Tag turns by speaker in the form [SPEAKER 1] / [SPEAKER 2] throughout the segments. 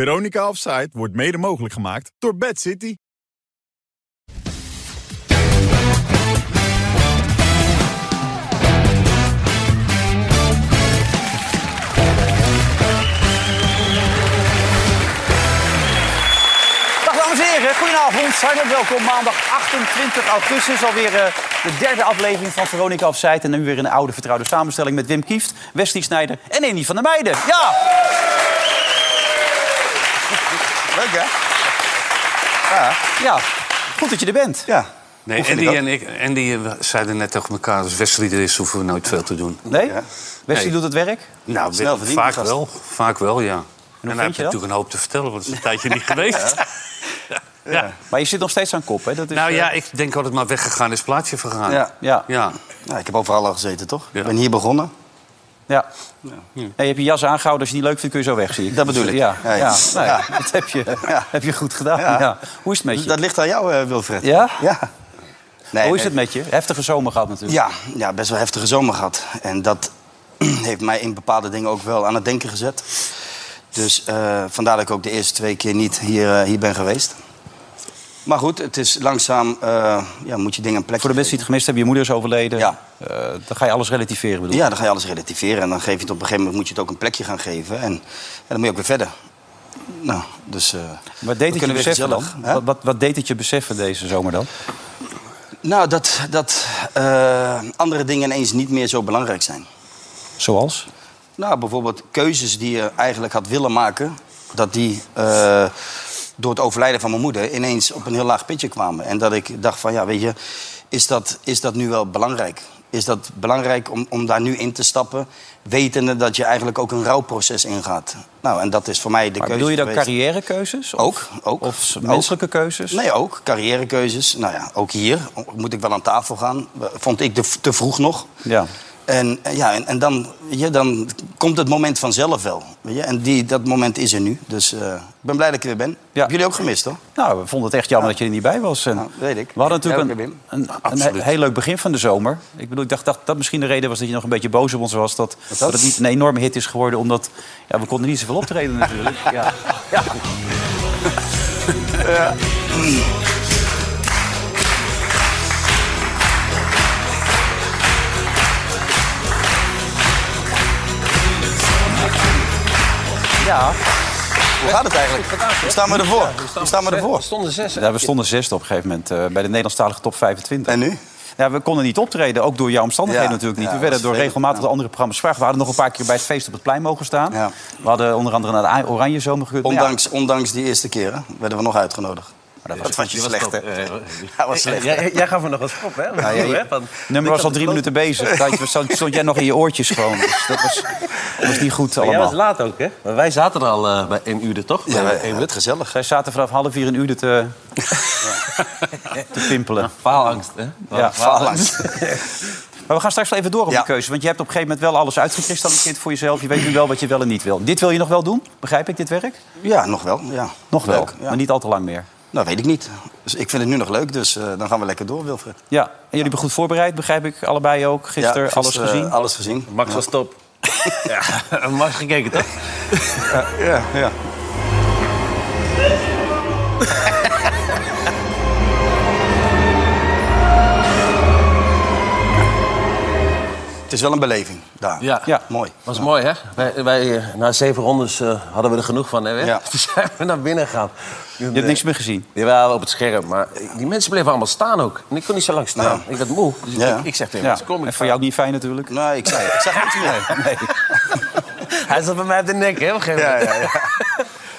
[SPEAKER 1] Veronica Offside wordt mede mogelijk gemaakt door Bad City.
[SPEAKER 2] Dag dames en heren, goedenavond. Zijn we welkom maandag 28 augustus. Alweer eh, de derde aflevering van Veronica Offside. En dan weer in een oude vertrouwde samenstelling met Wim Kieft, Wesley Snijder en Andy van der Meijden. Ja!
[SPEAKER 3] Leuk, hè?
[SPEAKER 2] Ja, goed dat je er bent.
[SPEAKER 3] Ja.
[SPEAKER 4] Nee,
[SPEAKER 3] Oefen
[SPEAKER 4] Andy
[SPEAKER 3] ik ook.
[SPEAKER 4] en ik Andy eh, we zeiden net tegen elkaar... als Wesley er is, hoeven we nooit veel te doen.
[SPEAKER 2] Nee?
[SPEAKER 3] Ja.
[SPEAKER 2] Wesley
[SPEAKER 4] Nee.
[SPEAKER 2] doet het werk.
[SPEAKER 4] Nou,
[SPEAKER 3] Snel
[SPEAKER 4] we-
[SPEAKER 3] verdiend,
[SPEAKER 4] vaak
[SPEAKER 3] gast.
[SPEAKER 4] wel. Vaak wel, ja. En, dan
[SPEAKER 2] vind je
[SPEAKER 4] heb je
[SPEAKER 2] dat?
[SPEAKER 4] natuurlijk een hoop te vertellen, want het is een tijdje niet geweest. Ja.
[SPEAKER 2] Maar je zit nog steeds aan kop, hè? Dat is,
[SPEAKER 4] Nou
[SPEAKER 2] eh,
[SPEAKER 4] ja, ik denk altijd maar weggegaan is plaatsje vergaan.
[SPEAKER 3] Ja.
[SPEAKER 2] Ja.
[SPEAKER 4] ja.
[SPEAKER 3] Nou, ik heb overal al gezeten, toch?
[SPEAKER 4] Ja.
[SPEAKER 3] Ik ben hier begonnen.
[SPEAKER 2] Ja. Nee, je hebt je jas aangehouden. Als je het niet leuk vindt, kun je zo weg, zie ik.
[SPEAKER 3] Dat bedoel ik.
[SPEAKER 2] Ja, ja.
[SPEAKER 3] Ja, ja.
[SPEAKER 2] Nee,
[SPEAKER 3] Ja.
[SPEAKER 2] dat heb je,
[SPEAKER 3] Ja.
[SPEAKER 2] heb je goed gedaan. Ja.
[SPEAKER 3] Ja.
[SPEAKER 2] Hoe is het met je?
[SPEAKER 3] Dat ligt aan jou, eh, Wilfred.
[SPEAKER 2] Ja?
[SPEAKER 3] Ja. Nee,
[SPEAKER 2] Hoe is het
[SPEAKER 3] nee.
[SPEAKER 2] met je? Heftige zomer gehad natuurlijk.
[SPEAKER 3] Ja, ja, best wel heftige zomer gehad. En dat heeft mij in bepaalde dingen ook wel aan het denken gezet. Dus eh, vandaar dat ik ook de eerste twee keer niet hier, eh, hier ben geweest. Maar goed, het is langzaam... eh, ja, moet je dingen een plek
[SPEAKER 2] Voor de mensen die het gemist hebben, je moeder is overleden.
[SPEAKER 3] Ja.
[SPEAKER 2] Eh, dan ga je alles relativeren, bedoel ik.
[SPEAKER 3] Ja, dan ga je alles relativeren. En dan geef je het op een gegeven moment moet je het ook een plekje gaan geven. En, en dan moet je ook weer verder. Nou, dus... eh,
[SPEAKER 2] Wat deed
[SPEAKER 3] we
[SPEAKER 2] het je
[SPEAKER 3] kunnen weer
[SPEAKER 2] beseffen dan?
[SPEAKER 3] gezellig, hè?
[SPEAKER 2] Wat, wat, wat deed het je beseffen deze zomer dan?
[SPEAKER 3] Nou, dat, dat eh, andere dingen ineens niet meer zo belangrijk zijn.
[SPEAKER 2] Zoals?
[SPEAKER 3] Nou, bijvoorbeeld keuzes die je eigenlijk had willen maken... dat die eh, door het overlijden van mijn moeder ineens op een heel laag pitje kwamen. En dat ik dacht van, ja, weet je, is dat, is dat nu wel belangrijk? Is dat belangrijk om, om daar nu in te stappen... wetende dat je eigenlijk ook een rouwproces ingaat? Nou, en dat is voor mij de
[SPEAKER 2] Maar
[SPEAKER 3] keuze
[SPEAKER 2] bedoel je dan
[SPEAKER 3] geweest.
[SPEAKER 2] carrièrekeuzes? Of,
[SPEAKER 3] Ook, ook.
[SPEAKER 2] Of
[SPEAKER 3] Ook.
[SPEAKER 2] menselijke keuzes?
[SPEAKER 3] Oh. Nee, ook. Carrièrekeuzes. Nou ja, ook hier moet ik wel aan tafel gaan. Vond ik de- te vroeg nog.
[SPEAKER 2] Ja.
[SPEAKER 3] En, eh, ja, en, en dan, weet je, dan komt het moment vanzelf wel. Weet je? En die, dat moment is er nu. Dus eh, ik ben blij dat ik er weer ben.
[SPEAKER 2] Ja.
[SPEAKER 3] Heb jullie ook gemist, hoor?
[SPEAKER 2] Nou, we vonden het echt jammer dat je er niet bij was. En
[SPEAKER 3] Ja, Nou, weet ik.
[SPEAKER 2] We hadden natuurlijk
[SPEAKER 3] Ja,
[SPEAKER 2] een,
[SPEAKER 3] oké,
[SPEAKER 2] een,
[SPEAKER 3] Wim.
[SPEAKER 2] een
[SPEAKER 4] Absoluut.
[SPEAKER 2] he- heel leuk begin van de zomer. Ik bedoel, ik dacht dat dat misschien de reden was dat je nog een beetje boos op ons was. Dat, dat? het niet een enorme hit is geworden, omdat ja, we konden niet zoveel optreden natuurlijk. Ja. Ja. Ja,
[SPEAKER 3] Hoe gaat het eigenlijk? Hoe staan we ervoor? Hoe staan we ervoor?
[SPEAKER 5] stonden zes.
[SPEAKER 2] ja, we stonden zesde op een gegeven moment eh, bij de Nederlandstalige top 25.
[SPEAKER 3] En nu?
[SPEAKER 2] Ja, we konden niet optreden, ook door jouw omstandigheden
[SPEAKER 3] Ja,
[SPEAKER 2] natuurlijk niet.
[SPEAKER 3] ja,
[SPEAKER 2] we werden
[SPEAKER 3] dat is
[SPEAKER 2] door
[SPEAKER 3] vervelend,
[SPEAKER 2] regelmatig de andere programma's gevraagd. We hadden nog een paar keer bij het feest op het plein mogen staan.
[SPEAKER 3] Ja.
[SPEAKER 2] We hadden onder andere naar de A- Oranje Zomer gekund. Maar ja,
[SPEAKER 3] Ondanks, ondanks die eerste keren werden we nog uitgenodigd. dat, vond je slecht, hè?
[SPEAKER 2] eh,
[SPEAKER 3] Dat was slecht.
[SPEAKER 5] Jij, jij gaf me nog wat schop, hè?
[SPEAKER 3] Ja, ja, ja.
[SPEAKER 2] het nummer was al drie minuten bezig. Daar stond- stond jij nog in je oortjes gewoon. Dus dat was, dat was niet goed
[SPEAKER 5] Jij was
[SPEAKER 2] allemaal.
[SPEAKER 5] laat ook, hè? Maar wij zaten er al eh, bij één uur, toch?
[SPEAKER 3] Ja,
[SPEAKER 5] Bij
[SPEAKER 3] maar,
[SPEAKER 5] één
[SPEAKER 3] ja,
[SPEAKER 5] uur.
[SPEAKER 3] het gezellig.
[SPEAKER 2] Zij zaten vanaf half vier een uur te, te pimpelen.
[SPEAKER 5] Faalangst, hè?
[SPEAKER 2] Ja.
[SPEAKER 3] Faalangst.
[SPEAKER 2] Maar we gaan straks wel even door op
[SPEAKER 3] Ja.
[SPEAKER 2] die keuze. Want je hebt op een gegeven moment wel alles uitgekristalliseerd voor jezelf. Je weet nu wel wat je wel en niet wil. Dit wil je nog wel doen? Begrijp ik dit werk?
[SPEAKER 3] Ja, nog wel. Ja.
[SPEAKER 2] Nog wel,
[SPEAKER 3] Leuk, ja.
[SPEAKER 2] maar niet al te lang meer.
[SPEAKER 3] Nou, weet ik niet. Dus ik vind het nu nog leuk, dus eh, dan gaan we lekker door, Wilfred.
[SPEAKER 2] Ja, en jullie hebben goed voorbereid, begrijp ik. Allebei ook.
[SPEAKER 3] Ja,
[SPEAKER 2] Gisteren alles
[SPEAKER 3] gisteren,
[SPEAKER 2] gezien.
[SPEAKER 3] eh, Alles gezien.
[SPEAKER 5] Max was top. ja, Max gekeken, toch?
[SPEAKER 3] Ja, ja. Het is wel een beleving daar.
[SPEAKER 5] Ja.
[SPEAKER 2] Ja.
[SPEAKER 3] Mooi.
[SPEAKER 5] Was mooi, hè? Wij, wij, eh, na zeven rondes eh, hadden we er genoeg van, hè? Wim?
[SPEAKER 3] Ja.
[SPEAKER 5] Toen zijn we naar binnen gegaan.
[SPEAKER 2] Je hebt niks meer gezien.
[SPEAKER 5] Jawel, op het scherm. Maar eh, die mensen bleven allemaal staan ook. En ik kon niet zo lang staan. Ik werd moe. Dus ik-
[SPEAKER 3] Ja.
[SPEAKER 5] ik, ik zeg tegen
[SPEAKER 2] Ja.
[SPEAKER 5] mensen, kom
[SPEAKER 2] en
[SPEAKER 5] ik
[SPEAKER 2] voor jou ook niet fijn natuurlijk.
[SPEAKER 3] Nee, Nou, ik, zei, ik zag niets meer.
[SPEAKER 5] Hij zat bij mij op de nek, hè? op een gegeven moment.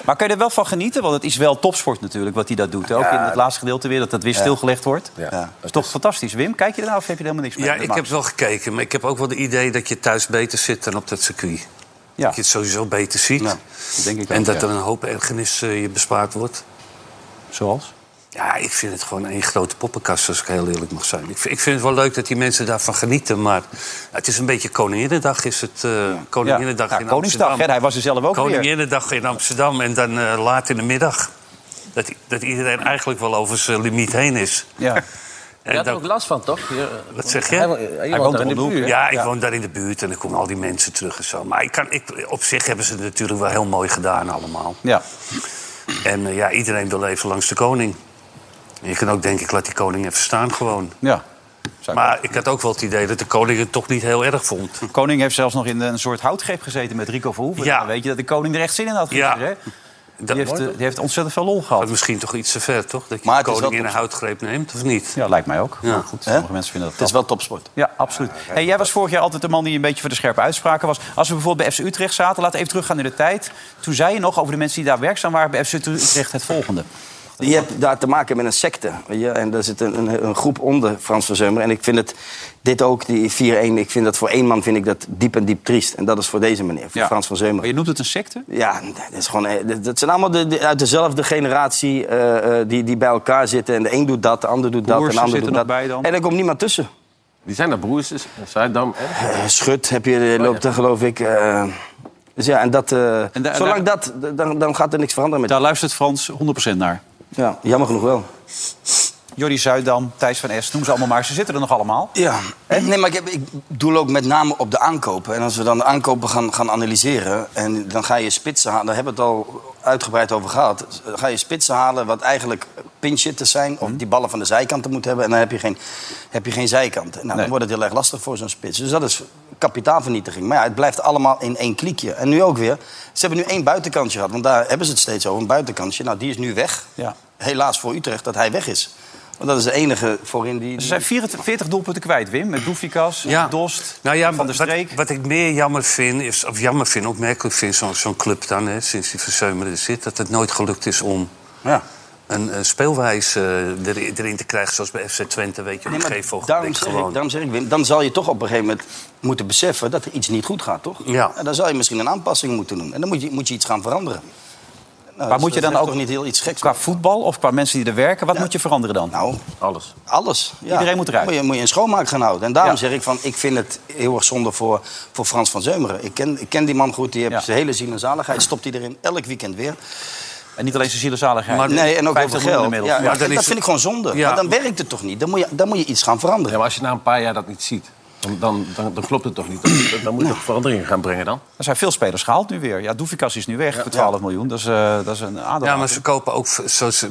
[SPEAKER 2] Maar kun je er wel van genieten? Want het is wel topsport natuurlijk wat hij dat doet. Ook in het laatste gedeelte weer, dat dat weer stilgelegd wordt.
[SPEAKER 5] Ja.
[SPEAKER 2] Dat is toch fantastisch. Wim, kijk je ernaar of heb je er helemaal niks mee?
[SPEAKER 4] Ja,
[SPEAKER 2] Dat
[SPEAKER 4] ik
[SPEAKER 2] mag.
[SPEAKER 4] heb wel gekeken, maar ik heb ook wel het idee dat je thuis beter zit dan op dat circuit.
[SPEAKER 2] Ja,
[SPEAKER 4] Dat je het sowieso beter ziet.
[SPEAKER 3] Ja,
[SPEAKER 2] dat denk ik
[SPEAKER 4] en
[SPEAKER 2] ook,
[SPEAKER 4] dat
[SPEAKER 2] ja.
[SPEAKER 4] er een hoop ergernis eh, je bespaard wordt.
[SPEAKER 2] Zoals?
[SPEAKER 4] Ja, ik vind het gewoon één grote poppenkast, als ik heel eerlijk mag zijn. Ik vind, ik vind het wel leuk dat die mensen daarvan genieten, maar het is een beetje Koninginnedag. Is het eh, Koninginnedag
[SPEAKER 2] Ja,
[SPEAKER 4] in
[SPEAKER 2] Koningsdag,
[SPEAKER 4] Amsterdam.
[SPEAKER 2] hè, hij was er zelf ook weer.
[SPEAKER 4] Koninginnedag in Amsterdam en dan eh, laat in de middag. Dat, dat iedereen eigenlijk wel over zijn limiet heen is.
[SPEAKER 2] Ja.
[SPEAKER 5] Je had er
[SPEAKER 4] dat-
[SPEAKER 5] ook last van, toch? Je-
[SPEAKER 4] Wat zeg je?
[SPEAKER 5] Hij, wo- hij woont daar in de
[SPEAKER 2] om de
[SPEAKER 5] buurt.
[SPEAKER 4] Ja, ik woon daar in de buurt en dan komen al die mensen terug en zo. Maar ik kan, ik, op zich hebben ze het natuurlijk wel heel mooi gedaan allemaal.
[SPEAKER 2] Ja.
[SPEAKER 4] En eh, ja, iedereen wil even langs de koning. En je kan ook denken, ik laat die koning even staan gewoon.
[SPEAKER 2] ja. Zou ik-
[SPEAKER 4] Maar ik had ook wel het idee dat de koning het toch niet heel erg vond.
[SPEAKER 2] Koning heeft zelfs nog in een soort houtgreep gezeten met Rico Verhoeven.
[SPEAKER 4] Ja.
[SPEAKER 2] Dan weet je dat de koning er echt zin in had
[SPEAKER 4] Ja.
[SPEAKER 2] gisteren, hè? Die,
[SPEAKER 4] Dat
[SPEAKER 2] heeft, eh, die heeft ontzettend veel lol
[SPEAKER 4] gaat
[SPEAKER 2] gehad.
[SPEAKER 4] misschien toch iets te ver, toch? Dat je de
[SPEAKER 3] Maar het is
[SPEAKER 4] koning
[SPEAKER 3] wel
[SPEAKER 4] in een houtgreep neemt, of niet?
[SPEAKER 2] Ja, lijkt mij ook.
[SPEAKER 4] Ja.
[SPEAKER 2] Maar goed, sommige
[SPEAKER 3] Hè?
[SPEAKER 2] mensen vinden dat
[SPEAKER 3] Het is wel topsport.
[SPEAKER 2] Ja, absoluut. hey, jij was vorig jaar altijd de man die een beetje voor de scherpe uitspraken was. Als we bijvoorbeeld bij FC Utrecht zaten, laten we even teruggaan in de tijd. Toen zei je nog over de mensen die daar werkzaam waren bij FC Utrecht het volgende.
[SPEAKER 3] Je hebt daar te maken met een secte. Weet je? En daar zit een, een, een groep onder Frans van Zummer. En ik vind het, dit ook, die 4-1, ik vind dat voor één man vind ik dat diep en diep triest. En dat is voor deze meneer, voor Frans van Zummer.
[SPEAKER 2] Maar je noemt het een secte?
[SPEAKER 3] Ja, dat, is gewoon, eh, dat- dat zijn allemaal de, de- uit dezelfde generatie eh, eh, die, die bij elkaar zitten. En de een doet dat, de ander doet dat, en
[SPEAKER 2] Broers
[SPEAKER 3] de ander
[SPEAKER 2] zitten
[SPEAKER 3] doet
[SPEAKER 2] nog
[SPEAKER 3] dat.
[SPEAKER 2] bij dan?
[SPEAKER 3] En er komt niemand tussen.
[SPEAKER 5] Die zijn daar broers, dus Zuidam. hè?
[SPEAKER 3] Eh, Schut heb
[SPEAKER 2] Oh,
[SPEAKER 3] je, eh, loopt er geloof ik. eh, dus ja, en dat, eh,
[SPEAKER 2] En da-
[SPEAKER 3] zolang dat, dan, dan gaat er niks veranderen met
[SPEAKER 2] Daar luistert Frans 100% naar.
[SPEAKER 3] ja, Jammer genoeg wel.
[SPEAKER 2] Jordi Zuidam, Thijs van Es, noem ze allemaal maar. Ze zitten er nog allemaal.
[SPEAKER 3] Ja, nee, maar ik, heb, ik doe ook met name op de aankopen. En als we dan de aankopen gaan, gaan analyseren... en dan ga je spitsen halen, daar hebben we het al uitgebreid over gehad... Dan ga je spitsen halen wat eigenlijk pinchitters zijn...
[SPEAKER 2] Mhm.
[SPEAKER 3] of die ballen van de zijkanten moeten hebben... en dan heb je geen, heb je geen zijkant. Nou,
[SPEAKER 2] Nee.
[SPEAKER 3] Dan wordt het heel erg lastig voor zo'n spits. Dus dat is kapitaalvernietiging. Maar ja, het blijft allemaal in één kliekje. En nu ook weer. Ze hebben nu één buitenkantje gehad, want daar hebben ze het steeds over. Een buitenkantje, nou, die is nu weg.
[SPEAKER 2] Ja.
[SPEAKER 3] Helaas voor Utrecht dat hij weg is. Want dat is de enige voorin die...
[SPEAKER 2] Ze zijn 44 40 doelpunten kwijt, Wim. Met Doefikas, Dost,
[SPEAKER 4] Nou ja,
[SPEAKER 2] Van der
[SPEAKER 4] wat-
[SPEAKER 2] Streek.
[SPEAKER 4] Wat, ik meer jammer vind, is, of jammer vind, opmerkelijk vind, zo'n zo'n club dan, hè, sinds die Verzeumeren er zit, dat het nooit gelukt is om
[SPEAKER 3] Ja.
[SPEAKER 4] een eh, speelwijze eh, erin, erin te krijgen, zoals bij FC Twente, weet je, op
[SPEAKER 3] Nee,
[SPEAKER 4] een
[SPEAKER 3] maar
[SPEAKER 4] gegeven moment
[SPEAKER 3] daarom, zeg
[SPEAKER 4] gewoon.
[SPEAKER 3] ik, daarom zeg ik, Wim, dan zal je toch op een gegeven moment moeten beseffen dat er iets niet goed gaat, toch?
[SPEAKER 4] Ja.
[SPEAKER 3] En dan zal je misschien een aanpassing moeten doen. En dan moet je, moet je iets gaan veranderen. Nou,
[SPEAKER 2] Maar
[SPEAKER 3] dat-
[SPEAKER 2] moet je
[SPEAKER 3] dat
[SPEAKER 2] dan
[SPEAKER 3] is
[SPEAKER 2] ook
[SPEAKER 3] toch niet heel iets geks?
[SPEAKER 2] Qua voetbal of qua mensen die er werken, wat moet je veranderen dan?
[SPEAKER 3] Nou,
[SPEAKER 5] Alles.
[SPEAKER 3] alles. Ja.
[SPEAKER 2] Iedereen moet eruit.
[SPEAKER 3] Moet je, moet je een schoonmaak gaan houden. En daarom
[SPEAKER 2] Ja.
[SPEAKER 3] zeg ik van, ik vind het heel erg zonde voor, voor Frans van Zeumeren. Ik ken, ik ken die man goed, die heeft
[SPEAKER 2] Ja.
[SPEAKER 3] zijn hele ziel en zaligheid. Stopt hij erin, elk weekend weer.
[SPEAKER 2] En niet alleen zijn zielenzaligheid.
[SPEAKER 4] Maar-
[SPEAKER 3] Nee, en ook heel veel
[SPEAKER 2] 50 miljoen
[SPEAKER 3] geld.
[SPEAKER 2] inmiddels.
[SPEAKER 3] Ja,
[SPEAKER 4] Maar dan
[SPEAKER 3] dat
[SPEAKER 4] is
[SPEAKER 3] dat
[SPEAKER 4] het-
[SPEAKER 3] vind ik gewoon zonde.
[SPEAKER 4] Ja.
[SPEAKER 3] Maar dan werkt het toch niet? Dan moet je, dan moet je iets gaan veranderen.
[SPEAKER 5] Ja, maar als je na een paar jaar dat niet ziet, dan, dan, dan, dan klopt het toch niet? Dan, dan moet je toch veranderingen gaan brengen dan?
[SPEAKER 2] Er zijn veel spelers gehaald nu weer. Ja, Doefikas is nu weg voor 12 miljoen. Dat is, eh, dat is een aandeel.
[SPEAKER 4] Ja, maar ze kopen ook v- zo- zo-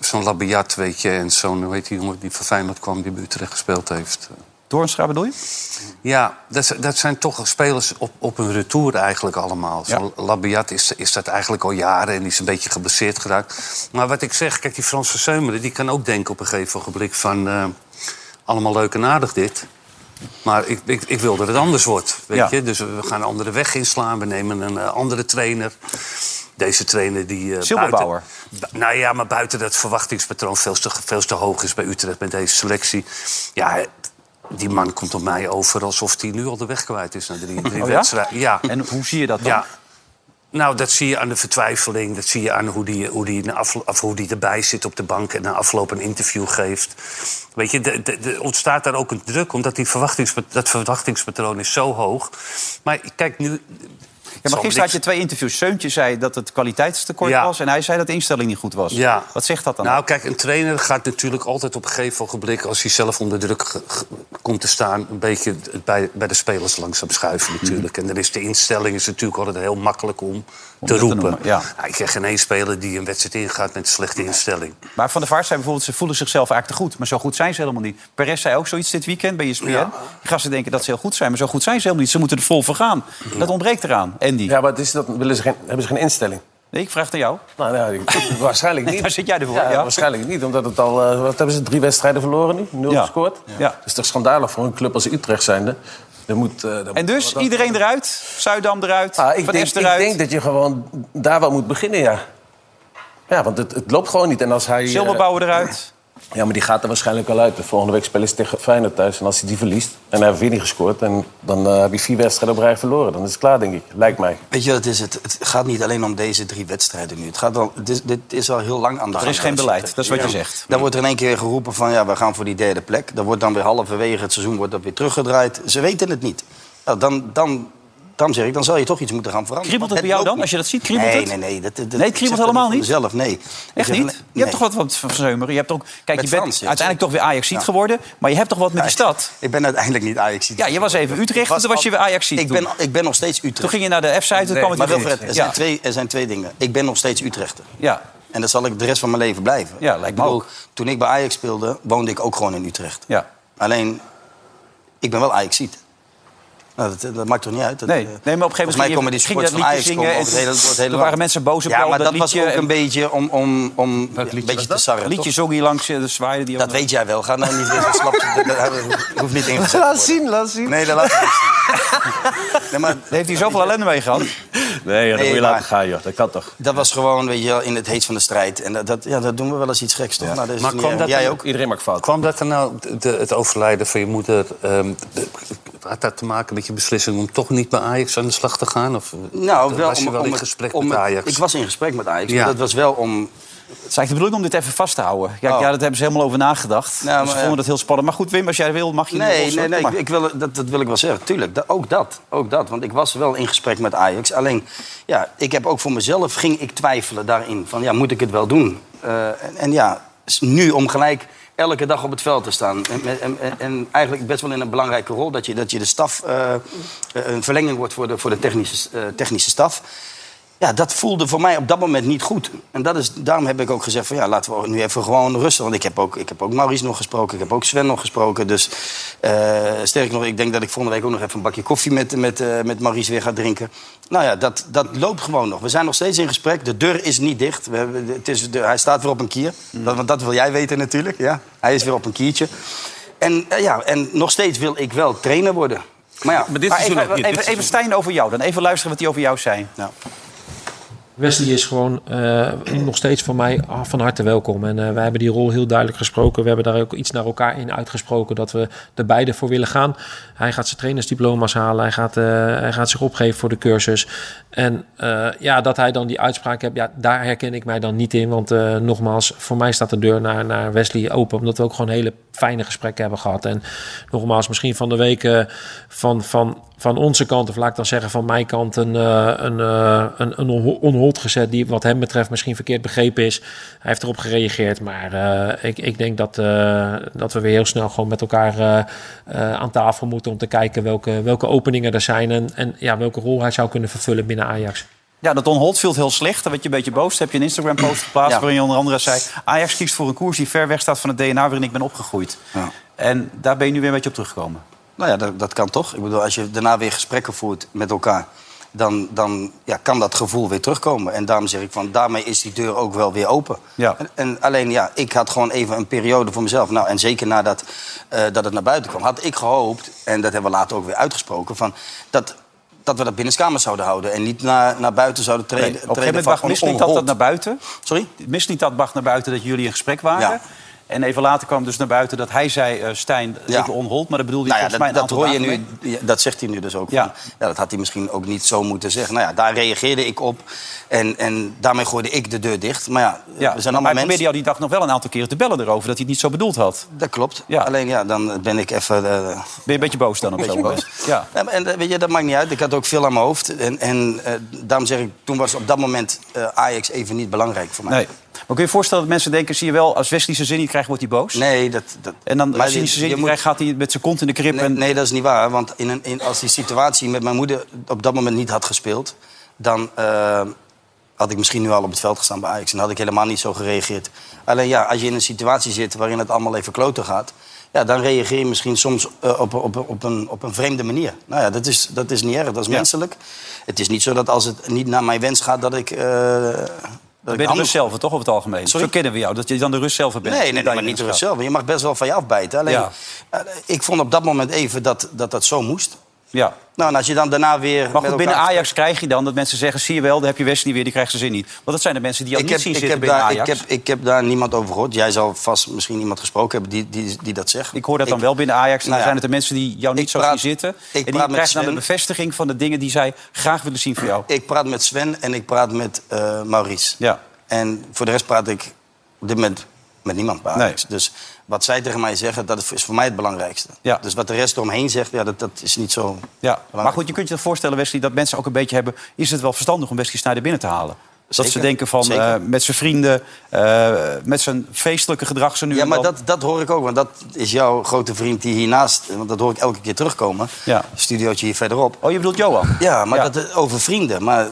[SPEAKER 4] zo'n labiat, weet je, en zo'n, hoe heet die jongen die van Feyenoord kwam, die bij Utrecht gespeeld heeft.
[SPEAKER 2] Doornstra bedoel je?
[SPEAKER 4] Ja, dat, z- dat zijn toch spelers op, op hun retour eigenlijk allemaal. Zo'n Labiat is, is dat eigenlijk al jaren en die is een beetje geblesseerd geraakt. Maar wat ik zeg, kijk, die Frans Verzeumeren... die kan ook denken op een gegeven ogenblik van... eh, allemaal leuk en aardig dit. Maar ik, ik, ik wil dat het anders wordt, weet
[SPEAKER 2] Ja.
[SPEAKER 4] je. Dus we gaan een andere weg inslaan. We nemen een eh, andere trainer. Deze trainer die... eh,
[SPEAKER 2] Silberbouwer.
[SPEAKER 4] buiten- bu- nou ja, maar buiten dat verwachtingspatroon veel te, veel te hoog is bij Utrecht met deze selectie. Ja, die man komt op mij over alsof hij nu al de weg kwijt is na drie, drie
[SPEAKER 2] Oh ja?
[SPEAKER 4] wedstrijden. Ja.
[SPEAKER 2] En hoe zie je dat dan?
[SPEAKER 4] ja. Nou, dat zie je aan de vertwijfeling. Dat zie je aan hoe die, hoe die, na aflo- of hoe die erbij zit op de bank en na afloop een interview geeft. Weet je, de- de- de- ontstaat daar ook een druk, omdat die verwachtings, dat verwachtingspatroon is zo hoog. Maar kijk, nu...
[SPEAKER 2] Ja, maar gisteren had je twee interviews. Seuntje zei dat het kwaliteitstekort
[SPEAKER 4] Ja.
[SPEAKER 2] was... en hij zei dat de instelling niet goed was.
[SPEAKER 4] Ja.
[SPEAKER 2] Wat zegt dat dan?
[SPEAKER 4] Nou, kijk, een trainer gaat natuurlijk altijd op een gegeven ogenblik... als hij zelf onder druk ge- ge- komt te staan... een beetje het bij, bij de spelers langzaam schuiven
[SPEAKER 2] Mhm.
[SPEAKER 4] natuurlijk. En dan is de instelling is natuurlijk altijd heel makkelijk om, te
[SPEAKER 2] dat te
[SPEAKER 4] roepen.
[SPEAKER 2] noemen, ja.
[SPEAKER 4] Nou, ik ken geen één speler die een wedstrijd ingaat met een slechte instelling.
[SPEAKER 2] Maar Van der Vaart zei bijvoorbeeld... ze voelen zichzelf eigenlijk te goed, maar zo goed zijn ze helemaal niet. Perez zei ook zoiets dit weekend bij E ESPN.
[SPEAKER 4] Ja.
[SPEAKER 2] Die gasten denken dat ze heel goed zijn, maar zo goed zijn ze helemaal niet. Ze moeten er vol voor gaan. Dat ontbreekt eraan, Andy.
[SPEAKER 5] Ja, maar het is dat, willen ze geen, hebben ze geen instelling?
[SPEAKER 2] Nee, ik vraag het aan jou.
[SPEAKER 5] Nou, nou ik- waarschijnlijk niet.
[SPEAKER 2] Daar zit jij ervoor, ja.
[SPEAKER 5] Waarschijnlijk niet, omdat het al... eh, wat hebben ze, drie wedstrijden verloren nu? Nul
[SPEAKER 2] Ja.
[SPEAKER 5] gescoord?
[SPEAKER 2] Ja.
[SPEAKER 5] Dat is toch schandalig voor een club als Utrecht zijnde? Er moet, eh, er
[SPEAKER 2] En
[SPEAKER 5] moet
[SPEAKER 2] dus
[SPEAKER 5] wat aan-
[SPEAKER 2] iedereen eruit, Zuidam eruit,
[SPEAKER 5] Ah, ik,
[SPEAKER 2] Van
[SPEAKER 5] denk,
[SPEAKER 2] Es
[SPEAKER 5] ik
[SPEAKER 2] eruit.
[SPEAKER 5] denk dat je gewoon daar wel moet beginnen, ja. Ja, want het, het loopt gewoon niet. En als hij... eh,
[SPEAKER 2] Silberbouwer eruit.
[SPEAKER 5] Ja, maar die gaat er waarschijnlijk wel uit. De volgende week spelen ze tegen Feyenoord thuis. En als hij die verliest en hij heeft weer niet gescoord... En, dan eh, heb je vier wedstrijden op rij verloren. Dan is het klaar, denk ik. Lijkt mij.
[SPEAKER 3] Weet je, het, is het, het gaat niet alleen om deze drie wedstrijden nu. Het gaat al, dit, is- dit is al heel lang aan de
[SPEAKER 2] Er is geen beleid, dat is wat je zegt.
[SPEAKER 3] Dan wordt er in één keer geroepen van, ja, we gaan voor die derde plek. Dan wordt dan weer halverwege het seizoen wordt dat weer teruggedraaid. Ze weten het niet. Nou, dan, dan daarom zeg ik, dan zal je toch iets moeten gaan veranderen.
[SPEAKER 2] Kriebelt het bij jou
[SPEAKER 3] loopt
[SPEAKER 2] dan,
[SPEAKER 3] niet.
[SPEAKER 2] als je dat ziet? Kriebelt
[SPEAKER 3] nee,
[SPEAKER 2] het?
[SPEAKER 3] Nee, nee, dat, dat,
[SPEAKER 2] Nee, het
[SPEAKER 3] ik
[SPEAKER 2] kriebelt
[SPEAKER 3] zeg dat
[SPEAKER 2] helemaal
[SPEAKER 3] voor
[SPEAKER 2] niet?
[SPEAKER 3] mezelf, nee.
[SPEAKER 2] Echt niet? Je hebt toch wat, wat van zeumeren? Je hebt ook, kijk, je
[SPEAKER 3] Met
[SPEAKER 2] bent
[SPEAKER 3] Frans, ja,
[SPEAKER 2] uiteindelijk toch weer Ajax-ziet
[SPEAKER 3] Ja.
[SPEAKER 2] geworden. Maar je hebt toch wat met die stad?
[SPEAKER 3] Ik ben uiteindelijk niet Ajax.
[SPEAKER 2] Ja, je was even Utrecht, toen was je weer Ajax-ziet.
[SPEAKER 3] Ik
[SPEAKER 2] toen.
[SPEAKER 3] ben, ik ben nog steeds Utrecht.
[SPEAKER 2] Toen ging je naar de F-site, toen kwam het
[SPEAKER 3] maar
[SPEAKER 2] weer
[SPEAKER 3] Wilfred,
[SPEAKER 2] goed.
[SPEAKER 3] er zijn,
[SPEAKER 2] Ja.
[SPEAKER 3] twee, er zijn twee dingen. Ik ben nog steeds Utrechter.
[SPEAKER 2] Ja.
[SPEAKER 3] En dat zal ik de rest van mijn leven blijven.
[SPEAKER 2] Ja, lijkt me
[SPEAKER 3] Ik bedoel,
[SPEAKER 2] ook.
[SPEAKER 3] Toen ik bij Ajax speelde, woonde ik ook gewoon in Utrecht.
[SPEAKER 2] Ja.
[SPEAKER 3] Alleen, ik ben wel Ajaxiet. Nou, dat, dat maakt toch niet uit? Dat,
[SPEAKER 2] Nee,
[SPEAKER 3] eh,
[SPEAKER 2] nee, maar op een gegeven
[SPEAKER 3] volgens mij
[SPEAKER 2] moment
[SPEAKER 3] komen die
[SPEAKER 2] ging je-
[SPEAKER 3] supporters
[SPEAKER 2] ging
[SPEAKER 3] van
[SPEAKER 2] je dat
[SPEAKER 3] Ajax
[SPEAKER 2] liedje
[SPEAKER 3] komen
[SPEAKER 2] zingen
[SPEAKER 3] over het hele, door het
[SPEAKER 2] en
[SPEAKER 3] hele
[SPEAKER 2] er
[SPEAKER 3] land.
[SPEAKER 2] waren mensen boos op
[SPEAKER 3] ja,
[SPEAKER 2] jou,
[SPEAKER 3] maar
[SPEAKER 2] dat
[SPEAKER 3] dat was
[SPEAKER 2] liedje
[SPEAKER 3] ook
[SPEAKER 2] en-
[SPEAKER 3] een beetje om, om, om ja, een beetje te sarren,
[SPEAKER 2] liedje
[SPEAKER 3] toch?
[SPEAKER 2] zong hij langs, eh, de zwaaide die
[SPEAKER 3] Dat weet jij wel. Ga nou niet weer zo slap. Dat- dat- Dat hoeft niet ingezet te
[SPEAKER 4] Laat
[SPEAKER 3] worden.
[SPEAKER 4] zien, laat zien.
[SPEAKER 3] Nee, dat laat ik niet zien. Nee, maar
[SPEAKER 2] Daar heeft hij zoveel ellende mee gehad.
[SPEAKER 5] Nee, dat
[SPEAKER 3] Nee,
[SPEAKER 5] moet je
[SPEAKER 3] maar-
[SPEAKER 5] laten gaan, joh. Dat kan toch?
[SPEAKER 3] Dat was gewoon, weet je wel, in het heet van de strijd. En dat, dat, ja, dat doen we wel eens iets geks, toch? Nou, dat is
[SPEAKER 4] Maar
[SPEAKER 3] niet
[SPEAKER 4] kwam
[SPEAKER 3] erg.
[SPEAKER 4] dat
[SPEAKER 3] Jij
[SPEAKER 4] dan-
[SPEAKER 3] ook?
[SPEAKER 5] Iedereen maakt fouten.
[SPEAKER 4] Kwam dat er nou, de, het overlijden van je moeder... ehm, de- had dat te maken met je beslissing om toch niet bij Ajax aan de slag te gaan? Of eh,
[SPEAKER 3] Nou, wel
[SPEAKER 4] was je
[SPEAKER 3] om-
[SPEAKER 4] wel
[SPEAKER 3] om
[SPEAKER 4] in
[SPEAKER 3] het-
[SPEAKER 4] gesprek
[SPEAKER 3] om
[SPEAKER 4] met
[SPEAKER 3] het-
[SPEAKER 4] Ajax?
[SPEAKER 3] Ik was in gesprek met Ajax,
[SPEAKER 4] Ja.
[SPEAKER 3] maar dat was wel om...
[SPEAKER 2] Het is eigenlijk de bedoeling om dit even vast te houden. Kijk,
[SPEAKER 3] Oh.
[SPEAKER 2] ja, dat hebben ze helemaal over nagedacht.
[SPEAKER 3] Nou,
[SPEAKER 2] dus
[SPEAKER 3] maar
[SPEAKER 2] ze
[SPEAKER 3] ja.
[SPEAKER 2] vonden dat heel spannend. Maar goed, Wim, als jij wil, mag je...
[SPEAKER 3] Nee,
[SPEAKER 2] los,
[SPEAKER 3] nee,
[SPEAKER 2] hoor.
[SPEAKER 3] nee,
[SPEAKER 2] Kom
[SPEAKER 3] ik,
[SPEAKER 2] maar.
[SPEAKER 3] ik wil, dat, dat wil ik wel zeggen. Tuurlijk, da- ook, dat, ook dat. Want ik was wel in gesprek met Ajax. Alleen, ja, ik heb ook voor mezelf, ging ik twijfelen daarin. Van, ja, moet ik het wel doen? Eh, en, en ja, s- nu om gelijk elke dag op het veld te staan. En, en, en, en eigenlijk best wel in een belangrijke rol... dat je, dat je de staf eh, een verlenging wordt voor de, voor de technische, eh, technische staf. Ja, dat voelde voor mij op dat moment niet goed. En dat is, daarom heb ik ook gezegd van ja, laten we nu even gewoon rusten. Want ik heb ook, ik heb ook Maurice nog gesproken, ik heb ook Sven nog gesproken. Dus eh sterk nog, ik denk dat ik volgende week ook nog even een bakje koffie met, met, eh, met Maurice weer ga drinken. Nou ja, dat, dat loopt gewoon nog. We zijn nog steeds in gesprek. De deur is niet dicht. We hebben, het is, de, hij staat weer op een kier. Dat, want dat wil jij weten natuurlijk. Ja? Hij is weer op een kiertje. En, eh, ja, en nog steeds wil ik wel trainer worden. Maar ja,
[SPEAKER 5] Maar dit
[SPEAKER 2] Maar
[SPEAKER 5] is dus
[SPEAKER 2] even, even, even,
[SPEAKER 5] dit seizoen-
[SPEAKER 2] Stijn over jou dan. Even luisteren wat hij over jou zei.
[SPEAKER 3] nou,
[SPEAKER 6] Wesley is gewoon eh, nog steeds van mij ah, van harte welkom. En eh, wij hebben die rol heel duidelijk gesproken. We hebben daar ook iets naar elkaar in uitgesproken dat we er beide voor willen gaan. Hij gaat zijn trainersdiploma's halen. Hij gaat, eh, hij gaat zich opgeven voor de cursus. En eh, ja, dat hij dan die uitspraak heeft, ja, daar herken ik mij dan niet in. Want eh, nogmaals, voor mij staat de deur naar, naar Wesley open. Omdat we ook gewoon hele fijne gesprekken hebben gehad. En nogmaals, misschien van de week eh, van, van, van onze kant, of laat ik dan zeggen van mijn kant, een, eh, een, eh, een, een onho- onhold gezet die wat hem betreft misschien verkeerd begrepen is. Hij heeft erop gereageerd, maar eh, ik, ik denk dat, eh, dat we weer heel snel gewoon met elkaar eh, eh, aan tafel moeten om te kijken welke, welke openingen er zijn en, en ja, welke rol hij zou kunnen vervullen binnen Ajax.
[SPEAKER 2] Ja, dat Don Holt viel heel slecht. Daar werd je een beetje boos. Daar heb je een Instagram-post geplaatst
[SPEAKER 3] Ja.
[SPEAKER 2] waarin je onder andere zei... Ajax kiest voor een koers die ver weg staat van het DNA waarin ik ben opgegroeid.
[SPEAKER 3] Ja.
[SPEAKER 2] En daar ben je nu weer een beetje op teruggekomen.
[SPEAKER 3] Nou ja, dat, dat kan toch? Ik bedoel, als je daarna weer gesprekken voert met elkaar, dan, dan ja, kan dat gevoel weer terugkomen. En daarom zeg ik van, daarmee is die deur ook wel weer open.
[SPEAKER 2] Ja.
[SPEAKER 3] En, en alleen, ja, ik had gewoon even een periode voor mezelf. Nou, en zeker nadat eh, dat het naar buiten kwam, had ik gehoopt, en dat hebben we later ook weer uitgesproken, van dat, dat we dat binnenskamer zouden houden en niet naar, naar buiten zouden treden.
[SPEAKER 2] Nee, op een gegeven
[SPEAKER 3] treden
[SPEAKER 2] moment
[SPEAKER 3] van
[SPEAKER 2] bracht misliet dat,
[SPEAKER 3] onhold.
[SPEAKER 2] dat naar buiten.
[SPEAKER 3] Sorry?
[SPEAKER 2] Misliet dat bracht naar buiten dat jullie in gesprek waren.
[SPEAKER 3] Ja.
[SPEAKER 2] En even later kwam dus naar buiten dat hij zei... eh, Stijn,
[SPEAKER 3] Ja.
[SPEAKER 2] ik onhold. Maar dat bedoelde hij
[SPEAKER 3] Nou ja,
[SPEAKER 2] volgens mij
[SPEAKER 3] dat,
[SPEAKER 2] een
[SPEAKER 3] dat
[SPEAKER 2] aantal
[SPEAKER 3] hoor je nu,
[SPEAKER 2] dagen mee.
[SPEAKER 3] ja, dat zegt hij nu dus ook.
[SPEAKER 2] Ja.
[SPEAKER 3] Van, ja, dat had hij misschien ook niet zo moeten zeggen. Nou ja, daar reageerde ik op en, en daarmee gooide ik de deur dicht. Maar ja,
[SPEAKER 2] Ja,
[SPEAKER 3] we zijn
[SPEAKER 2] maar hij
[SPEAKER 3] allemaal
[SPEAKER 2] probeerde
[SPEAKER 3] mensen.
[SPEAKER 2] jou die dag nog wel een aantal keren te bellen erover... dat hij het niet zo bedoeld had.
[SPEAKER 3] Dat klopt.
[SPEAKER 2] Ja.
[SPEAKER 3] Alleen ja, dan ben ik even... eh,
[SPEAKER 2] Ben je een beetje boos dan op
[SPEAKER 3] Beetje
[SPEAKER 2] zo'n moment? Ja.
[SPEAKER 3] Ja, maar en, eh, weet je, dat maakt niet uit. Ik had ook veel aan mijn hoofd. En, en eh, daarom zeg ik, toen was op dat moment eh, Ajax even niet belangrijk voor mij.
[SPEAKER 2] Nee. Maar kun je je voorstellen dat mensen denken... zie je wel, als Wesley zijn zin niet krijgt, wordt hij boos?
[SPEAKER 3] Nee, dat, dat,
[SPEAKER 2] En dan,
[SPEAKER 3] maar
[SPEAKER 2] als hij
[SPEAKER 3] je-
[SPEAKER 2] niet zijn zin
[SPEAKER 3] je
[SPEAKER 2] niet
[SPEAKER 3] moet-
[SPEAKER 2] krijgt, gaat hij met zijn kont in de krip. en...
[SPEAKER 3] Nee, nee, dat is niet waar. Want in een, in, als die situatie met mijn moeder op dat moment niet had gespeeld... dan eh, had ik misschien nu al op het veld gestaan bij Ajax. En had ik helemaal niet zo gereageerd. Alleen ja, als je in een situatie zit waarin het allemaal even kloten gaat... Ja, dan reageer je misschien soms eh, op, op, op, een, op een vreemde manier. Nou ja, dat is, dat is niet erg, dat is menselijk. Het is niet zo dat als het niet naar mijn wens gaat, dat ik... eh dat
[SPEAKER 2] Dan
[SPEAKER 3] ik
[SPEAKER 2] ben je de
[SPEAKER 3] anders-
[SPEAKER 2] rust zelf, toch, over het algemeen?
[SPEAKER 3] Sorry?
[SPEAKER 2] Zo kennen we jou, dat je dan de rust zelf bent.
[SPEAKER 3] Nee, nee,
[SPEAKER 2] Dat
[SPEAKER 3] nee
[SPEAKER 2] je
[SPEAKER 3] maar niet door
[SPEAKER 2] rust
[SPEAKER 3] zelf. Je mag best wel van je afbijten. Alleen,
[SPEAKER 2] Ja.
[SPEAKER 3] eh, ik vond op dat moment even dat dat, dat zo moest.
[SPEAKER 2] gaat. Ja.
[SPEAKER 3] Nou, en als je dan daarna weer.
[SPEAKER 2] Maar
[SPEAKER 3] met
[SPEAKER 2] goed, binnen
[SPEAKER 3] elkaar-
[SPEAKER 2] Ajax krijg je dan dat mensen zeggen... zie je wel, daar heb je Wesley weer, die krijgt zijn zin niet. Want dat zijn de mensen die jou
[SPEAKER 3] Ik
[SPEAKER 2] niet
[SPEAKER 3] heb,
[SPEAKER 2] zien
[SPEAKER 3] ik, heb
[SPEAKER 2] zitten binnen
[SPEAKER 3] daar, ik,
[SPEAKER 2] Ajax.
[SPEAKER 3] heb, ik heb daar niemand over gehoord. Jij zal vast misschien iemand gesproken hebben die, die, die dat zegt.
[SPEAKER 2] Ik hoor dat dan wel binnen Ajax.
[SPEAKER 3] Nou
[SPEAKER 2] En dan
[SPEAKER 3] ja.
[SPEAKER 2] zijn het de mensen die jou niet
[SPEAKER 3] Ik
[SPEAKER 2] zo
[SPEAKER 3] praat-
[SPEAKER 2] zien zitten.
[SPEAKER 3] ik
[SPEAKER 2] En die
[SPEAKER 3] praat met
[SPEAKER 2] krijgen dan de
[SPEAKER 3] Sven.
[SPEAKER 2] bevestiging van de dingen die zij graag willen zien voor jou.
[SPEAKER 3] Ik praat met Sven en ik praat met eh, Maurice.
[SPEAKER 2] Ja.
[SPEAKER 3] En voor de rest praat ik op dit moment met niemand bij Ajax. Dus wat zij tegen mij zeggen, dat is voor mij het belangrijkste.
[SPEAKER 2] Ja.
[SPEAKER 3] Dus wat de rest eromheen zegt, ja, dat, dat is niet zo
[SPEAKER 2] Ja, maar
[SPEAKER 3] belangrijk.
[SPEAKER 2] goed, je kunt je toch voorstellen, Wesley, dat mensen ook een beetje hebben... is het wel verstandig om Wesley Sneijder binnen te halen? dat ze
[SPEAKER 3] Zeker,
[SPEAKER 2] denken van,
[SPEAKER 3] zeker.
[SPEAKER 2] eh, met zijn vrienden, eh, met zijn feestelijke gedrag... Zo nu
[SPEAKER 3] Ja,
[SPEAKER 2] en
[SPEAKER 3] maar
[SPEAKER 2] dan.
[SPEAKER 3] dat, dat hoor ik ook. Want dat is jouw grote vriend die hiernaast... Want dat hoor ik elke keer terugkomen.
[SPEAKER 2] Ja.
[SPEAKER 3] Studiootje hier verderop.
[SPEAKER 2] Oh, je bedoelt Johan?
[SPEAKER 3] Ja, maar
[SPEAKER 2] Ja.
[SPEAKER 3] Dat, eh, over vrienden. Maar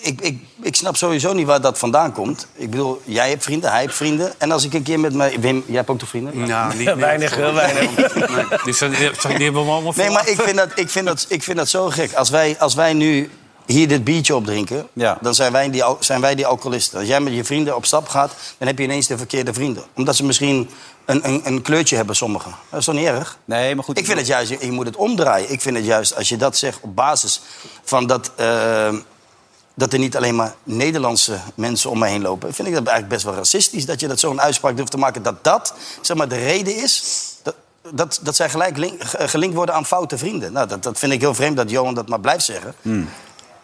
[SPEAKER 3] ik, ik, ik snap sowieso niet waar dat vandaan komt. Ik bedoel, jij hebt vrienden, hij heeft vrienden. En als ik een keer met mijn... Wim, jij hebt ook toch vrienden?
[SPEAKER 4] Nou, niet meer.
[SPEAKER 5] Weinig, heel weinig.
[SPEAKER 4] Nee, Dus, eh, die, zijn, die zijn- die hebben we allemaal
[SPEAKER 3] Nee, maar
[SPEAKER 4] verlaten.
[SPEAKER 3] ik vind dat, ik vind dat, ik vind dat zo gek. Als wij, als wij nu hier dit biertje opdrinken,
[SPEAKER 2] Ja.
[SPEAKER 3] dan zijn wij, die, al- zijn wij die alcoholisten. Als jij met je vrienden op stap gaat, dan heb je ineens de verkeerde vrienden. Omdat ze misschien een, een, een kleurtje hebben, sommigen. Dat is toch niet erg?
[SPEAKER 2] Nee, maar goed.
[SPEAKER 3] Ik vind het juist, je moet het omdraaien. Ik vind het juist, als je dat zegt op basis van dat... eh, dat er niet alleen maar Nederlandse mensen om me heen lopen. Vind ik dat eigenlijk best wel racistisch. Dat je dat zo'n uitspraak durft te maken. Dat dat, zeg maar, de reden is. Dat, dat, dat zij gelijk link- ge- gelinkt worden aan foute vrienden. Nou, dat, dat vind ik heel vreemd dat Johan dat maar blijft zeggen.
[SPEAKER 2] Hmm.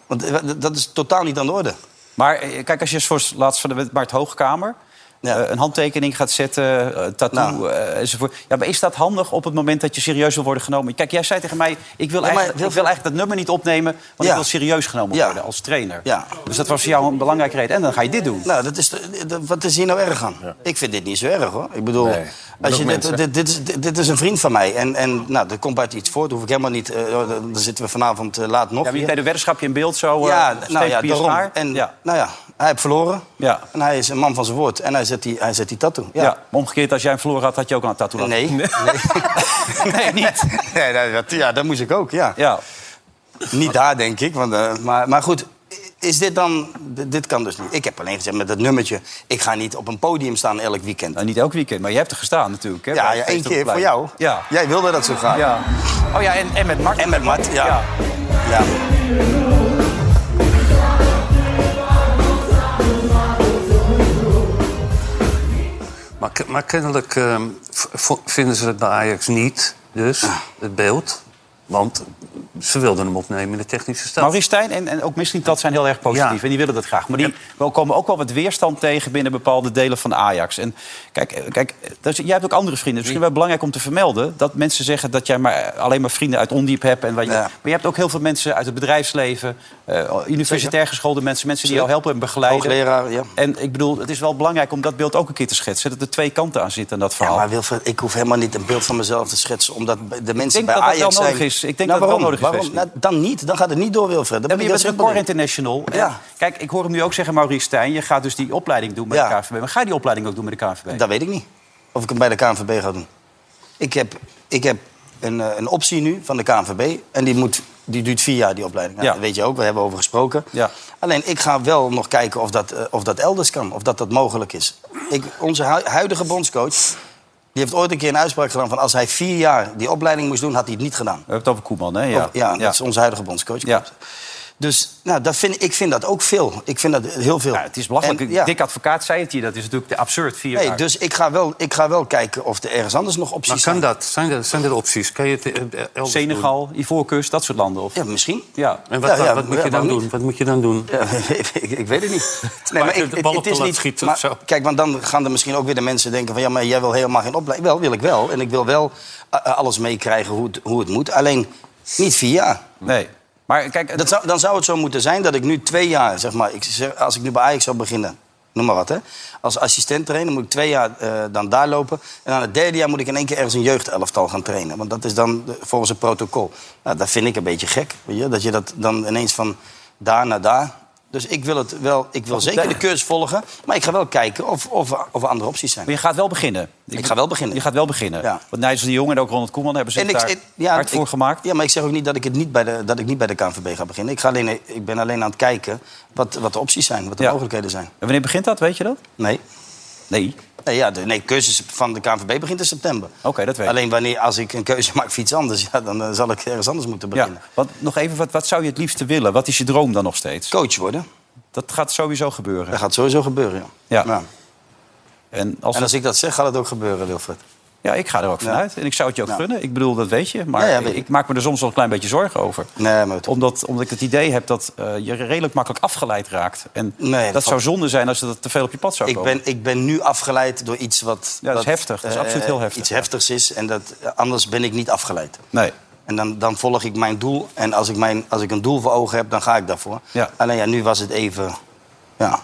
[SPEAKER 3] Want eh, dat- dat is totaal niet aan de orde.
[SPEAKER 2] Maar eh, kijk, als je voor het laatst van de Bart Hoogkamer...
[SPEAKER 3] Ja.
[SPEAKER 2] eh, een handtekening gaat zetten, eh, tattoo
[SPEAKER 3] Nou.
[SPEAKER 2] eh, enzovoort. Ja, maar is dat handig op het moment dat je serieus wil worden genomen? Kijk, jij zei tegen mij, ik wil,
[SPEAKER 3] maar
[SPEAKER 2] eigenlijk,
[SPEAKER 3] heel
[SPEAKER 2] ik wil
[SPEAKER 3] veel-
[SPEAKER 2] eigenlijk dat nummer niet opnemen... want
[SPEAKER 3] Ja.
[SPEAKER 2] ik wil serieus genomen
[SPEAKER 3] Ja.
[SPEAKER 2] worden als trainer.
[SPEAKER 3] Ja.
[SPEAKER 2] Dus dat was voor jou een belangrijke reden. En dan ga je dit doen.
[SPEAKER 3] Nou, dat is, de- de- wat is hier nou erg aan? Ik vind dit niet zo erg, hoor. Ik bedoel,
[SPEAKER 5] Nee,
[SPEAKER 3] als je
[SPEAKER 5] ook
[SPEAKER 3] dit,
[SPEAKER 5] mensen.
[SPEAKER 3] dit, dit, is, dit, dit is een vriend van mij. En, en nou, dat komt uit iets voort. Hoef ik helemaal niet... eh, oh, dan zitten we vanavond eh, laat nog
[SPEAKER 2] Ja, maar je
[SPEAKER 3] hier.
[SPEAKER 2] deed de weddenschapje in beeld zo. eh,
[SPEAKER 3] Ja,
[SPEAKER 2] steek
[SPEAKER 3] nou ja,
[SPEAKER 2] papier
[SPEAKER 3] daarom.
[SPEAKER 2] schaar.
[SPEAKER 3] En
[SPEAKER 2] ja.
[SPEAKER 3] nou ja, hij heeft verloren.
[SPEAKER 2] Ja.
[SPEAKER 3] En hij is een man van zijn woord. En hij zet die, hij zet die tattoo.
[SPEAKER 2] Ja.
[SPEAKER 3] Ja.
[SPEAKER 2] maar omgekeerd, als jij een verloren had, had je ook aan het tattoo laten.
[SPEAKER 3] Nee. Nee.
[SPEAKER 2] Nee, niet.
[SPEAKER 3] Nee, dat, dat- ja, dat moest ik ook, ja.
[SPEAKER 2] Ja.
[SPEAKER 3] Niet daar, denk ik. Want, eh, maar, maar goed, is dit dan... d- Dit kan dus niet. Ik heb alleen gezegd met dat nummertje... Ik ga niet op een podium staan elk weekend.
[SPEAKER 2] Nou, niet elk weekend, maar je hebt er gestaan natuurlijk. Hè,
[SPEAKER 3] Ja,
[SPEAKER 2] bij
[SPEAKER 3] ja
[SPEAKER 2] het
[SPEAKER 3] één keer voor
[SPEAKER 2] Feestelijke
[SPEAKER 3] jou.
[SPEAKER 2] Plein. Ja.
[SPEAKER 3] Jij wilde dat zo graag.
[SPEAKER 2] ja. Oh ja, en, en met Mark.
[SPEAKER 3] En met Mart, ja.
[SPEAKER 2] Ja.
[SPEAKER 3] ja.
[SPEAKER 4] Maar, ke- maar kennelijk ehm, v- vo- vinden ze het bij Ajax niet, dus,
[SPEAKER 3] Ah.
[SPEAKER 4] het beeld. Want ze wilden hem opnemen in de technische stad.
[SPEAKER 2] Maurice Stijn en, en ook misschien dat zijn heel erg positief.
[SPEAKER 4] Ja.
[SPEAKER 2] En die willen dat graag. Maar die wel komen ook wel wat weerstand tegen binnen bepaalde delen van Ajax. En kijk, eh, kijk eh, dat is- jij hebt ook andere vrienden. Het is misschien wel belangrijk om te vermelden... dat mensen zeggen dat jij maar, eh, alleen maar vrienden uit Ondiep hebt. En waar je,
[SPEAKER 3] Ja.
[SPEAKER 2] Maar je hebt ook heel veel mensen uit het bedrijfsleven... eh, universitair geschoolde mensen, mensen die jou helpen en begeleiden.
[SPEAKER 3] Hoogleraar, ja.
[SPEAKER 2] En ik bedoel, het is wel belangrijk om dat beeld ook een keer te schetsen. Dat er twee kanten aan zitten aan dat
[SPEAKER 3] Ja,
[SPEAKER 2] verhaal.
[SPEAKER 3] maar Wilfred, ik hoef helemaal niet een beeld van mezelf te schetsen... omdat de mensen
[SPEAKER 2] denk
[SPEAKER 3] bij
[SPEAKER 2] dat dat
[SPEAKER 3] Ajax
[SPEAKER 2] wel
[SPEAKER 3] zijn...
[SPEAKER 2] nodig is. Ik denk dat het wel
[SPEAKER 3] waarom?
[SPEAKER 2] nodig is,
[SPEAKER 3] Waarom?
[SPEAKER 2] Wesley.
[SPEAKER 3] Nou, dan niet. Dan gaat het niet door, Wilfred. Dan
[SPEAKER 2] Ja,
[SPEAKER 3] ben
[SPEAKER 2] maar
[SPEAKER 3] ik
[SPEAKER 2] je bent
[SPEAKER 3] heel
[SPEAKER 2] record
[SPEAKER 3] simpel in.
[SPEAKER 2] international. En
[SPEAKER 3] Ja.
[SPEAKER 2] Kijk, ik hoor hem nu ook zeggen, Maurice Stijn... je gaat dus die opleiding doen met
[SPEAKER 3] Ja.
[SPEAKER 2] de KVB. Maar ga je die opleiding ook doen met de KVB?
[SPEAKER 3] Dat weet ik niet. Of ik hem bij de KNVB ga doen. Ik heb, ik heb een, eh, een optie nu van de KNVB. En die, moet, die duurt vier jaar, die opleiding. Nou,
[SPEAKER 2] Ja.
[SPEAKER 3] Dat weet je ook, we hebben over gesproken.
[SPEAKER 2] Ja.
[SPEAKER 3] Alleen ik ga wel nog kijken of dat, eh, of dat elders kan. Of dat dat mogelijk is. Ik, onze hu- huidige bondscoach... Die heeft ooit een keer een uitspraak gedaan van... als hij vier jaar die opleiding moest doen, had hij het niet gedaan.
[SPEAKER 2] We hebben het over Koeman, hè?
[SPEAKER 3] Ja,
[SPEAKER 2] Ja,
[SPEAKER 3] ja, dat is onze huidige bondscoach.
[SPEAKER 2] Ja.
[SPEAKER 3] Dus nou, dat vind, ik vind dat ook veel. Ik vind dat heel veel.
[SPEAKER 2] Ja, het is belachelijk.
[SPEAKER 3] En, ja.
[SPEAKER 2] Dik advocaat zei het hier. Dat is natuurlijk absurd. Vier
[SPEAKER 3] Nee,
[SPEAKER 2] jaar.
[SPEAKER 3] dus ik ga, wel, ik ga wel kijken of er ergens anders nog
[SPEAKER 4] Maar
[SPEAKER 3] opties
[SPEAKER 4] kan
[SPEAKER 3] zijn.
[SPEAKER 4] dat? Zijn er, zijn er opties? Kan je het eh, elders doen?
[SPEAKER 2] Senegal, Ivoorkust, dat soort landen. Of... Ja.
[SPEAKER 3] Ja, misschien.
[SPEAKER 4] En wat,
[SPEAKER 3] Ja, ja,
[SPEAKER 4] wat moet je
[SPEAKER 3] waarom
[SPEAKER 4] dan
[SPEAKER 3] niet?
[SPEAKER 4] doen? Wat moet je dan doen?
[SPEAKER 3] Ja, ik, ik weet het niet.
[SPEAKER 4] Maar de bal op de lat schieten of zo.
[SPEAKER 3] Kijk, want dan gaan er misschien ook weer de mensen denken van... ja, maar jij wil helemaal geen opleiding. Wel, wil ik wel. En ik wil wel eh, eh, alles meekrijgen hoe het, hoe het moet. Alleen niet vier jaar.
[SPEAKER 2] Nee. Maar kijk,
[SPEAKER 3] Dat zou, dan zou het zo moeten zijn dat ik nu twee jaar, zeg maar... Ik, zeg, als ik nu bij Ajax zou beginnen, noem maar wat, hè. Als assistent trainer moet ik twee jaar eh, dan daar lopen. En aan het derde jaar moet ik in één keer ergens een jeugdelftal gaan trainen. Want dat is dan de- volgens het protocol. Nou, dat vind ik een beetje gek, weet je. Dat je dat dan ineens van daar naar daar... Dus ik wil, het wel, ik wil zeker de cursus volgen. Maar ik ga wel kijken of, of, of er andere opties zijn.
[SPEAKER 2] maar je gaat wel beginnen.
[SPEAKER 3] Ik ga wel beginnen.
[SPEAKER 2] Je gaat wel beginnen.
[SPEAKER 3] Ja.
[SPEAKER 2] Want Nijs de Jong en ook Ronald Koeman hebben zich
[SPEAKER 3] En ik-
[SPEAKER 2] daar
[SPEAKER 3] en- ja,
[SPEAKER 2] hard
[SPEAKER 3] ik-
[SPEAKER 2] voor gemaakt.
[SPEAKER 3] Ja, maar ik zeg ook niet dat ik, het niet bij de, dat ik niet bij de KNVB ga beginnen. Ik, ga alleen, ik ben alleen aan het kijken wat, wat de opties zijn, wat de
[SPEAKER 2] Ja.
[SPEAKER 3] mogelijkheden zijn.
[SPEAKER 2] En wanneer begint dat? Weet je dat?
[SPEAKER 3] Nee.
[SPEAKER 2] Nee.
[SPEAKER 3] Nee, ja, de nee, cursus van de KNVB begint in september.
[SPEAKER 2] Oké, dat weet ik.
[SPEAKER 3] Alleen wanneer, als ik een keuze maak voor iets anders, ja, dan eh, zal ik ergens anders moeten
[SPEAKER 2] Ja.
[SPEAKER 3] beginnen.
[SPEAKER 2] Want nog even, wat, wat zou je het liefste willen? Wat is je droom dan nog steeds?
[SPEAKER 3] Coach worden,
[SPEAKER 2] Dat gaat sowieso gebeuren.
[SPEAKER 3] dat gaat sowieso gebeuren. Ja.
[SPEAKER 2] Ja.
[SPEAKER 3] Ja.
[SPEAKER 2] En als
[SPEAKER 3] En als ik dat zeg, gaat het ook gebeuren, Wilfred.
[SPEAKER 2] Ja, ik ga er ook vanuit. En ik zou het je ook
[SPEAKER 3] Ja.
[SPEAKER 2] gunnen. Ik bedoel, dat weet je. Maar
[SPEAKER 3] Ja, ja, weet
[SPEAKER 2] ik.
[SPEAKER 3] ik.
[SPEAKER 2] maak me er soms wel een klein beetje zorgen over.
[SPEAKER 3] Nee, maar het-
[SPEAKER 2] Omdat, omdat ik het idee heb dat eh, je redelijk makkelijk afgeleid raakt. En
[SPEAKER 3] Nee,
[SPEAKER 2] dat,
[SPEAKER 3] dat
[SPEAKER 2] zou
[SPEAKER 3] valt-
[SPEAKER 2] zonde zijn als dat te veel op je pad zou
[SPEAKER 3] ik
[SPEAKER 2] komen.
[SPEAKER 3] ben, ik ben nu afgeleid door iets wat...
[SPEAKER 2] Ja, dat is
[SPEAKER 3] wat,
[SPEAKER 2] heftig. Dat is
[SPEAKER 3] eh,
[SPEAKER 2] absoluut heel heftig,
[SPEAKER 3] Iets
[SPEAKER 2] ja.
[SPEAKER 3] heftigs is. En dat, anders ben ik niet afgeleid.
[SPEAKER 2] Nee.
[SPEAKER 3] En dan, dan volg ik mijn doel. En als ik, mijn, als ik een doel voor ogen heb, dan ga ik daarvoor.
[SPEAKER 2] Ja.
[SPEAKER 3] Alleen ja, nu was het even... Ja.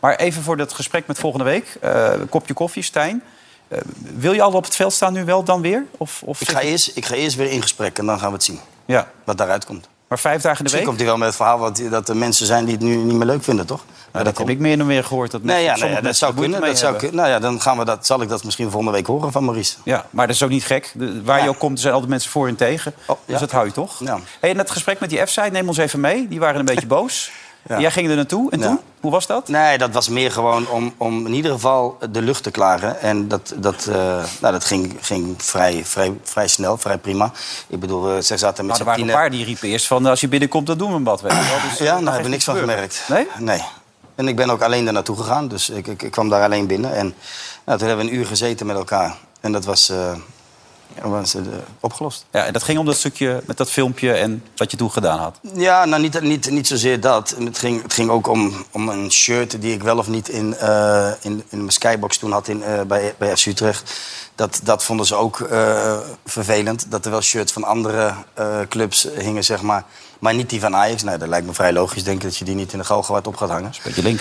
[SPEAKER 2] Maar even voor dat gesprek met volgende week. Eh, kopje koffie, Stijn. Eh, wil je al op het veld staan nu wel dan weer? Of, of
[SPEAKER 3] Ik, ga eerst, ik ga eerst weer in gesprek en dan gaan we het zien.
[SPEAKER 2] Ja,
[SPEAKER 3] Wat daaruit komt.
[SPEAKER 2] maar vijf dagen in de
[SPEAKER 3] Misschien
[SPEAKER 2] week?
[SPEAKER 3] komt hij wel met het verhaal wat, dat er mensen zijn die het nu niet meer leuk vinden, toch?
[SPEAKER 2] Nou, dat heb ik meer en meer gehoord. Dat
[SPEAKER 3] Nee,
[SPEAKER 2] mensen-
[SPEAKER 3] ja, nee,
[SPEAKER 2] sommige
[SPEAKER 3] ja, dat
[SPEAKER 2] mensen
[SPEAKER 3] zou
[SPEAKER 2] er moeite
[SPEAKER 3] kunnen. Dat
[SPEAKER 2] mee
[SPEAKER 3] zou
[SPEAKER 2] hebben.
[SPEAKER 3] kun- nou ja, dan gaan we dat, zal ik dat misschien volgende week horen van Maurice.
[SPEAKER 2] Ja, maar dat is ook niet gek. De- waar je
[SPEAKER 3] Ja.
[SPEAKER 2] ook komt, er zijn altijd mensen voor en tegen.
[SPEAKER 3] Oh, ja.
[SPEAKER 2] Dus dat hou je toch?
[SPEAKER 3] Ja.
[SPEAKER 2] Hey, en dat gesprek met die F-side, neem ons even mee. Die waren een beetje boos.
[SPEAKER 3] Ja.
[SPEAKER 2] Jij ging er naartoe. En
[SPEAKER 3] Ja.
[SPEAKER 2] toen? Hoe was dat?
[SPEAKER 3] Nee, dat was meer gewoon om, om in ieder geval de lucht te klaren. En dat, dat, eh, nou, dat ging, ging vrij, vrij, vrij snel, vrij prima. Ik bedoel, eh, ze zaten met
[SPEAKER 2] Nou, er
[SPEAKER 3] z'n
[SPEAKER 2] waren een
[SPEAKER 3] tienen-
[SPEAKER 2] paar die riepen eerst van... "Nou, als je binnenkomt, dan doen we een bad. Weet je wel.
[SPEAKER 3] Ja,
[SPEAKER 2] Dus, dat
[SPEAKER 3] eh, daar
[SPEAKER 2] mag
[SPEAKER 3] heb ik
[SPEAKER 2] echt
[SPEAKER 3] niks van
[SPEAKER 2] niet gebeuren.
[SPEAKER 3] gemerkt.
[SPEAKER 2] Nee?
[SPEAKER 3] Nee. En ik ben ook alleen daar naartoe gegaan. Dus ik, ik, ik kwam daar alleen binnen. En nou, toen hebben we een uur gezeten met elkaar. En dat was, eh, ja, was eh, opgelost.
[SPEAKER 2] Ja, en dat ging om dat stukje met dat filmpje en wat je toen gedaan had.
[SPEAKER 3] Ja, nou niet, niet, niet zozeer dat. Het ging, het ging ook om, om een shirt die ik wel of niet in, eh, in, in mijn skybox toen had in, eh, bij, bij FC Utrecht. Dat, dat vonden ze ook eh, vervelend. Dat er wel shirts van andere eh, clubs hingen, zeg maar. Maar niet die van Ajax. Nou, dat lijkt me vrij logisch, denk ik, dat je die niet in de galgenwaard op gaat hangen.
[SPEAKER 2] Beetje link.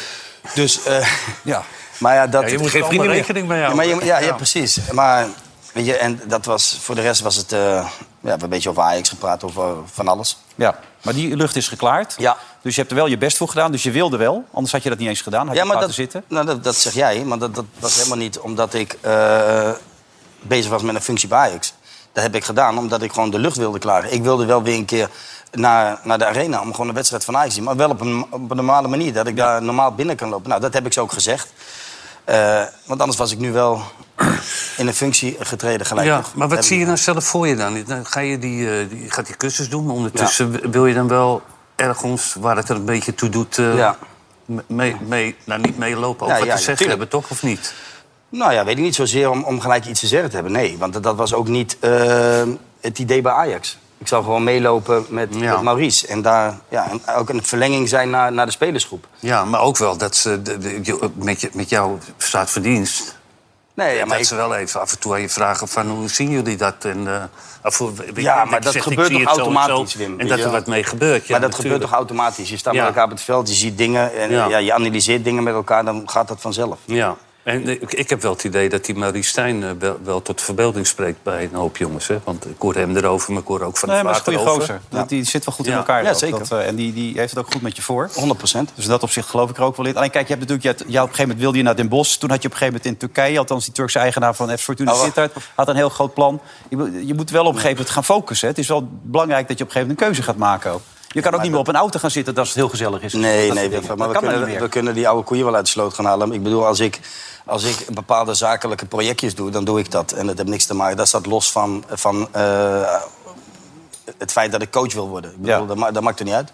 [SPEAKER 3] Dus, eh,
[SPEAKER 2] Ja.
[SPEAKER 3] maar ja, dat...
[SPEAKER 4] Ja, je moet geen vrienden rekening mee
[SPEAKER 3] Ja,
[SPEAKER 4] houden.
[SPEAKER 3] maar je- ja, ja, precies. Maar weet je, en dat was, voor de rest was het... eh, ja, we hebben een beetje over Ajax gepraat, over van alles.
[SPEAKER 2] ja. Maar die lucht is geklaard.
[SPEAKER 3] Ja.
[SPEAKER 2] Dus je hebt er wel je best voor gedaan. Dus je wilde wel. Anders had je dat niet eens gedaan. Had je
[SPEAKER 3] ja, maar
[SPEAKER 2] laten
[SPEAKER 3] dat,
[SPEAKER 2] zitten.
[SPEAKER 3] Nou, dat, dat zeg jij, maar dat, dat was helemaal niet omdat ik eh, bezig was met een functie bij Ajax. Dat heb ik gedaan omdat ik gewoon de lucht wilde klaren. Ik wilde wel weer een keer naar, naar de arena om gewoon een wedstrijd van Ajax te zien. Maar wel op een, op een normale manier, dat ik daar normaal binnen kan lopen. Nou, dat heb ik ze ook gezegd. Eh, want anders was ik nu wel in een functie getreden gelijk.
[SPEAKER 4] Ja,
[SPEAKER 3] toch?
[SPEAKER 4] maar
[SPEAKER 3] Heb
[SPEAKER 4] wat zie
[SPEAKER 3] ik-
[SPEAKER 4] je nou zelf voor je dan? dan ga je die, eh, die, gaat die cursus doen, maar ondertussen wil je dan wel ergens waar het er een beetje toe doet... eh,
[SPEAKER 3] Ja.
[SPEAKER 4] me- Mee, mee, nou, niet meelopen, ook
[SPEAKER 3] Ja,
[SPEAKER 4] wat
[SPEAKER 3] ja,
[SPEAKER 4] te zeggen
[SPEAKER 3] tuurlijk.
[SPEAKER 4] hebben, toch? Of niet?
[SPEAKER 3] Nou ja, weet ik niet zozeer om, om gelijk iets te zeggen te hebben. Nee, want dat- dat was ook niet eh, het idee bij Ajax. Ik zou gewoon meelopen met,
[SPEAKER 4] Ja.
[SPEAKER 3] met Maurice. En daar ja, en ook een verlenging zijn naar, naar de spelersgroep.
[SPEAKER 4] Ja, maar ook wel dat ze de- de- je- met, je, met jouw staat verdienst...
[SPEAKER 3] Nee, ja, maar
[SPEAKER 4] dat
[SPEAKER 3] ik-
[SPEAKER 4] ze wel even af en toe aan je vragen van hoe zien jullie dat? En, eh, of hoe- weet je,
[SPEAKER 3] Ja,
[SPEAKER 4] je
[SPEAKER 3] maar dat
[SPEAKER 4] zegt, ik
[SPEAKER 3] gebeurt
[SPEAKER 4] zie
[SPEAKER 3] toch
[SPEAKER 4] het zo en zo,
[SPEAKER 3] automatisch, Wim,
[SPEAKER 4] En
[SPEAKER 3] weet
[SPEAKER 4] dat
[SPEAKER 3] je
[SPEAKER 4] er
[SPEAKER 3] wel?
[SPEAKER 4] wat mee gebeurt, ja,
[SPEAKER 3] maar dat gebeurt
[SPEAKER 4] natuurlijk.
[SPEAKER 3] toch automatisch? Je staat
[SPEAKER 4] Ja.
[SPEAKER 3] met elkaar op het veld, je ziet dingen. En,
[SPEAKER 4] Ja.
[SPEAKER 3] ja. je analyseert dingen met elkaar, dan gaat dat vanzelf.
[SPEAKER 4] Ja, en eh, ik, ik heb wel het idee dat die Marie Stijn eh, wel, wel tot verbeelding spreekt bij een hoop jongens. Hè? Want ik hoor hem erover, maar ik hoor ook van
[SPEAKER 2] Nee,
[SPEAKER 4] het
[SPEAKER 2] maar dat is
[SPEAKER 4] water
[SPEAKER 2] een goede
[SPEAKER 4] over.
[SPEAKER 2] gozer. Dat- Die zit wel goed in
[SPEAKER 4] Ja.
[SPEAKER 2] elkaar.
[SPEAKER 3] Ja,
[SPEAKER 2] ook.
[SPEAKER 3] zeker.
[SPEAKER 2] Dat, eh, en die, die heeft het ook goed met je voor.
[SPEAKER 3] 100 procent.
[SPEAKER 2] Dus in dat opzicht geloof ik er ook wel in. Alleen kijk, je hebt natuurlijk, je had- ja, op een gegeven moment wilde je naar Den Bosch. Toen had je op een gegeven moment in Turkije, althans die Turkse eigenaar van F Fortuna
[SPEAKER 3] Oh, wacht.
[SPEAKER 2] Sittard, had een heel groot plan. Je, moet- je moet wel op een gegeven moment gaan focussen. hè. Het is wel belangrijk dat je op een gegeven moment een keuze gaat maken ook. Je kan ook niet meer op een auto gaan zitten als het heel gezellig is. Dat
[SPEAKER 3] Nee,
[SPEAKER 2] soort
[SPEAKER 3] nee, Wim,
[SPEAKER 2] dingen.
[SPEAKER 3] maar
[SPEAKER 2] dat
[SPEAKER 3] we
[SPEAKER 2] kan dan
[SPEAKER 3] kunnen,
[SPEAKER 2] niet
[SPEAKER 3] we
[SPEAKER 2] meer.
[SPEAKER 3] kunnen die oude koeien wel uit de sloot gaan halen. Ik bedoel, als ik, als ik bepaalde zakelijke projectjes doe, dan doe ik dat. En dat heeft niks te maken. Dat staat los van, van eh, het feit dat ik coach wil worden. Ik bedoel,
[SPEAKER 2] Ja.
[SPEAKER 3] dat, ma- dat maakt er niet uit.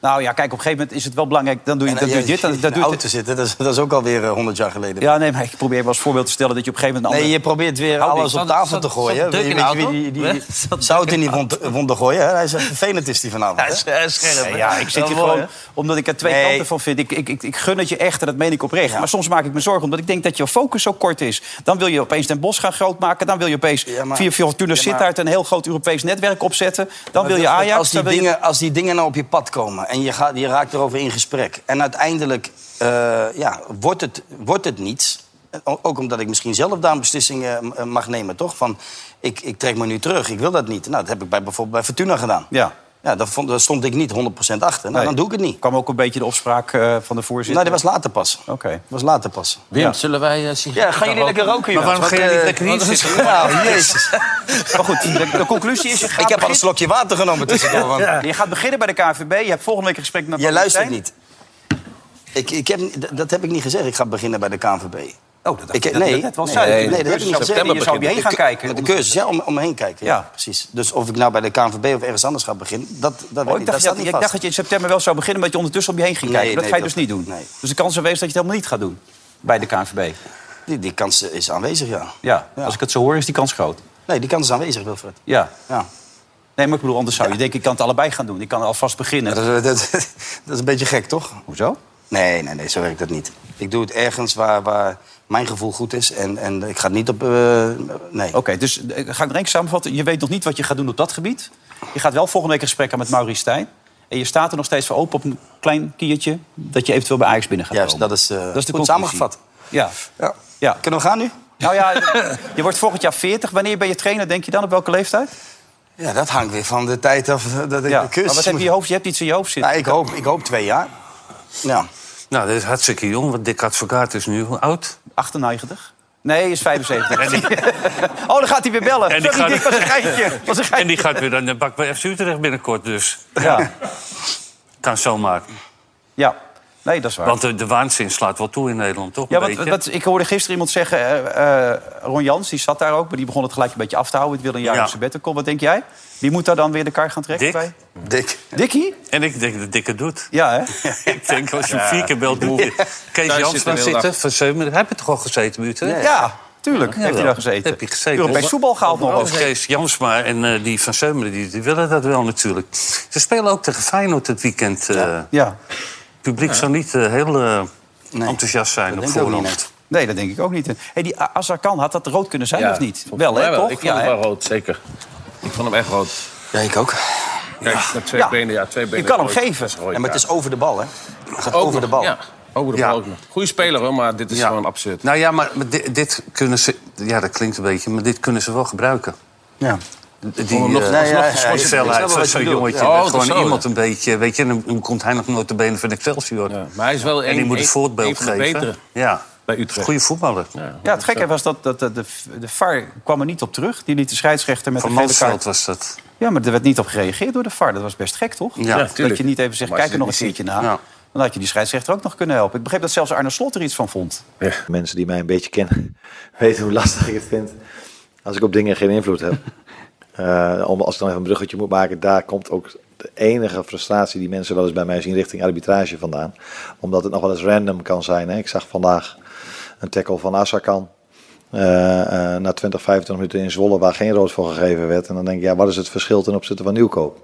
[SPEAKER 2] Nou ja, kijk, op een gegeven moment is het wel belangrijk. Dan doe je,
[SPEAKER 3] En eh,
[SPEAKER 2] dan
[SPEAKER 3] je-
[SPEAKER 2] doe je dit, dan,
[SPEAKER 3] in
[SPEAKER 2] dan
[SPEAKER 3] een
[SPEAKER 2] doe je
[SPEAKER 3] auto zitten, dat is, dat is ook alweer eh, 100 jaar geleden.
[SPEAKER 2] Ja, nee, maar ik probeer wel als voorbeeld te stellen dat je op een gegeven moment... een
[SPEAKER 3] Nee,
[SPEAKER 2] andere-
[SPEAKER 3] je probeert weer
[SPEAKER 2] Houding.
[SPEAKER 3] alles op
[SPEAKER 2] Zat-
[SPEAKER 3] tafel te
[SPEAKER 2] zat-
[SPEAKER 3] gooien.
[SPEAKER 2] zat
[SPEAKER 3] hè.
[SPEAKER 2] Dirk
[SPEAKER 3] Weet
[SPEAKER 2] in de
[SPEAKER 3] je
[SPEAKER 2] auto?
[SPEAKER 3] die, die,
[SPEAKER 2] Hè?
[SPEAKER 3] die
[SPEAKER 2] Zat
[SPEAKER 3] zout in die wond, wond te gooien? Hè? Hij zegt, vervelend is die vanavond. hè?
[SPEAKER 2] Nee, ja, ik zit hier gewoon omdat ik er twee
[SPEAKER 3] Nee.
[SPEAKER 2] kanten van vind. Ik, ik, ik, ik gun het je echt en dat meen ik oprecht.
[SPEAKER 3] Ja.
[SPEAKER 2] Maar soms maak ik me zorgen omdat ik denk dat je focus zo kort is. Dan wil je opeens Den Bos gaan grootmaken. Dan wil je opeens
[SPEAKER 3] Ja, maar-
[SPEAKER 2] via Fortuna
[SPEAKER 3] Ja, maar-
[SPEAKER 2] Sittard een heel groot Europees netwerk opzetten. Dan wil je
[SPEAKER 3] Maar
[SPEAKER 2] Ajax.
[SPEAKER 3] Als die,
[SPEAKER 2] dan wil je-
[SPEAKER 3] dingen, als die dingen nou op je pad komen en je, gaat, je raakt erover in gesprek... en uiteindelijk eh, ja, wordt, het, wordt het niets... O- Ook omdat ik misschien zelf daar een beslissing eh, m- eh, mag nemen, toch? Van, ik, ik trek me nu terug, ik wil dat niet. Nou, dat heb ik bij, bijvoorbeeld bij Fortuna gedaan.
[SPEAKER 2] Ja.
[SPEAKER 3] ja daar, vond, daar stond ik niet 100% achter. Nou,
[SPEAKER 2] Nee.
[SPEAKER 3] dan doe ik het niet.
[SPEAKER 2] kwam ook een beetje de opspraak eh, van de
[SPEAKER 3] Nou,
[SPEAKER 2] voorzitter.
[SPEAKER 3] dat was later pas.
[SPEAKER 2] Oké.
[SPEAKER 3] Dat was later pas. Eh,
[SPEAKER 5] Wim, zullen wij eh, sigaretten
[SPEAKER 3] Ja, gaan jullie lekker roken,
[SPEAKER 4] Maar
[SPEAKER 3] jongens?
[SPEAKER 4] waarom ga je niet lekker hier zitten?
[SPEAKER 3] Nou, jezus.
[SPEAKER 2] Maar goed, de, de conclusie is... Je gaat,
[SPEAKER 3] Ik heb al een
[SPEAKER 2] beginnen,
[SPEAKER 3] slokje water genomen tussendoor. Want
[SPEAKER 2] je gaat beginnen bij de KNVB. Je hebt volgende week een gesprek met...
[SPEAKER 3] Jij luistert
[SPEAKER 2] Martijn.
[SPEAKER 3] niet. Ik, ik heb, d- dat heb ik niet gezegd. Ik ga beginnen bij de KNVB.
[SPEAKER 2] Oh, dat dacht
[SPEAKER 3] Ik,
[SPEAKER 2] ik, dat- dat was
[SPEAKER 3] nee,
[SPEAKER 2] zij.
[SPEAKER 3] nee, dat heb ik
[SPEAKER 2] Cursus
[SPEAKER 3] niet gezegd.
[SPEAKER 2] Dus september Je zou om je heen gaan
[SPEAKER 3] De cu-
[SPEAKER 2] kijken.
[SPEAKER 3] Met de cursus, ja, om, om me heen kijken. Ja,
[SPEAKER 2] Ja.
[SPEAKER 3] precies. Dus of ik nou bij de KNVB of ergens anders ga beginnen, dat, dat weet
[SPEAKER 2] Oh,
[SPEAKER 3] ik
[SPEAKER 2] ik,
[SPEAKER 3] Dat
[SPEAKER 2] dacht
[SPEAKER 3] staat
[SPEAKER 2] dat,
[SPEAKER 3] niet
[SPEAKER 2] ik
[SPEAKER 3] vast.
[SPEAKER 2] dacht dat je in september wel zou beginnen... omdat je ondertussen om je heen ging kijken.
[SPEAKER 3] Nee,
[SPEAKER 2] dat
[SPEAKER 3] nee,
[SPEAKER 2] ga je
[SPEAKER 3] dat-
[SPEAKER 2] dus niet doen.
[SPEAKER 3] nee.
[SPEAKER 2] Dus de kans is aanwezig dat je het helemaal niet gaat doen bij de KNVB.
[SPEAKER 3] Die, die kans is aanwezig, ja.
[SPEAKER 2] Ja,
[SPEAKER 3] Ja.
[SPEAKER 2] als ik het zo hoor, is die kans groot.
[SPEAKER 3] Nee, die kans is aanwezig, Wilfred.
[SPEAKER 2] Ja.
[SPEAKER 3] Ja.
[SPEAKER 2] Nee, maar ik bedoel, anders zou je denken, ik kan het allebei gaan doen. Ik kan alvast beginnen.
[SPEAKER 3] Dat, is- dat, dat is een beetje gek, toch?
[SPEAKER 2] Hoezo?
[SPEAKER 3] Nee, nee, nee, zo werkt dat niet. Ik doe het ergens waar, waar mijn gevoel goed is. En, en ik ga het niet op... eh, nee.
[SPEAKER 2] Oké, dus eh, ga ik nog één keer samenvatten. Je weet nog niet wat je gaat doen op dat gebied. Je gaat wel volgende week een gesprek aan met Maurice Stijn. En je staat er nog steeds voor open op een klein kiertje... dat je eventueel bij Ajax binnen gaat
[SPEAKER 3] Juist,
[SPEAKER 2] komen.
[SPEAKER 3] dat is, eh,
[SPEAKER 2] is de
[SPEAKER 3] goed
[SPEAKER 2] conclusie.
[SPEAKER 3] samengevat.
[SPEAKER 2] Ja.
[SPEAKER 3] Ja.
[SPEAKER 2] ja.
[SPEAKER 3] Kunnen we gaan nu?
[SPEAKER 2] Nou ja, je wordt volgend jaar 40. Wanneer ben je trainer, denk je dan? Op welke leeftijd?
[SPEAKER 3] Ja, dat hangt weer van de tijd af eh, dat ik
[SPEAKER 2] Ja.
[SPEAKER 3] de
[SPEAKER 2] Maar
[SPEAKER 3] cursus
[SPEAKER 2] wat heb je,
[SPEAKER 3] moet-
[SPEAKER 2] in je hoofd? Je hebt iets in je hoofd zitten.
[SPEAKER 3] Nou, ik, hoop, ik hoop twee jaar. Ja.
[SPEAKER 4] Nou, dat is hartstikke jong, want Dick Advocaat is nu hoe oud?
[SPEAKER 2] 98? Nee, hij is 75. oh, dan gaat hij weer bellen.
[SPEAKER 4] En
[SPEAKER 2] En
[SPEAKER 4] die
[SPEAKER 2] Sorry, dit
[SPEAKER 4] gaat-
[SPEAKER 2] was een geintje. Was een
[SPEAKER 4] En
[SPEAKER 2] geintje.
[SPEAKER 4] die gaat weer aan de bak bij FC Utrecht binnenkort, dus
[SPEAKER 2] Ja.
[SPEAKER 4] kan zomaar.
[SPEAKER 2] ja, nee, dat is waar.
[SPEAKER 4] Want de, de waanzin slaat wel toe in Nederland, toch?
[SPEAKER 2] Ja,
[SPEAKER 4] Een
[SPEAKER 2] want
[SPEAKER 4] beetje?
[SPEAKER 2] wat, ik hoorde gisteren iemand zeggen, eh, eh, Ron Jans, die zat daar ook... maar die begon het gelijk een beetje af te houden. Het wil een jaar
[SPEAKER 4] Ja.
[SPEAKER 2] op zijn bed komen. Wat denk jij? Wie moet daar dan weer de kar gaan
[SPEAKER 4] Dick?
[SPEAKER 2] trekken? bij?
[SPEAKER 3] Dik.
[SPEAKER 2] Dikkie?
[SPEAKER 4] En ik denk dat Dick het doet.
[SPEAKER 2] Ja, hè?
[SPEAKER 4] ik denk, als je hem vier keer belt, doe je. Kees Jans
[SPEAKER 5] zit
[SPEAKER 4] van
[SPEAKER 5] hij heel
[SPEAKER 4] zitten, van Zeumer. Heb je toch al gezeten, Muten?
[SPEAKER 2] Ja, tuurlijk. heeft hij
[SPEAKER 4] wel.
[SPEAKER 2] daar gezeten.
[SPEAKER 4] Heb je gezeten.
[SPEAKER 2] Europees voetbal gehaald nog.
[SPEAKER 4] Of Kees Jansma en eh, die van Zeumeren, die, die willen dat wel natuurlijk. Ze spelen ook tegen Feyenoord het weekend. eh.
[SPEAKER 2] Ja,
[SPEAKER 4] Het publiek zou niet eh, heel eh,
[SPEAKER 3] Nee.
[SPEAKER 4] enthousiast zijn op
[SPEAKER 3] denk ik ook
[SPEAKER 4] voorhand.
[SPEAKER 3] niet,
[SPEAKER 2] nee, dat denk ik ook niet. Hey, die A- Azarkan, had dat rood kunnen zijn
[SPEAKER 5] Ja,
[SPEAKER 2] of niet?
[SPEAKER 5] volgens
[SPEAKER 2] Wel,
[SPEAKER 5] mij
[SPEAKER 2] hè, toch?
[SPEAKER 5] Ik vond
[SPEAKER 2] Ja,
[SPEAKER 5] hem
[SPEAKER 2] hè?
[SPEAKER 5] wel rood, zeker. Ik vond hem echt rood.
[SPEAKER 3] Ja, ik ook.
[SPEAKER 5] Kijk, met twee
[SPEAKER 2] Ja.
[SPEAKER 5] benen, ja, twee benen.
[SPEAKER 2] kan hem
[SPEAKER 5] rood.
[SPEAKER 2] geven.
[SPEAKER 5] Dat is een rode
[SPEAKER 3] Ja, maar het
[SPEAKER 5] kaart.
[SPEAKER 3] is over de bal, hè? Het gaat
[SPEAKER 5] Ook
[SPEAKER 3] over de
[SPEAKER 5] nog,
[SPEAKER 3] bal.
[SPEAKER 5] Ja, over de
[SPEAKER 4] Ja.
[SPEAKER 5] bal ook nog. Goeie speler, hoor, maar dit is
[SPEAKER 4] Ja.
[SPEAKER 5] gewoon absurd.
[SPEAKER 4] Nou ja, maar dit, dit kunnen ze... Ja, dat klinkt een beetje, maar dit kunnen ze wel gebruiken.
[SPEAKER 3] Ja.
[SPEAKER 4] Die,
[SPEAKER 5] hem nog-
[SPEAKER 4] eh,
[SPEAKER 5] alsnog
[SPEAKER 4] ja,
[SPEAKER 5] geschorst
[SPEAKER 4] ja,
[SPEAKER 5] te
[SPEAKER 4] ja,
[SPEAKER 5] worden.
[SPEAKER 4] ja,
[SPEAKER 5] Ik snap
[SPEAKER 4] Zo'n
[SPEAKER 5] wat je
[SPEAKER 4] zo'n
[SPEAKER 5] bedoelt.
[SPEAKER 4] jongetje,
[SPEAKER 5] Ja.
[SPEAKER 4] dat
[SPEAKER 5] Oh,
[SPEAKER 4] gewoon
[SPEAKER 5] zo, ja.
[SPEAKER 4] iemand een beetje... Weet je, en dan, dan komt hij nog nooit de benen van Excelsior.
[SPEAKER 5] Ja, Maar hij is wel een,
[SPEAKER 4] En die moet
[SPEAKER 5] een-
[SPEAKER 4] het voorbeeld
[SPEAKER 5] een van de
[SPEAKER 4] geven.
[SPEAKER 5] betere
[SPEAKER 4] Ja,
[SPEAKER 5] bij Utrecht.
[SPEAKER 4] goede voetballer.
[SPEAKER 2] Ja, het gekke was dat, dat, dat de, de VAR kwam er niet op terug. Die liet de scheidsrechter met
[SPEAKER 4] Van
[SPEAKER 2] een gele kaart.
[SPEAKER 4] Mansveld was dat.
[SPEAKER 2] Ja, maar er werd niet op gereageerd door de VAR. Dat was best gek, toch?
[SPEAKER 4] Ja,
[SPEAKER 2] dat
[SPEAKER 5] tuurlijk.
[SPEAKER 2] je niet even zegt,
[SPEAKER 5] Maar
[SPEAKER 2] kijk
[SPEAKER 5] als je
[SPEAKER 2] er nog een
[SPEAKER 5] het niet
[SPEAKER 2] keertje na.
[SPEAKER 4] Ja.
[SPEAKER 2] Dan had je die scheidsrechter ook nog kunnen helpen. Ik begreep dat zelfs Arne Slot er iets van vond.
[SPEAKER 7] mensen die mij een beetje kennen weten hoe lastig ik het vind als ik op dingen geen invloed heb. Eh, om, als ik dan even een bruggetje moet maken, daar komt ook de enige frustratie die mensen wel eens bij mij zien richting arbitrage vandaan. Omdat het nog wel eens random kan zijn. Hè. Ik zag vandaag een tackle van Assakan. eh, eh, na 20, 25 minuten in Zwolle, waar geen rood voor gegeven werd. En dan denk ik, ja, wat is het verschil ten opzichte van Nieuwkoop?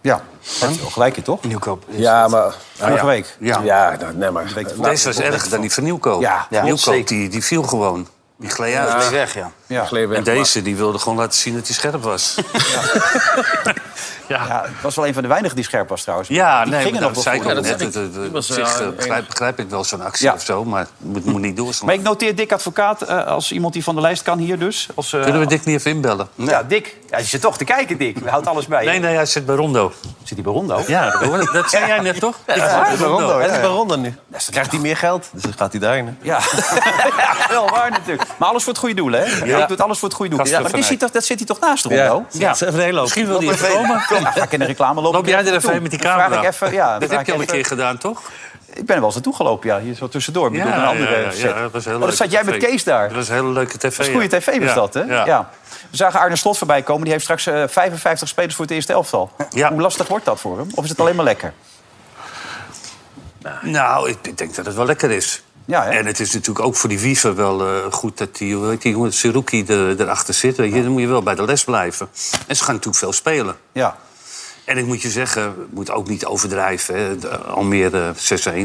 [SPEAKER 2] Ja, dat is wel gelijk, toch?
[SPEAKER 3] Nieuwkoop.
[SPEAKER 5] Ja, maar...
[SPEAKER 2] Vorige week.
[SPEAKER 4] Ja.
[SPEAKER 5] Ja, dat- nee, maar...
[SPEAKER 4] Deze was erger dan die van Nieuwkoop.
[SPEAKER 2] Ja,
[SPEAKER 3] ja,
[SPEAKER 4] Nieuwkoop
[SPEAKER 3] zeker.
[SPEAKER 4] die, die viel gewoon. Die gleed
[SPEAKER 3] Ja,
[SPEAKER 4] uit.
[SPEAKER 3] dat is weg, ja.
[SPEAKER 2] Ja.
[SPEAKER 5] Gleed weg,
[SPEAKER 4] En deze die wilde gewoon laten zien dat hij scherp was.
[SPEAKER 2] Ja, het was wel een van de weinigen die scherp was, trouwens.
[SPEAKER 4] Ja,
[SPEAKER 2] Die
[SPEAKER 4] nee,
[SPEAKER 2] gingen
[SPEAKER 4] maar dat
[SPEAKER 2] nog wel
[SPEAKER 4] zei ik
[SPEAKER 2] goed.
[SPEAKER 4] ook
[SPEAKER 5] Ja, dat
[SPEAKER 4] net.
[SPEAKER 5] zeg ik.
[SPEAKER 4] Het- het-
[SPEAKER 5] Die
[SPEAKER 4] het-
[SPEAKER 5] was,
[SPEAKER 4] op zich,
[SPEAKER 5] eh,
[SPEAKER 4] eh,
[SPEAKER 5] een-
[SPEAKER 4] begrijp, begrijp ik wel zo'n actie
[SPEAKER 2] Ja.
[SPEAKER 4] of zo, maar het moet, moet niet doorslaan.
[SPEAKER 2] Maar ik noteer Dick Advocaat eh, als iemand die van de lijst kan hier dus. Als, eh,
[SPEAKER 4] Kunnen we Dick niet even inbellen?
[SPEAKER 2] Ja, Dick. Ja, je zit toch te kijken, Dick. We houdt alles bij.
[SPEAKER 4] Nee, nee, hij zit bij Rondo.
[SPEAKER 2] Zit hij bij Rondo?
[SPEAKER 4] Ja, dat hoor- dat zei jij net toch? Ja,
[SPEAKER 8] Hij is bij Ronda nu. Dan krijgt hij meer geld, dus dan gaat hij daarheen.
[SPEAKER 2] Ja. Ja, wel waar natuurlijk. Maar alles voor het goede doel, hè? Hij doet alles voor het goede doel.
[SPEAKER 4] Gasten
[SPEAKER 2] Ja, maar dat, is hij toch, dat zit hij toch naast Rondo?
[SPEAKER 8] Ja, even een hele hoop.
[SPEAKER 4] Misschien wil hij even komen.
[SPEAKER 2] Ja, ga ik in de reclame lopen.
[SPEAKER 4] Loop jij er even
[SPEAKER 2] Toe.
[SPEAKER 4] heen met die
[SPEAKER 2] Dan vraag
[SPEAKER 4] camera?
[SPEAKER 2] ik even, ja, dan
[SPEAKER 4] Dat
[SPEAKER 2] vraag
[SPEAKER 4] heb je
[SPEAKER 2] ik
[SPEAKER 4] al een
[SPEAKER 2] even-
[SPEAKER 4] keer gedaan, toch?
[SPEAKER 2] Ik ben er wel eens naartoe gelopen, ja, hier zo tussendoor. Ik bedoel, een andere
[SPEAKER 4] dat
[SPEAKER 2] set.
[SPEAKER 4] was een heel
[SPEAKER 2] oh, dan
[SPEAKER 4] leuke
[SPEAKER 2] zat jij met
[SPEAKER 4] tv.
[SPEAKER 2] Kees daar.
[SPEAKER 4] Dat was een hele leuke tv.
[SPEAKER 2] Dat is goede
[SPEAKER 4] ja.
[SPEAKER 2] tv was
[SPEAKER 4] Ja,
[SPEAKER 2] dat, hè?
[SPEAKER 4] Ja.
[SPEAKER 2] We zagen Arne Slot voorbij komen. Die heeft straks eh, 55 spelers voor het eerste elftal.
[SPEAKER 4] Ja.
[SPEAKER 2] Hoe lastig wordt dat voor hem? Of is het alleen maar lekker?
[SPEAKER 4] Nou, ik, ik denk dat het wel lekker is.
[SPEAKER 2] Ja, hè?
[SPEAKER 4] En het is natuurlijk ook voor die wieven wel eh, goed dat die, hoe heet die jongen, Siruki er, erachter zit. Weet je, dan moet je wel bij de les blijven. En ze gaan natuurlijk veel spelen.
[SPEAKER 2] Ja.
[SPEAKER 4] En ik moet je zeggen, moet ook niet overdrijven. Hè. De- Almere eh, 6-1.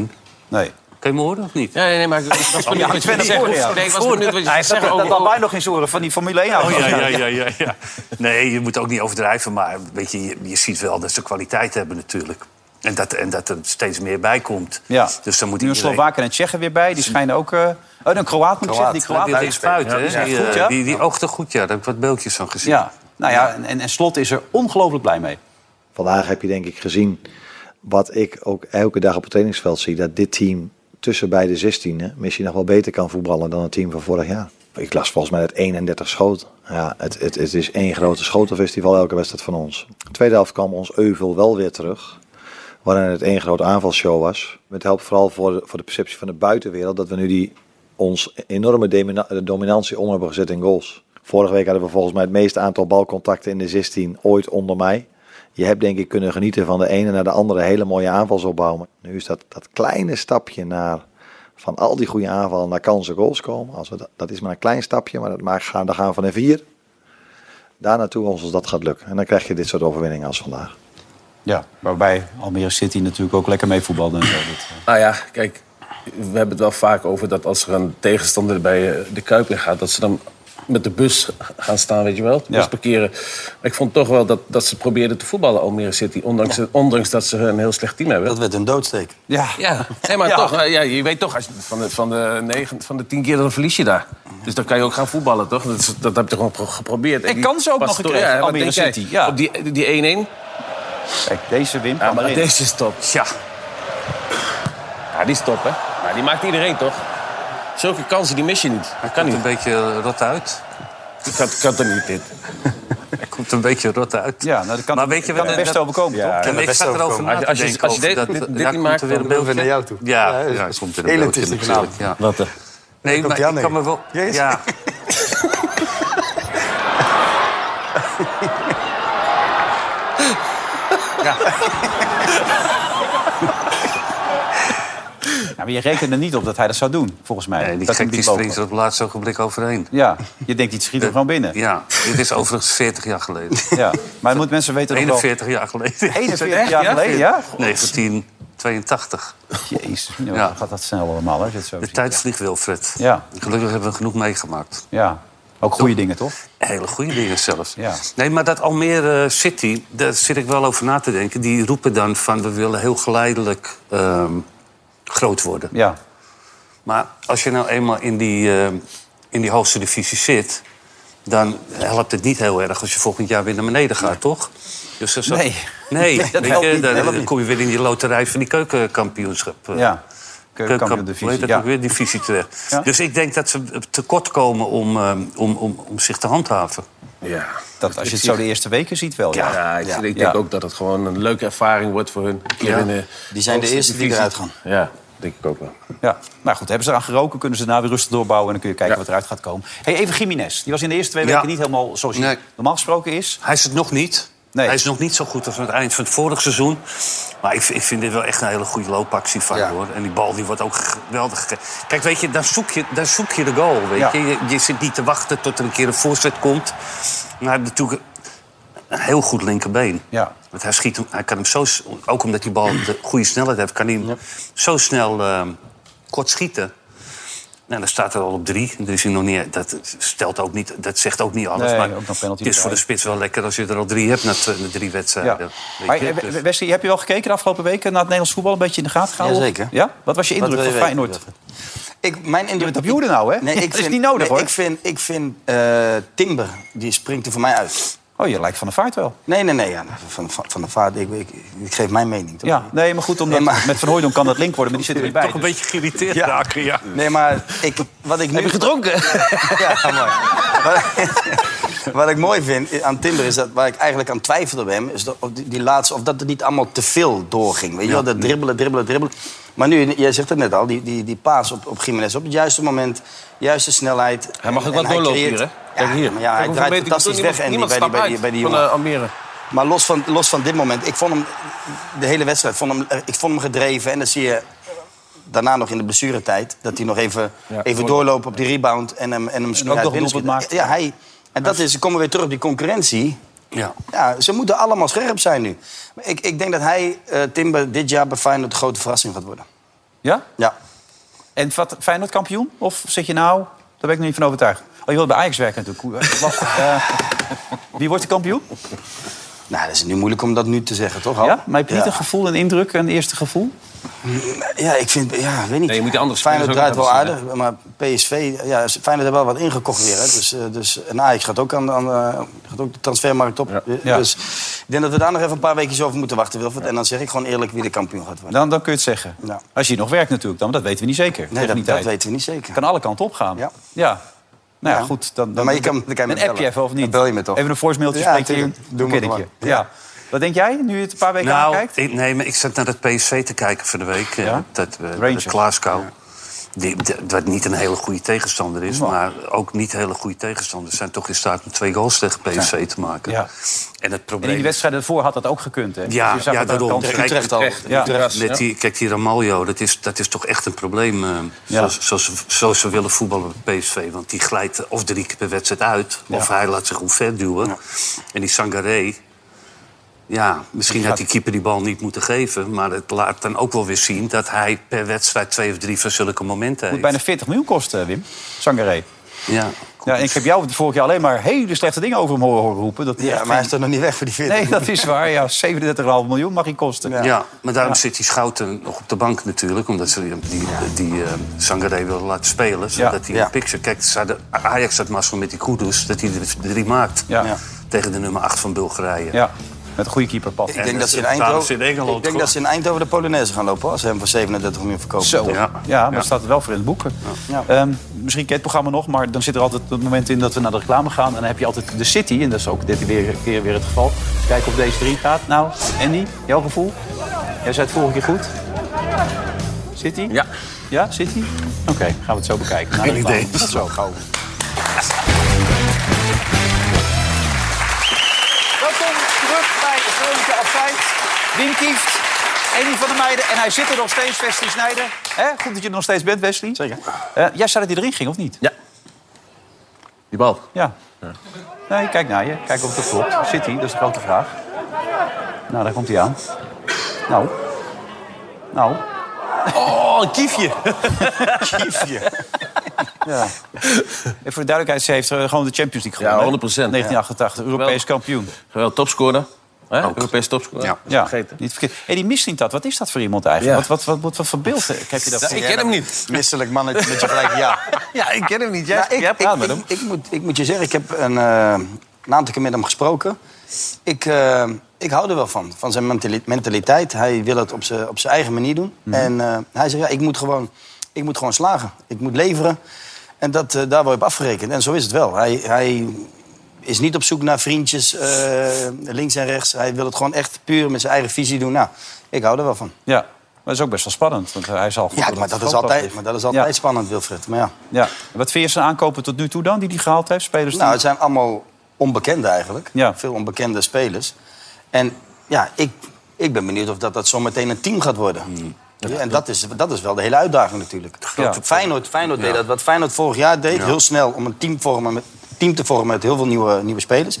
[SPEAKER 2] Nee.
[SPEAKER 4] Kan je me horen of niet?
[SPEAKER 8] Ja, nee, nee, maar ik was benieuwd
[SPEAKER 2] ja,
[SPEAKER 8] wat je
[SPEAKER 2] Twente
[SPEAKER 8] zegt.
[SPEAKER 2] voor, ja.
[SPEAKER 8] Nee, ik was benieuwd
[SPEAKER 5] Nou,
[SPEAKER 8] wat je zegt.
[SPEAKER 2] dat
[SPEAKER 8] over-
[SPEAKER 2] dat had mij nog eens horen van die Formule 1
[SPEAKER 4] Oh, ja, ja, ja, ja, ja. Nee, je moet ook niet overdrijven. Maar weet je, je, je ziet wel dat ze kwaliteit hebben natuurlijk. En dat, en dat er steeds meer bij komt.
[SPEAKER 2] Ja.
[SPEAKER 4] Dus dan moet
[SPEAKER 2] Nu een
[SPEAKER 4] iedereen...
[SPEAKER 2] Slowaken en Tsjechen weer bij. Die schijnen ook... eh, oh, een Kroaat moet ik zeggen. Die Kroaat.
[SPEAKER 4] Die links buiten,
[SPEAKER 2] Ja, die
[SPEAKER 4] hè?
[SPEAKER 2] is
[SPEAKER 4] Die,
[SPEAKER 2] echt goed,
[SPEAKER 4] eh,
[SPEAKER 2] ja.
[SPEAKER 4] die, die oogte goed, ja. Daar heb ik wat beeldjes van gezien.
[SPEAKER 2] Ja. Nou ja, en, en Slot is er ongelooflijk blij mee.
[SPEAKER 7] Vandaag heb je denk ik gezien wat ik ook elke dag op het trainingsveld zie. Dat dit team tussen beide 16 misschien nog wel beter kan voetballen dan het team van vorig jaar. Ik las volgens mij het 31 schoten. Ja, het, het, het is één grote schotenfestival elke wedstrijd van ons. De tweede helft kwam ons euvel wel weer terug. Waarin het één groot aanvalsshow was. Het helpt vooral voor de, voor de perceptie van de buitenwereld dat we nu die ons enorme domina- dominantie om hebben gezet in goals. Vorige week hadden we volgens mij het meeste aantal balcontacten in de 16 ooit onder mij. Je hebt denk ik kunnen genieten van de ene naar de andere hele mooie aanvalsopbouw. Maar nu is dat, dat kleine stapje naar van al die goede aanvallen naar kansen goals komen. Als we dat, dat is maar een klein stapje, maar, dat, maar gaan, daar gaan we van een vier. Daar naartoe als ons dat gaat lukken. En dan krijg je dit soort overwinningen als vandaag.
[SPEAKER 2] Ja, waarbij Almere City natuurlijk ook lekker mee voetbalde. En zo. Dat, eh,
[SPEAKER 5] Nou ja, kijk, we hebben het wel vaak over dat als er een tegenstander bij eh, de Kuip in gaat, dat ze dan met de bus gaan staan, weet je wel. De bus
[SPEAKER 2] Ja.
[SPEAKER 5] parkeren. Maar ik vond toch wel dat, dat ze probeerden te voetballen, Almere City. Ondanks, ondanks dat ze een heel slecht team hebben.
[SPEAKER 3] Dat werd een doodsteek.
[SPEAKER 2] ja.
[SPEAKER 5] Ja, nee, maar
[SPEAKER 2] Ja.
[SPEAKER 5] toch, eh, ja, je weet toch, als je, van, de, van, de negen, van de tien keer dan verlies je daar. Dus dan kan je ook gaan voetballen, toch? Dat, is- dat heb je gewoon pro- geprobeerd.
[SPEAKER 2] En
[SPEAKER 5] die
[SPEAKER 2] kansen ook nog
[SPEAKER 5] Pastoor-
[SPEAKER 2] gekregen,
[SPEAKER 5] wat
[SPEAKER 2] Almere
[SPEAKER 5] denk jij?
[SPEAKER 2] City, ja.
[SPEAKER 5] Op die, die 1-1?
[SPEAKER 2] Kijk, deze wint.
[SPEAKER 5] Ja, maar
[SPEAKER 2] Almere.
[SPEAKER 5] deze is top. Ja. Ja, die is top, hè? Maar die maakt iedereen, toch? Zulke kansen, die mis je niet. Dat kan
[SPEAKER 4] Komt
[SPEAKER 5] niet.
[SPEAKER 4] een beetje rot uit.
[SPEAKER 5] Ik kan, kan toch niet, dit.
[SPEAKER 4] Hij komt een beetje rot uit.
[SPEAKER 2] Ja, nou, dat kan,
[SPEAKER 4] Maar weet je
[SPEAKER 2] kan
[SPEAKER 4] wat- eh,
[SPEAKER 2] het best
[SPEAKER 4] dat-
[SPEAKER 2] overkomen, toch?
[SPEAKER 4] En ik zat erover na
[SPEAKER 5] Als je-
[SPEAKER 4] te
[SPEAKER 5] als je-
[SPEAKER 4] denken
[SPEAKER 5] als je
[SPEAKER 4] over
[SPEAKER 5] dit-
[SPEAKER 4] dat-
[SPEAKER 5] dit-
[SPEAKER 4] ja,
[SPEAKER 5] dit
[SPEAKER 4] komt
[SPEAKER 5] niet maakt,
[SPEAKER 4] er weer
[SPEAKER 5] dan
[SPEAKER 4] een
[SPEAKER 5] beeld
[SPEAKER 4] beeldje.
[SPEAKER 5] naar
[SPEAKER 3] jou toe.
[SPEAKER 4] Ja,
[SPEAKER 3] Ja,
[SPEAKER 4] ja,
[SPEAKER 3] dus-
[SPEAKER 4] komt er
[SPEAKER 3] Heel
[SPEAKER 4] een beeldje
[SPEAKER 3] het is
[SPEAKER 4] natuurlijk. Ja.
[SPEAKER 5] Wat eh? dan?
[SPEAKER 4] Nee, maar
[SPEAKER 3] Jan
[SPEAKER 4] ik kan
[SPEAKER 3] heen.
[SPEAKER 4] me wel...
[SPEAKER 3] Jezus.
[SPEAKER 4] Ja.
[SPEAKER 2] Ja, Nou, maar je rekent er niet op dat hij dat zou doen, volgens mij.
[SPEAKER 4] Nee, die
[SPEAKER 2] dat hem
[SPEAKER 4] gek die
[SPEAKER 2] liet
[SPEAKER 4] springt er
[SPEAKER 2] lopen.
[SPEAKER 4] op het laatste ogenblik overheen.
[SPEAKER 2] Ja, je denkt, die schiet er gewoon binnen. Ja.
[SPEAKER 4] Ja, dit is overigens 40 jaar geleden.
[SPEAKER 2] Maar moet mensen weten dat wel...
[SPEAKER 4] 41 jaar geleden.
[SPEAKER 2] 41 jaar geleden, ja?
[SPEAKER 4] 1982.
[SPEAKER 2] Jezus, nou,
[SPEAKER 4] Ja.
[SPEAKER 2] dan gaat dat snel allemaal, hè, als je het zo
[SPEAKER 4] De
[SPEAKER 2] ziet.
[SPEAKER 4] tijd vliegt, Wilfred.
[SPEAKER 2] Ja.
[SPEAKER 4] Gelukkig hebben we genoeg meegemaakt.
[SPEAKER 2] Ja, ook goede dingen, toch?
[SPEAKER 4] Hele goede dingen zelfs.
[SPEAKER 2] Ja.
[SPEAKER 4] Nee, maar dat Almere City, daar zit ik wel over na te denken. Die roepen dan van we willen heel geleidelijk ehm, groot worden.
[SPEAKER 2] Ja.
[SPEAKER 4] Maar als je nou eenmaal in die, ehm, in die hoogste divisie zit... dan helpt het niet heel erg als je volgend jaar weer naar beneden gaat, toch? Dus dat is-
[SPEAKER 2] Nee.
[SPEAKER 4] Nee,
[SPEAKER 2] Nee, dat
[SPEAKER 4] weet
[SPEAKER 2] helpt
[SPEAKER 4] je,
[SPEAKER 2] niet,
[SPEAKER 4] dan,
[SPEAKER 2] helpt
[SPEAKER 4] dan
[SPEAKER 2] niet.
[SPEAKER 4] kom je weer in die loterij van die keukenkampioenschap. eh,
[SPEAKER 2] Ja,
[SPEAKER 4] Keuken-
[SPEAKER 2] keukenkampioen
[SPEAKER 4] hoe heet
[SPEAKER 2] divisie.
[SPEAKER 4] dat
[SPEAKER 2] Ja.
[SPEAKER 4] ook weer? Divisie terecht.
[SPEAKER 2] Ja.
[SPEAKER 4] Dus ik denk dat ze eh, tekort komen om, eh, om, om, om zich te handhaven.
[SPEAKER 5] Ja.
[SPEAKER 2] Dat, als je het zo de eerste weken ziet wel, ja.
[SPEAKER 5] Ja, ik, ik denk
[SPEAKER 2] Ja.
[SPEAKER 5] ook dat het gewoon een leuke ervaring wordt voor hun. Een keer in de
[SPEAKER 3] Die zijn de
[SPEAKER 5] hoogste
[SPEAKER 3] eerste die
[SPEAKER 5] divisie.
[SPEAKER 3] eruit gaan.
[SPEAKER 5] Ja, denk ik ook wel.
[SPEAKER 2] Ja, nou goed, hebben ze eraan geroken, kunnen ze daarna weer rustig doorbouwen... en dan kun je kijken wat eruit gaat komen. Hey, even Jiménez, die was in de eerste twee
[SPEAKER 4] Ja.
[SPEAKER 2] weken niet helemaal zoals hij
[SPEAKER 4] Nee.
[SPEAKER 2] normaal gesproken is.
[SPEAKER 4] Hij is het nog niet.
[SPEAKER 2] Nee.
[SPEAKER 4] Hij is nog niet zo goed als aan het eind van het vorige seizoen. Maar ik, ik vind dit wel echt een hele goede loopactie van
[SPEAKER 3] Ja.
[SPEAKER 4] hoor. En die bal die wordt ook geweldig. ge- Kijk, weet je, daar zoek je, daar zoek je de goal. Weet
[SPEAKER 2] Ja.
[SPEAKER 4] je. Je, je zit niet te wachten tot er een keer een voorzet komt. Maar hij heeft natuurlijk een heel goed linkerbeen.
[SPEAKER 2] Ja.
[SPEAKER 4] Want hij schiet hem, hij kan hem zo, s- ook omdat die bal de goede snelheid heeft, kan hij hem zo snel ehm, kort schieten. Nou, dan staat er al op drie. Er is hij nog niet, dat, stelt ook niet, dat zegt ook niet alles.
[SPEAKER 2] Nee,
[SPEAKER 4] maar
[SPEAKER 2] ook nog penalty
[SPEAKER 4] het is voor
[SPEAKER 2] erbij.
[SPEAKER 4] de spits wel lekker als je er al drie hebt na, twee- na drie
[SPEAKER 2] Ja.
[SPEAKER 4] wedstrijden.
[SPEAKER 2] Maar,
[SPEAKER 4] Weet je,
[SPEAKER 2] eh,
[SPEAKER 4] dus-
[SPEAKER 2] W- Wesley, heb je wel gekeken de afgelopen weken... naar het Nederlands voetbal een beetje in de gaten gehouden?
[SPEAKER 3] Jazeker.
[SPEAKER 2] Ja? Wat was je indruk
[SPEAKER 3] wil
[SPEAKER 2] van
[SPEAKER 3] je weten,
[SPEAKER 2] Feyenoord?
[SPEAKER 3] Wilfred? Ik, mijn indruk...
[SPEAKER 2] bent op Joede nou, hè?
[SPEAKER 3] Nee, ik
[SPEAKER 2] Dat is
[SPEAKER 3] vind,
[SPEAKER 2] niet nodig,
[SPEAKER 3] nee,
[SPEAKER 2] hoor.
[SPEAKER 3] Ik vind, ik vind eh, Timber, die springt er voor mij uit.
[SPEAKER 2] Oh, je lijkt van de vaart wel.
[SPEAKER 3] Nee, nee, nee. Ja, van, van, van de vaart, ik, ik, ik geef mijn mening. Toch?
[SPEAKER 2] Ja, nee, maar goed, omdat
[SPEAKER 3] Nee, maar-
[SPEAKER 2] met Van Hooydonk kan dat link worden... maar die zit er niet bij. dus-
[SPEAKER 4] toch een beetje geïrriteerd
[SPEAKER 3] Ja.
[SPEAKER 4] raken, ja.
[SPEAKER 3] Nee, maar ik, wat ik nu...
[SPEAKER 2] gedronken?
[SPEAKER 3] Ja, mooi. Wat, wat ik mooi vind aan Timber is dat waar ik eigenlijk aan twijfelde bij hem, is dat, op die, die laatste, of dat het niet allemaal te veel doorging. Weet je wel, dat dribbelen, dribbelen, dribbelen. Maar nu, jij zegt het net al, die, die, die paas op, op Jiménez op het juiste moment, juiste snelheid.
[SPEAKER 5] Hij mag ook
[SPEAKER 3] En-
[SPEAKER 5] wat
[SPEAKER 3] en
[SPEAKER 5] doorlopen
[SPEAKER 3] creëert-
[SPEAKER 5] hier, hè?
[SPEAKER 3] Ja, maar ja, hij
[SPEAKER 5] Kijk hoeveel
[SPEAKER 3] draait
[SPEAKER 5] meter-
[SPEAKER 3] fantastisch weg
[SPEAKER 5] niemand-
[SPEAKER 3] en die,
[SPEAKER 5] niemand
[SPEAKER 3] bij, die,
[SPEAKER 5] stapt
[SPEAKER 3] bij, die,
[SPEAKER 5] uit
[SPEAKER 3] bij die
[SPEAKER 5] van,
[SPEAKER 3] jongen.
[SPEAKER 5] eh, Almere.
[SPEAKER 3] Maar los van, los van dit moment, ik vond hem de hele wedstrijd vond hem, eh, ik vond hem gedreven. En dan zie je daarna nog in de blessuretijd dat hij nog even, even doorloopt op die rebound en hem, en hem snel
[SPEAKER 2] ook
[SPEAKER 3] uit
[SPEAKER 2] nog
[SPEAKER 3] binnen
[SPEAKER 2] doelpunt
[SPEAKER 3] schiet.
[SPEAKER 2] maakt.
[SPEAKER 3] Ja, hij, en dat is, komen we weer terug op die concurrentie.
[SPEAKER 4] ja.
[SPEAKER 3] Ja, ze moeten allemaal scherp zijn nu. Maar Ik, ik denk dat hij, eh, Timber, dit jaar bij Feyenoord de grote verrassing gaat worden.
[SPEAKER 2] Ja?
[SPEAKER 3] Ja.
[SPEAKER 2] En wat, Feyenoord kampioen? Of zit je nou... Daar ben ik nog niet van overtuigd. Oh, je wilt bij Ajax werken natuurlijk. Hoe- Lastig. Eh, wie wordt de kampioen?
[SPEAKER 3] Nou, dat is nu moeilijk om dat nu te zeggen, toch? Al?
[SPEAKER 2] Ja? Maar heb je niet
[SPEAKER 3] Ja.
[SPEAKER 2] een gevoel, een indruk, een eerste gevoel?
[SPEAKER 3] Ja, ik vind, ja, ik weet niet.
[SPEAKER 5] Nee, je moet die andere
[SPEAKER 3] Feyenoord
[SPEAKER 5] spelers
[SPEAKER 3] draait
[SPEAKER 5] ook
[SPEAKER 3] wel
[SPEAKER 5] laten
[SPEAKER 3] aardig, maar PSV, ja, Feyenoord heeft wel wat ingekocht weer. Hè. Dus, eh, dus, en Ajax gaat ook, aan, aan, eh, gaat ook de transfermarkt op. Eh,
[SPEAKER 2] Ja.
[SPEAKER 3] Dus ik denk dat we daar nog even een paar weekjes over moeten wachten, Wilfred. En dan zeg ik gewoon eerlijk wie de kampioen gaat worden.
[SPEAKER 2] Dan, dan kun je het zeggen.
[SPEAKER 3] Ja.
[SPEAKER 2] Als je hier nog werkt natuurlijk dan, maar dat weten we niet zeker.
[SPEAKER 3] nee,
[SPEAKER 2] Tegen die
[SPEAKER 3] dat, dat
[SPEAKER 2] tijd.
[SPEAKER 3] weten we niet zeker.
[SPEAKER 2] kan alle kanten opgaan.
[SPEAKER 3] Ja.
[SPEAKER 2] Nou ja,
[SPEAKER 3] Ja.
[SPEAKER 2] goed. Dan, dan,
[SPEAKER 3] Maar je kan- dan kan je me
[SPEAKER 2] een appje
[SPEAKER 3] bellen.
[SPEAKER 2] even of niet?
[SPEAKER 3] Dan bel je me toch?
[SPEAKER 2] Even een voicemailtje
[SPEAKER 3] Ja,
[SPEAKER 2] spreken.
[SPEAKER 3] tuurlijk. Doe maar
[SPEAKER 2] Kiddingje.
[SPEAKER 3] gewoon.
[SPEAKER 2] Ja. Wat denk jij, nu je het een paar weken
[SPEAKER 4] Nou,
[SPEAKER 2] aankijkt?
[SPEAKER 4] ik, nee, maar ik zat naar het PSV te kijken van de week. eh,
[SPEAKER 2] Ja?
[SPEAKER 4] Dat, eh,
[SPEAKER 2] Rangers.
[SPEAKER 4] de Glasgow. die- de- wat niet een hele goede tegenstander is, maar ook niet hele goede tegenstanders zijn toch in staat om twee goals tegen PSV te maken.
[SPEAKER 2] Ja.
[SPEAKER 4] En het
[SPEAKER 2] En in die
[SPEAKER 4] probleem
[SPEAKER 2] wedstrijden ervoor had dat ook gekund, hè?
[SPEAKER 4] Ja,
[SPEAKER 2] Dus je zag
[SPEAKER 4] ja,
[SPEAKER 2] dat aan de
[SPEAKER 4] daarom.
[SPEAKER 2] kant-
[SPEAKER 4] Kijk,
[SPEAKER 3] Utrecht al.
[SPEAKER 2] Utrecht, ja.
[SPEAKER 4] Met die, kijk, die Ramaljo, dat is, dat is toch echt een probleem. eh, zoals, zoals, ze- zoals ze willen voetballen bij PSV. Want die glijdt eh, of drie keer per wedstrijd uit. Of hij laat zich omver duwen. En die Sangaré. Ja, misschien had die keeper die bal niet moeten geven. Maar het laat dan ook wel weer zien dat hij per wedstrijd twee of drie van zulke momenten
[SPEAKER 2] moet
[SPEAKER 4] heeft.
[SPEAKER 2] bijna 40 miljoen kosten, Wim. Sangaré.
[SPEAKER 4] Ja.
[SPEAKER 2] Ja, en ik heb jou vorig jaar alleen maar hele slechte dingen over hem horen horen roepen. Dat
[SPEAKER 3] Ja, maar hij is er nog niet weg voor die 40.
[SPEAKER 2] Nee, dat is waar. Ja, 37,5 miljoen mag hij kosten.
[SPEAKER 4] Ja. maar daarom zit die Schouten nog op de bank natuurlijk. Omdat ze die, die, die eh, Sangaré willen laten spelen. Zodat hij
[SPEAKER 3] Ja.
[SPEAKER 4] een picture... Kijk, ze hadden- Ajax had mazzel met die Kudus. Dat hij er drie maakt.
[SPEAKER 2] Ja. Ja.
[SPEAKER 4] Tegen de nummer 8 van Bulgarije.
[SPEAKER 2] Ja, met een goede keeper, Pat.
[SPEAKER 3] Ik
[SPEAKER 4] En
[SPEAKER 3] denk, dat ze, in
[SPEAKER 4] het- daarom
[SPEAKER 3] Eindhoven,
[SPEAKER 4] zit Engeland
[SPEAKER 3] ik denk
[SPEAKER 4] goed.
[SPEAKER 3] dat ze in Eindhoven de Polonaise gaan lopen hoor, als ze hem voor 37 miljoen verkopen.
[SPEAKER 2] Zo. Ja,
[SPEAKER 4] Ja.
[SPEAKER 2] maar dat staat er wel voor in de boeken.
[SPEAKER 3] Ja.
[SPEAKER 2] Ehm, misschien ken je het programma nog, maar dan zit er altijd het moment in dat we naar de reclame gaan. En dan heb je altijd de City, en dat is ook dit weer, keer weer het geval. Kijken of deze drie gaat. Nou, Andy, jouw gevoel? Jij zei het vorige keer goed. City?
[SPEAKER 5] Ja.
[SPEAKER 2] Ja, City? Oké, gaan we het zo bekijken. Nou,
[SPEAKER 4] Geen idee.
[SPEAKER 2] Tot zo, gauw. Welkom terug bij Veronica Afzijd. Wim Kieft, Eddie van der Meijden. En hij zit er nog steeds, Wesley Snijder. Hè? Goed dat je er nog steeds bent, Wesley. Zeker. jij zei dat hij erin ging, of niet?
[SPEAKER 5] Ja. Die bal.
[SPEAKER 2] Ja. Nee, kijk naar je. Kijk of het klopt. Zit hij? Dat is de grote vraag. Nou, daar komt hij aan. Nou. Nou.
[SPEAKER 8] Oh, een kiefje.
[SPEAKER 2] Ja. En voor de duidelijkheid, ze heeft eh, gewoon de Champions League gewonnen.
[SPEAKER 5] Ja, 100%,
[SPEAKER 2] hè? 1988, Europees kampioen.
[SPEAKER 5] Geweldig topscorer. Hè? Europees topscorer.
[SPEAKER 4] Ja.
[SPEAKER 2] Ja,
[SPEAKER 5] Vergeten.
[SPEAKER 2] niet verkeerd. En die missing dat, wat is dat voor iemand eigenlijk?
[SPEAKER 5] Ja.
[SPEAKER 2] Wat, wat, wat, wat, wat voor beeld eh, heb je daarvoor?
[SPEAKER 5] ik ken hem niet.
[SPEAKER 3] Misselijk mannetje met je gelijk ja.
[SPEAKER 5] Ja, ik ken hem niet. Jij,
[SPEAKER 3] Ja, Nou, ik,
[SPEAKER 5] jij praat
[SPEAKER 3] ik,
[SPEAKER 5] met
[SPEAKER 3] ik-
[SPEAKER 5] hem.
[SPEAKER 3] ik moet, ik moet je zeggen, ik heb een, eh, een aantal keer met hem gesproken. Ik, eh, ik hou er wel van, van zijn mentali- mentaliteit. Hij wil het op zijn op zijn eigen manier doen. En eh, hij zegt, ja, ik, moet gewoon, ik moet gewoon slagen. Ik moet leveren. En dat, eh, daar word je op afgerekend. En zo is het wel. Hij, hij is niet op zoek naar vriendjes, eh, links en rechts. Hij wil het gewoon echt puur met zijn eigen visie doen. Nou, ik hou er wel van.
[SPEAKER 2] Ja, maar dat is ook best wel spannend. Want eh, hij zal goed
[SPEAKER 3] Ja,
[SPEAKER 2] worden
[SPEAKER 3] maar dat
[SPEAKER 2] op de
[SPEAKER 3] is
[SPEAKER 2] grote
[SPEAKER 3] altijd,
[SPEAKER 2] afdeling.
[SPEAKER 3] maar dat is altijd
[SPEAKER 2] Ja.
[SPEAKER 3] spannend, Wilfred. Maar ja.
[SPEAKER 2] Ja. En Wat vind je zijn aankopen tot nu toe dan, die hij gehaald heeft? Spelers die-
[SPEAKER 3] Nou, het zijn allemaal onbekenden eigenlijk.
[SPEAKER 2] Ja.
[SPEAKER 3] Veel onbekende spelers. En ja, ik, ik ben benieuwd of dat, dat zometeen een team gaat worden. Ja, en dat is, dat is wel de hele uitdaging natuurlijk.
[SPEAKER 2] Hmm. grote
[SPEAKER 3] Ja. Feyenoord, Feyenoord deed dat. Wat Feyenoord vorig jaar deed, heel snel om een team, vormen, met- team te vormen met heel veel nieuwe, nieuwe spelers.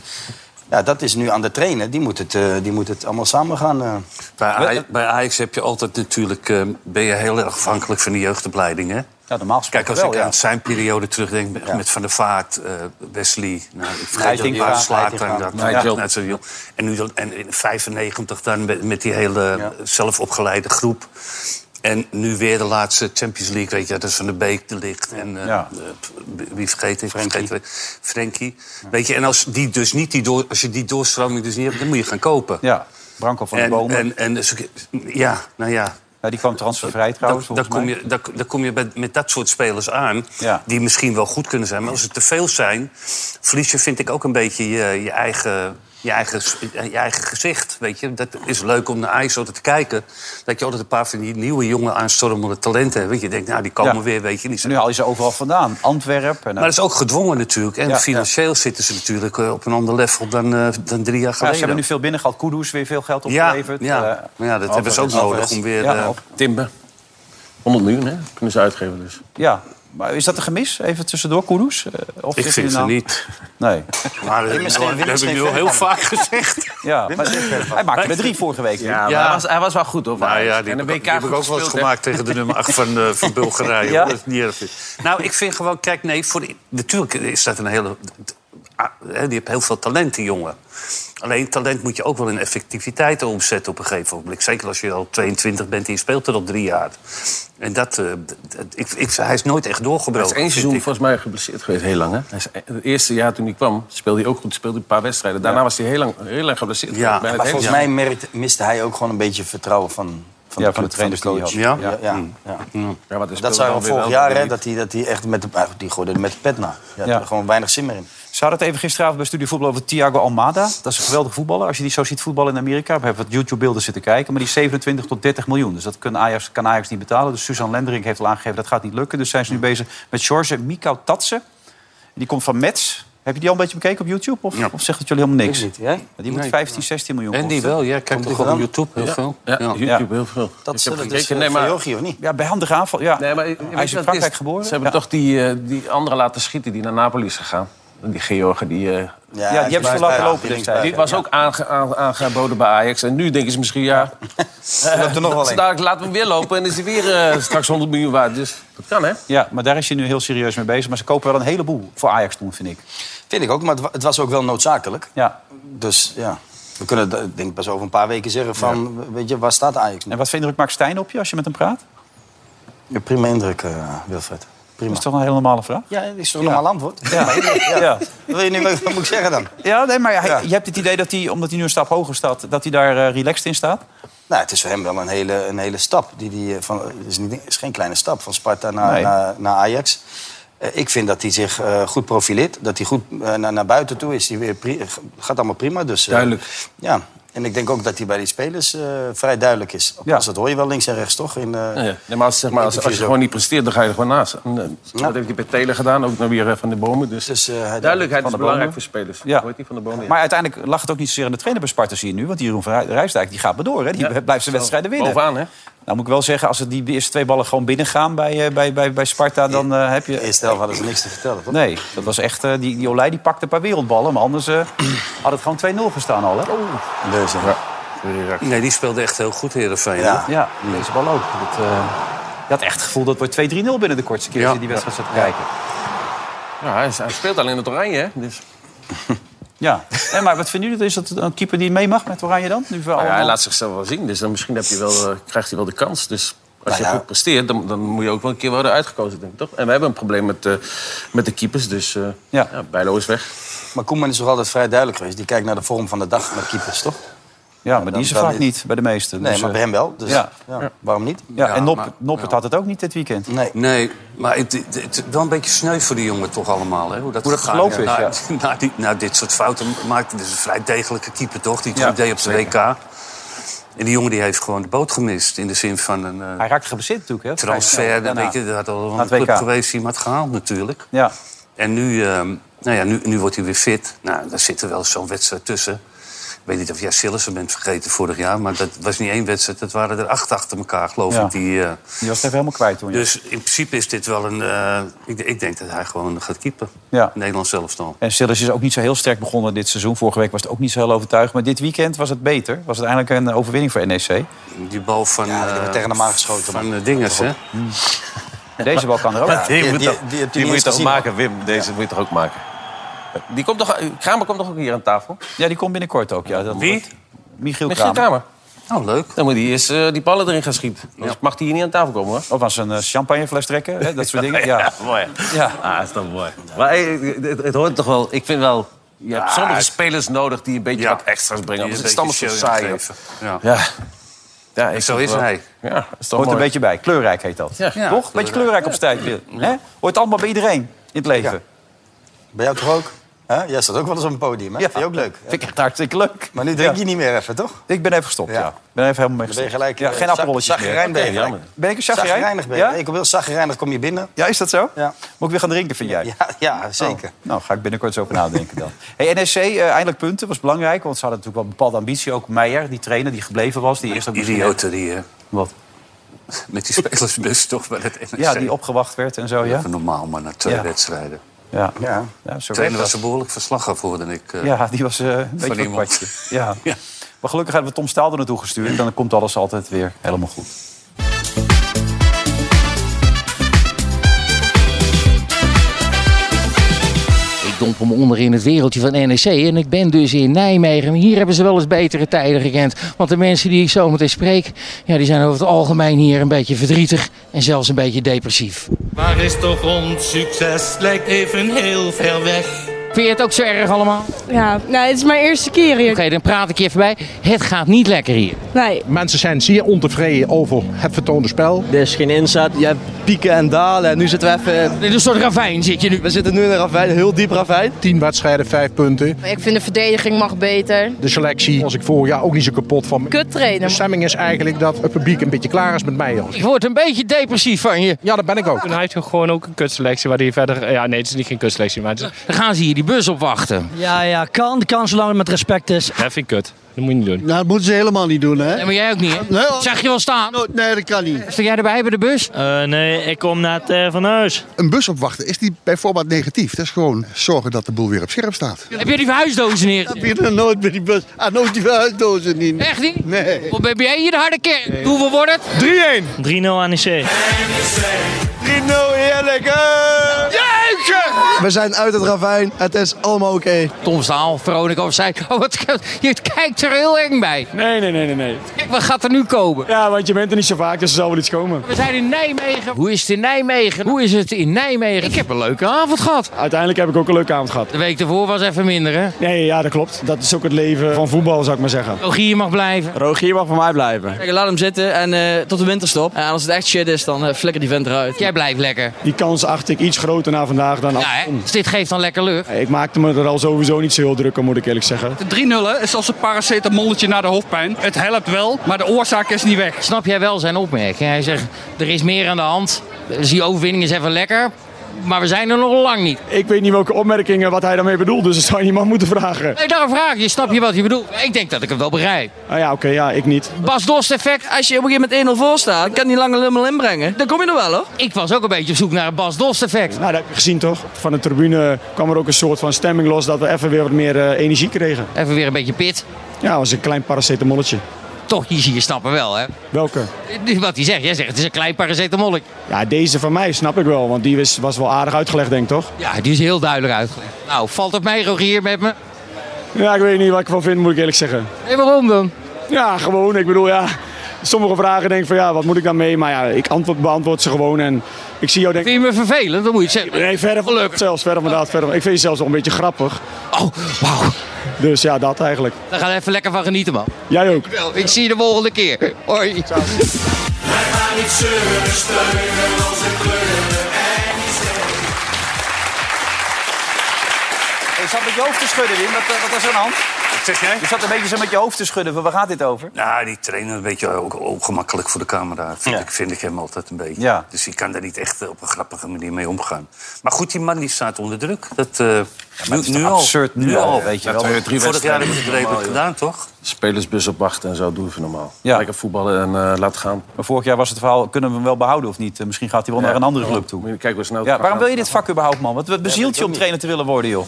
[SPEAKER 3] Ja, dat is nu aan de trainer. Die moet het, eh, die moet het allemaal samen gaan. eh.
[SPEAKER 4] Bij, Aj- bij Ajax heb je altijd natuurlijk... eh, ben je heel erg afhankelijk van de jeugdopleiding, hè?
[SPEAKER 2] Ja, normaal gesproken
[SPEAKER 4] Kijk, als
[SPEAKER 2] wel,
[SPEAKER 4] ik
[SPEAKER 2] ja.
[SPEAKER 4] aan zijn periode terugdenk met- met Van der Vaart, eh, Wesley, nou, ik vergeet ook
[SPEAKER 2] Heitinga,
[SPEAKER 4] niet waar, Slater
[SPEAKER 3] Heitinga.
[SPEAKER 4] en dat.
[SPEAKER 5] Nigel.
[SPEAKER 4] Ja, net zo jong. En, nu dan, en in 95 dan met, met die hele zelfopgeleide groep. En nu weer de laatste Champions League, weet je, dat is Van de Beek, De Licht en eh,
[SPEAKER 2] Ja.
[SPEAKER 4] eh, wie vergeet ik? Vergeet ik. Frenkie. Weet je, en als, die dus niet die door, als je die doorstroming dus niet hebt, dan moet je gaan kopen.
[SPEAKER 2] Ja, Branco van de
[SPEAKER 4] En,
[SPEAKER 2] Bomen.
[SPEAKER 4] en, en dus- ja, nou ja,
[SPEAKER 2] ja, die kwam transfervrij trouwens,
[SPEAKER 4] dan, dan
[SPEAKER 2] volgens
[SPEAKER 4] kom
[SPEAKER 2] mij.
[SPEAKER 4] je, dan, dan kom je met, met dat soort spelers aan.
[SPEAKER 2] Ja.
[SPEAKER 4] Die misschien wel goed kunnen zijn. Maar als het te veel zijn, verlies je, vind ik, ook een beetje je, je, eigen, je, eigen, eh, je eigen gezicht. Weet je? Dat is leuk om naar IJs altijd te kijken. Dat je altijd een paar van die nieuwe, jonge, aanstormende talenten hebt. Want je denkt, nou, die komen
[SPEAKER 2] Ja.
[SPEAKER 4] weer, weet je. Die zijn-
[SPEAKER 2] Nu haal je ze overal vandaan. Antwerpen. eh,
[SPEAKER 4] Maar dat is ook gedwongen natuurlijk. En
[SPEAKER 2] Ja,
[SPEAKER 4] financieel zitten ze natuurlijk eh, op een ander level dan, eh, dan drie jaar
[SPEAKER 2] ja,
[SPEAKER 4] geleden.
[SPEAKER 2] ze hebben nu veel binnen gehad. Kudus weer veel geld
[SPEAKER 4] ja,
[SPEAKER 2] opgeleverd.
[SPEAKER 4] ja,
[SPEAKER 2] Eh,
[SPEAKER 4] maar ja, dat hebben ze ook
[SPEAKER 2] Alvarez.
[SPEAKER 4] nodig om weer...
[SPEAKER 2] Ja,
[SPEAKER 4] eh,
[SPEAKER 2] op-
[SPEAKER 5] Timber. 100 miljoen, hè? Kunnen ze uitgeven dus.
[SPEAKER 2] ja, maar is dat een gemis? Even tussendoor, Kudus? Eh, Of
[SPEAKER 4] ik
[SPEAKER 2] zit hij
[SPEAKER 4] vind
[SPEAKER 2] er
[SPEAKER 4] ze
[SPEAKER 2] nou-
[SPEAKER 4] niet.
[SPEAKER 2] Nee.
[SPEAKER 4] Maar dat,
[SPEAKER 3] is geen-
[SPEAKER 4] dat
[SPEAKER 3] Wim is
[SPEAKER 4] heb ik
[SPEAKER 3] geen
[SPEAKER 4] nu al
[SPEAKER 3] fan
[SPEAKER 4] heel
[SPEAKER 3] van.
[SPEAKER 4] vaak gezegd.
[SPEAKER 2] Ja, maar hij maakte er drie vorige week.
[SPEAKER 5] Ja, maar
[SPEAKER 4] Ja.
[SPEAKER 5] Hij, was, hij was wel goed, hoor.
[SPEAKER 4] Nou ja, die,
[SPEAKER 5] en de
[SPEAKER 4] heb ik-
[SPEAKER 5] WK
[SPEAKER 4] die heb ik
[SPEAKER 5] goed
[SPEAKER 4] ook wel eens
[SPEAKER 5] gespeeld, hè.
[SPEAKER 4] gemaakt tegen de nummer 8 van, eh, van Bulgarije.
[SPEAKER 2] Ja?
[SPEAKER 4] hoor. Dat is niet erg. Nou, ik vind gewoon, kijk, nee, voor, de- natuurlijk is dat een hele. ah, hè, Die heeft heel veel talent, die jongen. Alleen talent moet je ook wel in effectiviteit omzetten op een gegeven moment. Zeker als je al 22 bent en je speelt er al drie jaar. En dat, eh, d- dat- ik, ik, hij is nooit echt
[SPEAKER 5] Hij
[SPEAKER 4] doorgebroken.
[SPEAKER 5] is één
[SPEAKER 4] vind
[SPEAKER 5] seizoen
[SPEAKER 4] ik.
[SPEAKER 5] volgens mij geblesseerd geweest, heel lang. Hè? Hij is, eh, het eerste jaar toen hij kwam, speelde hij ook goed. Speelde hij een paar wedstrijden. Daarna was hij heel lang, heel lang geblesseerd.
[SPEAKER 4] Ja,
[SPEAKER 5] Bijna
[SPEAKER 3] Maar
[SPEAKER 5] het hele
[SPEAKER 3] volgens mij merkte, miste hij ook gewoon een beetje vertrouwen van, van,
[SPEAKER 2] Ja,
[SPEAKER 3] de,
[SPEAKER 2] van de
[SPEAKER 3] club, van de
[SPEAKER 2] trainers die hij Hmm.
[SPEAKER 3] coach.
[SPEAKER 4] had. Ja?
[SPEAKER 3] Ja, ja, ja.
[SPEAKER 5] jaar. Ja, want hij speelde
[SPEAKER 3] Dat zou
[SPEAKER 5] dan
[SPEAKER 3] je
[SPEAKER 5] weer
[SPEAKER 3] vorig
[SPEAKER 5] wel
[SPEAKER 3] jaar,
[SPEAKER 5] weer
[SPEAKER 3] hè,
[SPEAKER 5] niet.
[SPEAKER 3] dat hij, dat hij echt met de, ah, die gooide er met de pet naar. Ja,
[SPEAKER 2] Ja.
[SPEAKER 3] Gewoon weinig zin meer in.
[SPEAKER 2] Ze hadden het even gisteravond bij Studio Voetbal over Thiago Almada. Dat is een geweldige voetballer. Als je die zo ziet voetballen in Amerika. We hebben wat YouTube-beelden zitten kijken. Maar die is 27 tot 30 miljoen. Dus dat kan Ajax, kan Ajax niet betalen. Dus Suzanne Lendering heeft al aangegeven dat gaat niet lukken. Dus zijn ze nu bezig met George Mikau Tatsen. Die komt van Mets. Heb je die al een beetje bekeken op YouTube? Of, of zegt het jullie helemaal niks?
[SPEAKER 3] Niet, jij?
[SPEAKER 2] Die moet 15, 16 miljoen
[SPEAKER 4] En die
[SPEAKER 2] kosten.
[SPEAKER 4] wel, jij kijkt
[SPEAKER 3] die
[SPEAKER 4] toch op
[SPEAKER 3] wel?
[SPEAKER 4] YouTube heel veel?
[SPEAKER 5] Ja,
[SPEAKER 4] Ja.
[SPEAKER 5] YouTube
[SPEAKER 2] Ja.
[SPEAKER 5] heel veel.
[SPEAKER 3] Dat
[SPEAKER 5] Ik heb
[SPEAKER 3] zullen dus
[SPEAKER 5] gekeken,
[SPEAKER 3] nee,
[SPEAKER 5] nee, maar-
[SPEAKER 3] of niet?
[SPEAKER 2] Ja, bij handige aanval. Ja.
[SPEAKER 5] Nee, maar weet je
[SPEAKER 2] Hij is
[SPEAKER 5] wat
[SPEAKER 2] in
[SPEAKER 5] het
[SPEAKER 2] Frankrijk geboren.
[SPEAKER 5] Ze hebben
[SPEAKER 2] Ja.
[SPEAKER 5] toch die, eh die andere laten schieten die naar Napoli is gegaan. Die Georgen, die, eh,
[SPEAKER 2] Ja, die hebben ze
[SPEAKER 3] bij-
[SPEAKER 2] laten
[SPEAKER 3] ja,
[SPEAKER 2] lopen
[SPEAKER 3] dus die
[SPEAKER 2] destijds.
[SPEAKER 5] die was ook aange- aan- aangeboden bij Ajax. En nu denken ze misschien, ja,
[SPEAKER 3] loopt er nog wel
[SPEAKER 5] ze
[SPEAKER 3] een.
[SPEAKER 5] dadelijk laten we hem weer lopen... en is hij weer eh, straks 100 miljoen waard. Dus dat kan, hè?
[SPEAKER 2] Ja, maar daar is hij nu heel serieus mee bezig. Maar ze kopen wel een heleboel voor Ajax toen, vind ik.
[SPEAKER 3] Vind ik ook, maar het wa- het was ook wel noodzakelijk.
[SPEAKER 2] Ja.
[SPEAKER 3] Dus ja, we kunnen d- ik denk ik pas over een paar weken zeggen van... Weet je, waar staat Ajax nu?
[SPEAKER 2] En wat voor indruk maakt Stijn op je als je met hem praat?
[SPEAKER 3] Ja, prima indruk, eh, Wilfred.
[SPEAKER 2] Dat
[SPEAKER 3] Prima.
[SPEAKER 2] is toch een hele normale vraag?
[SPEAKER 3] Ja, dat is toch een normaal antwoord? Ja.
[SPEAKER 2] Ja,
[SPEAKER 3] Wat wil je nu, wat moet ik zeggen dan?
[SPEAKER 2] ja nee, maar hij-
[SPEAKER 3] Ja.
[SPEAKER 2] je hebt het idee dat hij, omdat hij nu een stap hoger staat... dat hij daar eh, relaxed in staat?
[SPEAKER 3] Nou, het is voor hem wel een hele, een hele stap. Die, die, eh, van, het is, niet, het is geen kleine stap, van Sparta naar,
[SPEAKER 2] Nee.
[SPEAKER 3] naar, naar Ajax. Eh, ik vind dat hij zich eh, goed profileert. Dat hij goed eh, naar, naar buiten toe is. Die weer pri- gaat allemaal prima. Dus, eh,
[SPEAKER 5] Duidelijk.
[SPEAKER 3] Ja, en ik denk ook dat hij bij die spelers eh, vrij duidelijk is. Althans,
[SPEAKER 2] Ja.
[SPEAKER 3] dat hoor je wel links en rechts, toch? In, eh,
[SPEAKER 5] Nee, maar als, zeg maar, als, als je gewoon niet presteert, dan ga je er gewoon naast. En, eh, Dat heeft hij bij Telen gedaan, ook nog weer eh, van de bomen. Dus,
[SPEAKER 3] Dus, eh, hij deed
[SPEAKER 5] duidelijkheid is
[SPEAKER 2] de
[SPEAKER 5] belangrijk
[SPEAKER 2] Bomen.
[SPEAKER 5] voor spelers.
[SPEAKER 2] Ja.
[SPEAKER 5] Ja. Hoort hij van de bomen? ja.
[SPEAKER 2] Maar uiteindelijk lag het ook niet zozeer aan de trainer bij Sparta, zie je nu. Want die Jeroen van Rij- Rijsdijk die gaat maar door. Hè? Die
[SPEAKER 5] Ja.
[SPEAKER 2] blijft zijn wedstrijden winnen.
[SPEAKER 5] Bovenaan, hè?
[SPEAKER 2] Nou moet ik wel zeggen, als het die eerste twee ballen gewoon binnengaan bij, eh, bij, bij, bij Sparta... dan eh, heb je...
[SPEAKER 3] Eerst helft hadden ze niks te vertellen, toch?
[SPEAKER 2] Nee, dat was echt... eh, die, die Olij die pakte een paar wereldballen. Maar anders eh, had het gewoon 2-0 gestaan al. Hè?
[SPEAKER 3] Dus, ja.
[SPEAKER 4] Nee, die speelde echt heel goed, Heerenveen. hoor.
[SPEAKER 3] Ja.
[SPEAKER 2] Ja, deze bal ook. Dat, eh, je had echt het gevoel dat het wordt 2-3-0 binnen de kortste keer als je die wedstrijd zat te kijken.
[SPEAKER 5] Ja, hij, is- hij speelt alleen het oranje, hè? Dus,
[SPEAKER 2] Oh, Ja, en maar wat vinden jullie? Is dat een keeper die mee mag met Oranje dan? Nu wel
[SPEAKER 5] Nou ja,
[SPEAKER 2] allemaal-
[SPEAKER 5] hij laat zichzelf wel zien, dus dan misschien heb je wel, eh, krijgt hij wel de kans. Dus als je
[SPEAKER 3] Nou ja.
[SPEAKER 5] goed presteert, dan, dan moet je ook wel een keer worden uitgekozen, denk ik, toch? En we hebben een probleem met, eh, met de keepers, dus eh
[SPEAKER 2] Ja.
[SPEAKER 5] ja. Bijlo is weg.
[SPEAKER 3] Maar Koeman is toch altijd vrij duidelijk geweest. Die kijkt naar de vorm van de dag met keepers, toch?
[SPEAKER 2] ja, maar die is er
[SPEAKER 3] Dan-
[SPEAKER 2] vaak
[SPEAKER 3] dan is-
[SPEAKER 2] niet bij de meesten.
[SPEAKER 3] Nee,
[SPEAKER 2] Dus,
[SPEAKER 3] maar
[SPEAKER 2] eh,
[SPEAKER 3] bij hem wel. Dus,
[SPEAKER 2] ja.
[SPEAKER 3] ja. Waarom niet?
[SPEAKER 2] ja, en
[SPEAKER 4] Ja,
[SPEAKER 2] Nop,
[SPEAKER 4] maar-
[SPEAKER 2] Noppert had het ook niet dit weekend.
[SPEAKER 3] Nee.
[SPEAKER 4] Nee, maar het, het, het- wel een beetje sneu voor die jongen toch allemaal. Hè? Hoe dat, gegaan
[SPEAKER 2] geloof is,
[SPEAKER 4] Na,
[SPEAKER 2] ja.
[SPEAKER 4] na, die, na dit soort fouten maakte dus een vrij degelijke keeper toch? Die het
[SPEAKER 2] Ja,
[SPEAKER 4] goed deed op de WK. En die jongen die heeft gewoon de boot gemist. In de zin van een eh,
[SPEAKER 2] Hij raakte geblesseerd natuurlijk. Hè?
[SPEAKER 4] transfer.
[SPEAKER 2] Daarna.
[SPEAKER 4] weet je, dat had al wel
[SPEAKER 2] Na
[SPEAKER 4] een
[SPEAKER 2] het WK.
[SPEAKER 4] club geweest die hem had gehaald natuurlijk.
[SPEAKER 2] nou, Ja,
[SPEAKER 4] En nu, ehm, nou ja, nu, nu wordt hij weer fit. Nou, daar zit er wel eens zo'n wedstrijd tussen. Ik weet niet of jij Sillessen bent vergeten vorig jaar. Maar dat was niet één wedstrijd. Dat waren er acht achter elkaar, geloof
[SPEAKER 2] Ja.
[SPEAKER 4] ik. Die, eh,
[SPEAKER 2] die was het even helemaal kwijt toen. ja.
[SPEAKER 4] dus in principe is dit wel een. eh, ik, ik denk dat hij gewoon gaat keeper.
[SPEAKER 2] Ja.
[SPEAKER 4] Nederlands zelfstal.
[SPEAKER 2] En Sillers is ook niet zo heel sterk begonnen dit seizoen. Vorige week was het ook niet zo heel overtuigend. Maar dit weekend was het beter. Was het eindelijk een overwinning voor E NEC.
[SPEAKER 4] Die bal van.
[SPEAKER 3] Ja, die
[SPEAKER 4] eh,
[SPEAKER 3] werd tegen hem aangeschoten,
[SPEAKER 4] Van eh, Dingers, hè?
[SPEAKER 2] Deze bal kan er ook.
[SPEAKER 3] die-
[SPEAKER 8] moet
[SPEAKER 3] die-
[SPEAKER 8] toch-
[SPEAKER 3] die heb je
[SPEAKER 8] die
[SPEAKER 3] niet
[SPEAKER 8] moet je
[SPEAKER 3] eens
[SPEAKER 8] toch
[SPEAKER 3] gezien,
[SPEAKER 8] maken, Wim? Deze moet je toch ook maken?
[SPEAKER 5] Die komt toch, Kramer komt toch ook hier aan tafel?
[SPEAKER 2] Ja, die komt binnenkort ook. Ja, dat
[SPEAKER 5] Wie?
[SPEAKER 2] wordt- Michiel
[SPEAKER 5] Misschien
[SPEAKER 2] Kramer.
[SPEAKER 5] Kramer.
[SPEAKER 4] Nou, leuk.
[SPEAKER 5] Dan moet hij eerst eh, die ballen erin gaan schieten. Anders mag hij hier niet aan tafel komen, hoor.
[SPEAKER 2] Of als een eh, champagnefles trekken. Hè? Dat soort dingen. Ja.
[SPEAKER 5] mooi.
[SPEAKER 2] Ja.
[SPEAKER 5] Ah, is dat mooi. Maar hey, het, het hoort toch wel... Ik vind wel... Je hebt sommige spelers nodig die een beetje
[SPEAKER 4] Ja.
[SPEAKER 5] wat extra's brengen.
[SPEAKER 4] Die
[SPEAKER 5] Anders is
[SPEAKER 4] een
[SPEAKER 5] het allemaal zo
[SPEAKER 4] beetje
[SPEAKER 5] saai.
[SPEAKER 4] show
[SPEAKER 5] joh.
[SPEAKER 4] geven. Ja.
[SPEAKER 5] Ja. ja ik
[SPEAKER 4] Zo
[SPEAKER 5] vind
[SPEAKER 4] is
[SPEAKER 5] wel-
[SPEAKER 4] hij.
[SPEAKER 5] Ja, is toch
[SPEAKER 2] Hoort
[SPEAKER 5] mooi.
[SPEAKER 2] er een beetje bij. Kleurrijk heet dat.
[SPEAKER 5] Ja.
[SPEAKER 2] Toch?
[SPEAKER 5] Ja,
[SPEAKER 2] Beetje kleurrijk op zijn tijd. Hè? Hoort allemaal bij iedereen in het leven.
[SPEAKER 3] Bij jou toch ook? Hè? Jij staat ook wel eens op een podium, hè?
[SPEAKER 2] Ja.
[SPEAKER 3] Vind je ook leuk?
[SPEAKER 2] Vind ik echt hartstikke leuk.
[SPEAKER 3] Maar nu drink
[SPEAKER 2] Ja.
[SPEAKER 3] je niet meer even, toch?
[SPEAKER 2] Ik ben even gestopt, ja.
[SPEAKER 3] Ja.
[SPEAKER 2] Ik ben even helemaal mee
[SPEAKER 3] Dan ben je
[SPEAKER 2] gestopt.
[SPEAKER 3] gelijk...
[SPEAKER 2] ja,
[SPEAKER 3] eh,
[SPEAKER 2] geen
[SPEAKER 3] zag-
[SPEAKER 2] appelrolletjes meer.
[SPEAKER 3] Zaggerijn ben je gelijk.
[SPEAKER 2] Ben ik een chagrijnig?
[SPEAKER 3] Zaggerijnig ben je.
[SPEAKER 2] Ja?
[SPEAKER 3] Ik wil zaggerijnig kom je binnen.
[SPEAKER 2] ja, is dat zo?
[SPEAKER 3] Ja.
[SPEAKER 2] Moet ik weer gaan drinken, vind jij?
[SPEAKER 3] Ja, ja zeker.
[SPEAKER 2] Oh, nou, ga ik binnenkort eens over nadenken dan. Hey, NSC, eh, eindelijk punten, was belangrijk. Want ze hadden natuurlijk wel een bepaalde ambitie. Ook Meijer, die trainer die gebleven was. Die eerst ook misschien-
[SPEAKER 4] Idioterie, hè?
[SPEAKER 2] Wat?
[SPEAKER 4] Met die spelersbus toch bij het NEC.
[SPEAKER 2] Ja, die opgewacht werd en zo, ja.
[SPEAKER 4] Even normaal, maar na twee
[SPEAKER 2] Ja.
[SPEAKER 4] wedstrijden.
[SPEAKER 2] Ja,
[SPEAKER 3] Ja.
[SPEAKER 2] ja zo
[SPEAKER 4] De
[SPEAKER 2] werkt
[SPEAKER 4] trainer
[SPEAKER 2] dat.
[SPEAKER 4] was een behoorlijk verslag af, hoorde ik. eh.
[SPEAKER 2] Ja, die was eh, een beetje een
[SPEAKER 4] iemand.
[SPEAKER 2] kwartje. Ja.
[SPEAKER 4] Ja.
[SPEAKER 2] Maar gelukkig hebben we Tom Staal er naartoe gestuurd. Dan komt alles altijd weer helemaal goed.
[SPEAKER 9] Ik dompel me onder in het wereldje van NEC en ik ben dus in Nijmegen. Hier hebben ze wel eens betere tijden gekend. Want de mensen die ik zo meteen spreek, ja, die zijn over het algemeen hier een beetje verdrietig en zelfs een beetje depressief.
[SPEAKER 10] Waar is toch ons succes? Lijkt even heel ver weg.
[SPEAKER 9] Vind je het ook zo erg allemaal? Oké,
[SPEAKER 11] Ja, nou, het is mijn eerste keer hier.
[SPEAKER 9] dan praat ik je even bij. Het gaat niet lekker hier.
[SPEAKER 11] Nee,
[SPEAKER 12] Mensen zijn zeer ontevreden over het vertoonde spel.
[SPEAKER 10] Er is geen inzet. Je hebt
[SPEAKER 12] pieken en dalen. En nu zitten we even... Dit is een soort ravijn zit je nu. We zitten nu in een ravijn, een heel diep ravijn.
[SPEAKER 13] Tien wedstrijden, vijf punten.
[SPEAKER 11] Ik vind de verdediging mag beter.
[SPEAKER 13] De selectie was ik vorig jaar ook niet zo kapot van.
[SPEAKER 11] Kut
[SPEAKER 13] De
[SPEAKER 11] trainen.
[SPEAKER 13] stemming is eigenlijk dat het publiek een beetje klaar is met mij. Jongens.
[SPEAKER 12] Ik word een beetje depressief van je.
[SPEAKER 13] Ja, dat ben ik ook.
[SPEAKER 14] Toen heeft hij gewoon ook een kutselectie waar hij verder... Ja, nee, het is niet geen kutselectie, maar... Dan
[SPEAKER 12] gaan ze hier die bus opwachten.
[SPEAKER 15] Ja, ja, kan, kan zolang het met respect is.
[SPEAKER 14] Dat vind ik kut. Dat moet je niet doen.
[SPEAKER 15] Nou, dat moeten ze helemaal niet doen, hè?
[SPEAKER 12] Maar jij ook niet, hè? Zag je wel staan?
[SPEAKER 15] Nee, dat kan niet.
[SPEAKER 12] Sta jij erbij bij de bus?
[SPEAKER 14] Eh,
[SPEAKER 16] nee, ik kom net van huis. Een bus opwachten, is die bijvoorbeeld negatief? Dat is gewoon zorgen dat de boel weer op scherp staat.
[SPEAKER 12] Heb je die verhuisdozen neer?
[SPEAKER 15] Heb je er nooit met die bus? Ah, nooit die verhuisdozen niet.
[SPEAKER 12] Echt niet?
[SPEAKER 15] Nee.
[SPEAKER 12] Of ben jij hier de harde kern? Hoeveel wordt het?
[SPEAKER 16] 3-1. 3-0 NEC.
[SPEAKER 17] 3-0 heerlijk!
[SPEAKER 12] We zijn uit het ravijn. Het is allemaal oké. Tom Staal, Veronica of zij. Oh, wat, je kijkt er heel eng bij.
[SPEAKER 14] Nee, nee, nee, nee, nee.
[SPEAKER 12] Wat gaat er nu komen?
[SPEAKER 14] Ja, want je bent er niet zo vaak, dus er zal wel iets komen.
[SPEAKER 12] We zijn in Nijmegen. Hoe is het in Nijmegen? Hoe is het in Nijmegen? Ik heb een leuke avond gehad.
[SPEAKER 14] Uiteindelijk heb ik ook een leuke avond gehad.
[SPEAKER 12] De week ervoor was even minder, hè?
[SPEAKER 14] Nee, ja, dat klopt. Dat is ook het leven van voetbal, zou ik maar zeggen.
[SPEAKER 12] Rogier mag blijven.
[SPEAKER 14] Rogier mag voor mij blijven.
[SPEAKER 18] Kijk, laat hem zitten en eh, tot de winterstop. En als het echt shit is, dan eh, flikker die vent eruit.
[SPEAKER 12] Jij blijft lekker.
[SPEAKER 14] Die kans acht ik iets groter na vandaag dan andersom.
[SPEAKER 12] Dus dit geeft dan lekker lucht.
[SPEAKER 14] Ik maakte me er al sowieso niet zo heel druk om, moet ik eerlijk zeggen.
[SPEAKER 19] 3-0 is als een paracetamolletje naar de hoofdpijn. Het helpt wel, maar de oorzaak is niet weg.
[SPEAKER 12] Snap jij wel zijn opmerking? Hij zegt, er is meer aan de hand. Dus die overwinning is even lekker. Maar we zijn er nog lang niet.
[SPEAKER 14] Ik weet niet welke opmerkingen wat hij daarmee bedoelt, dus dat zou je iemand moeten vragen.
[SPEAKER 12] Nee, daarom vraag ik je. Snap je wat je bedoelt? Ik denk dat ik het wel begrijp.
[SPEAKER 14] Ah ja, oké, ja, ik niet.
[SPEAKER 12] Bas Dost effect.
[SPEAKER 18] Als je op een gegeven moment 1-0 voor staat, dan kan die lange lummel inbrengen. Dan kom je er wel hoor.
[SPEAKER 12] Ik was ook een beetje op zoek naar een Bas Dost effect.
[SPEAKER 14] Nou, dat heb je gezien toch? Van de tribune kwam er ook een soort van stemming los dat we even weer wat meer eh, energie kregen.
[SPEAKER 12] Even weer een beetje pit.
[SPEAKER 14] Ja, was een klein paracetamolletje.
[SPEAKER 12] Toch, hier zie je snappen wel, hè?
[SPEAKER 14] Welke?
[SPEAKER 12] Wat hij zegt. Jij zegt, het is een klein paracetamolletje.
[SPEAKER 14] Ja, deze van mij snap ik wel, want die was, was wel aardig uitgelegd, denk ik toch?
[SPEAKER 12] Ja, die is heel duidelijk uitgelegd. Nou, valt het mij, Rogier, met me?
[SPEAKER 14] Ja, ik weet niet wat ik van vind, moet ik eerlijk zeggen.
[SPEAKER 12] En waarom dan?
[SPEAKER 14] Ja, gewoon. Ik bedoel, ja. Sommige vragen denk ik van ja, wat moet ik dan mee? Maar ja, ik antwoord, beantwoord ze gewoon en ik zie jou denk
[SPEAKER 12] Vind je me vervelend? Dan moet je het zeggen.
[SPEAKER 14] Nee, verder van leuk. Zelfs verder van dat. Verder van- ik vind je zelfs nog een beetje grappig.
[SPEAKER 12] Oh, wauw.
[SPEAKER 14] Dus ja, dat eigenlijk.
[SPEAKER 12] Daar gaan we even lekker van genieten, man.
[SPEAKER 14] Jij ook.
[SPEAKER 12] Wel, ik zie je de volgende keer. Hoi.
[SPEAKER 10] Wij gaan niet zeuren, steunen onze kleuren. En niet zeggen.
[SPEAKER 2] Ik zat met je hoofd te schudden, Wim. Wat, eh, wat was er aan de hand?
[SPEAKER 4] Wat zeg jij?
[SPEAKER 2] Je zat een beetje zo met je hoofd te schudden. van, Waar gaat dit over?
[SPEAKER 4] Nou, die trainer een beetje ook ongemakkelijk voor de camera. Vind, ik, vind ik hem altijd een beetje.
[SPEAKER 2] Ja.
[SPEAKER 4] Dus ik kan daar niet echt op een grappige manier mee omgaan. Maar goed, die man die staat onder druk. Dat, eh,
[SPEAKER 2] maar het is toch absurd nu al, weet je
[SPEAKER 4] Ja,
[SPEAKER 2] wel.
[SPEAKER 4] twee, drie Vorig jaar heb ik het
[SPEAKER 2] wedstrijden.
[SPEAKER 4] redelijk gedaan, toch?
[SPEAKER 5] Spelersbus opwachten en zo doen we normaal.
[SPEAKER 2] Ja.
[SPEAKER 5] Lekker voetballen en eh, laat gaan.
[SPEAKER 2] Maar vorig jaar was het verhaal, kunnen we hem wel behouden of niet? Eh, Misschien gaat hij wel naar een andere club toe.
[SPEAKER 5] Kijk hoe snel het
[SPEAKER 2] Ja,
[SPEAKER 5] gaat.
[SPEAKER 2] waarom wil je dit vak überhaupt, man? Wat, wat bezielt je om trainer te willen worden, joh?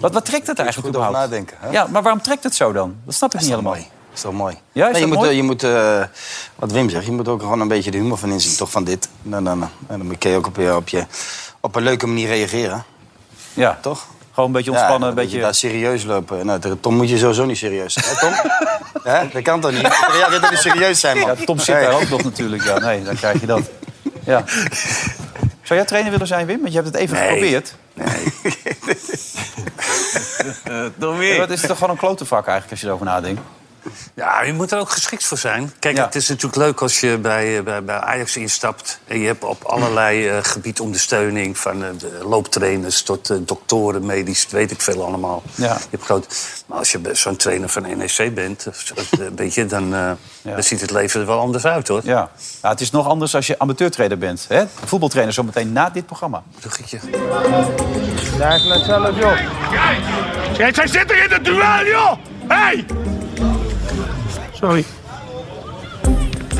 [SPEAKER 2] Wat, wat trekt het
[SPEAKER 3] over
[SPEAKER 2] eigenlijk überhaupt?
[SPEAKER 3] nadenken, hè?
[SPEAKER 2] Ja, maar waarom trekt het zo dan? Dat snap ik niet helemaal.
[SPEAKER 3] Dat is toch mooi?
[SPEAKER 2] Ja, is
[SPEAKER 3] Nee, je,
[SPEAKER 2] dat
[SPEAKER 3] moet,
[SPEAKER 2] mooi?
[SPEAKER 3] eh, je moet, eh, wat Wim zegt, je moet ook gewoon een beetje de humor van inzien. Toch van dit. Nou, nou, nou. En dan kun je ook op, je, op, je, op een leuke manier reageren.
[SPEAKER 2] Ja,
[SPEAKER 3] toch?
[SPEAKER 2] Gewoon een beetje
[SPEAKER 3] Ja,
[SPEAKER 2] ontspannen,
[SPEAKER 3] en
[SPEAKER 2] een
[SPEAKER 3] dan
[SPEAKER 2] beetje...
[SPEAKER 3] moet je daar serieus lopen. Nou, ter- Tom moet je sowieso niet serieus zijn. Hè, Tom? Hè? Dat kan toch niet? Ja, dit moet niet serieus zijn, man.
[SPEAKER 2] Ja, Tom zit daar ook nog natuurlijk. Ja, nee, dan krijg je dat. Ja. Zou jij trainer willen zijn, Wim? Want je hebt het even
[SPEAKER 4] Nee.
[SPEAKER 2] geprobeerd.
[SPEAKER 4] Nog
[SPEAKER 2] Ja, dat is toch gewoon een klote vak eigenlijk, als je erover nadenkt.
[SPEAKER 4] Ja, je moet er ook geschikt voor zijn. Kijk, het is natuurlijk leuk als je bij, eh, bij, bij Ajax instapt. En je hebt op allerlei eh gebied ondersteuning. Van eh, de looptrainers tot eh, doktoren, medisch, weet ik veel allemaal.
[SPEAKER 2] Ja.
[SPEAKER 4] Je hebt groot... Maar als je be- zo'n trainer van NEC bent, of zo, eh, weet je, dan, eh, dan ziet het leven er wel anders uit, hoor.
[SPEAKER 2] Ja. Ja, het is nog anders als je amateurtrainer bent. Hè? Voetbaltrainer zometeen na dit programma.
[SPEAKER 4] Bruggetje.
[SPEAKER 2] Daar is het zelf, joh.
[SPEAKER 10] Kijk, zij zitten in het duel, joh! Hey!
[SPEAKER 20] Sorry.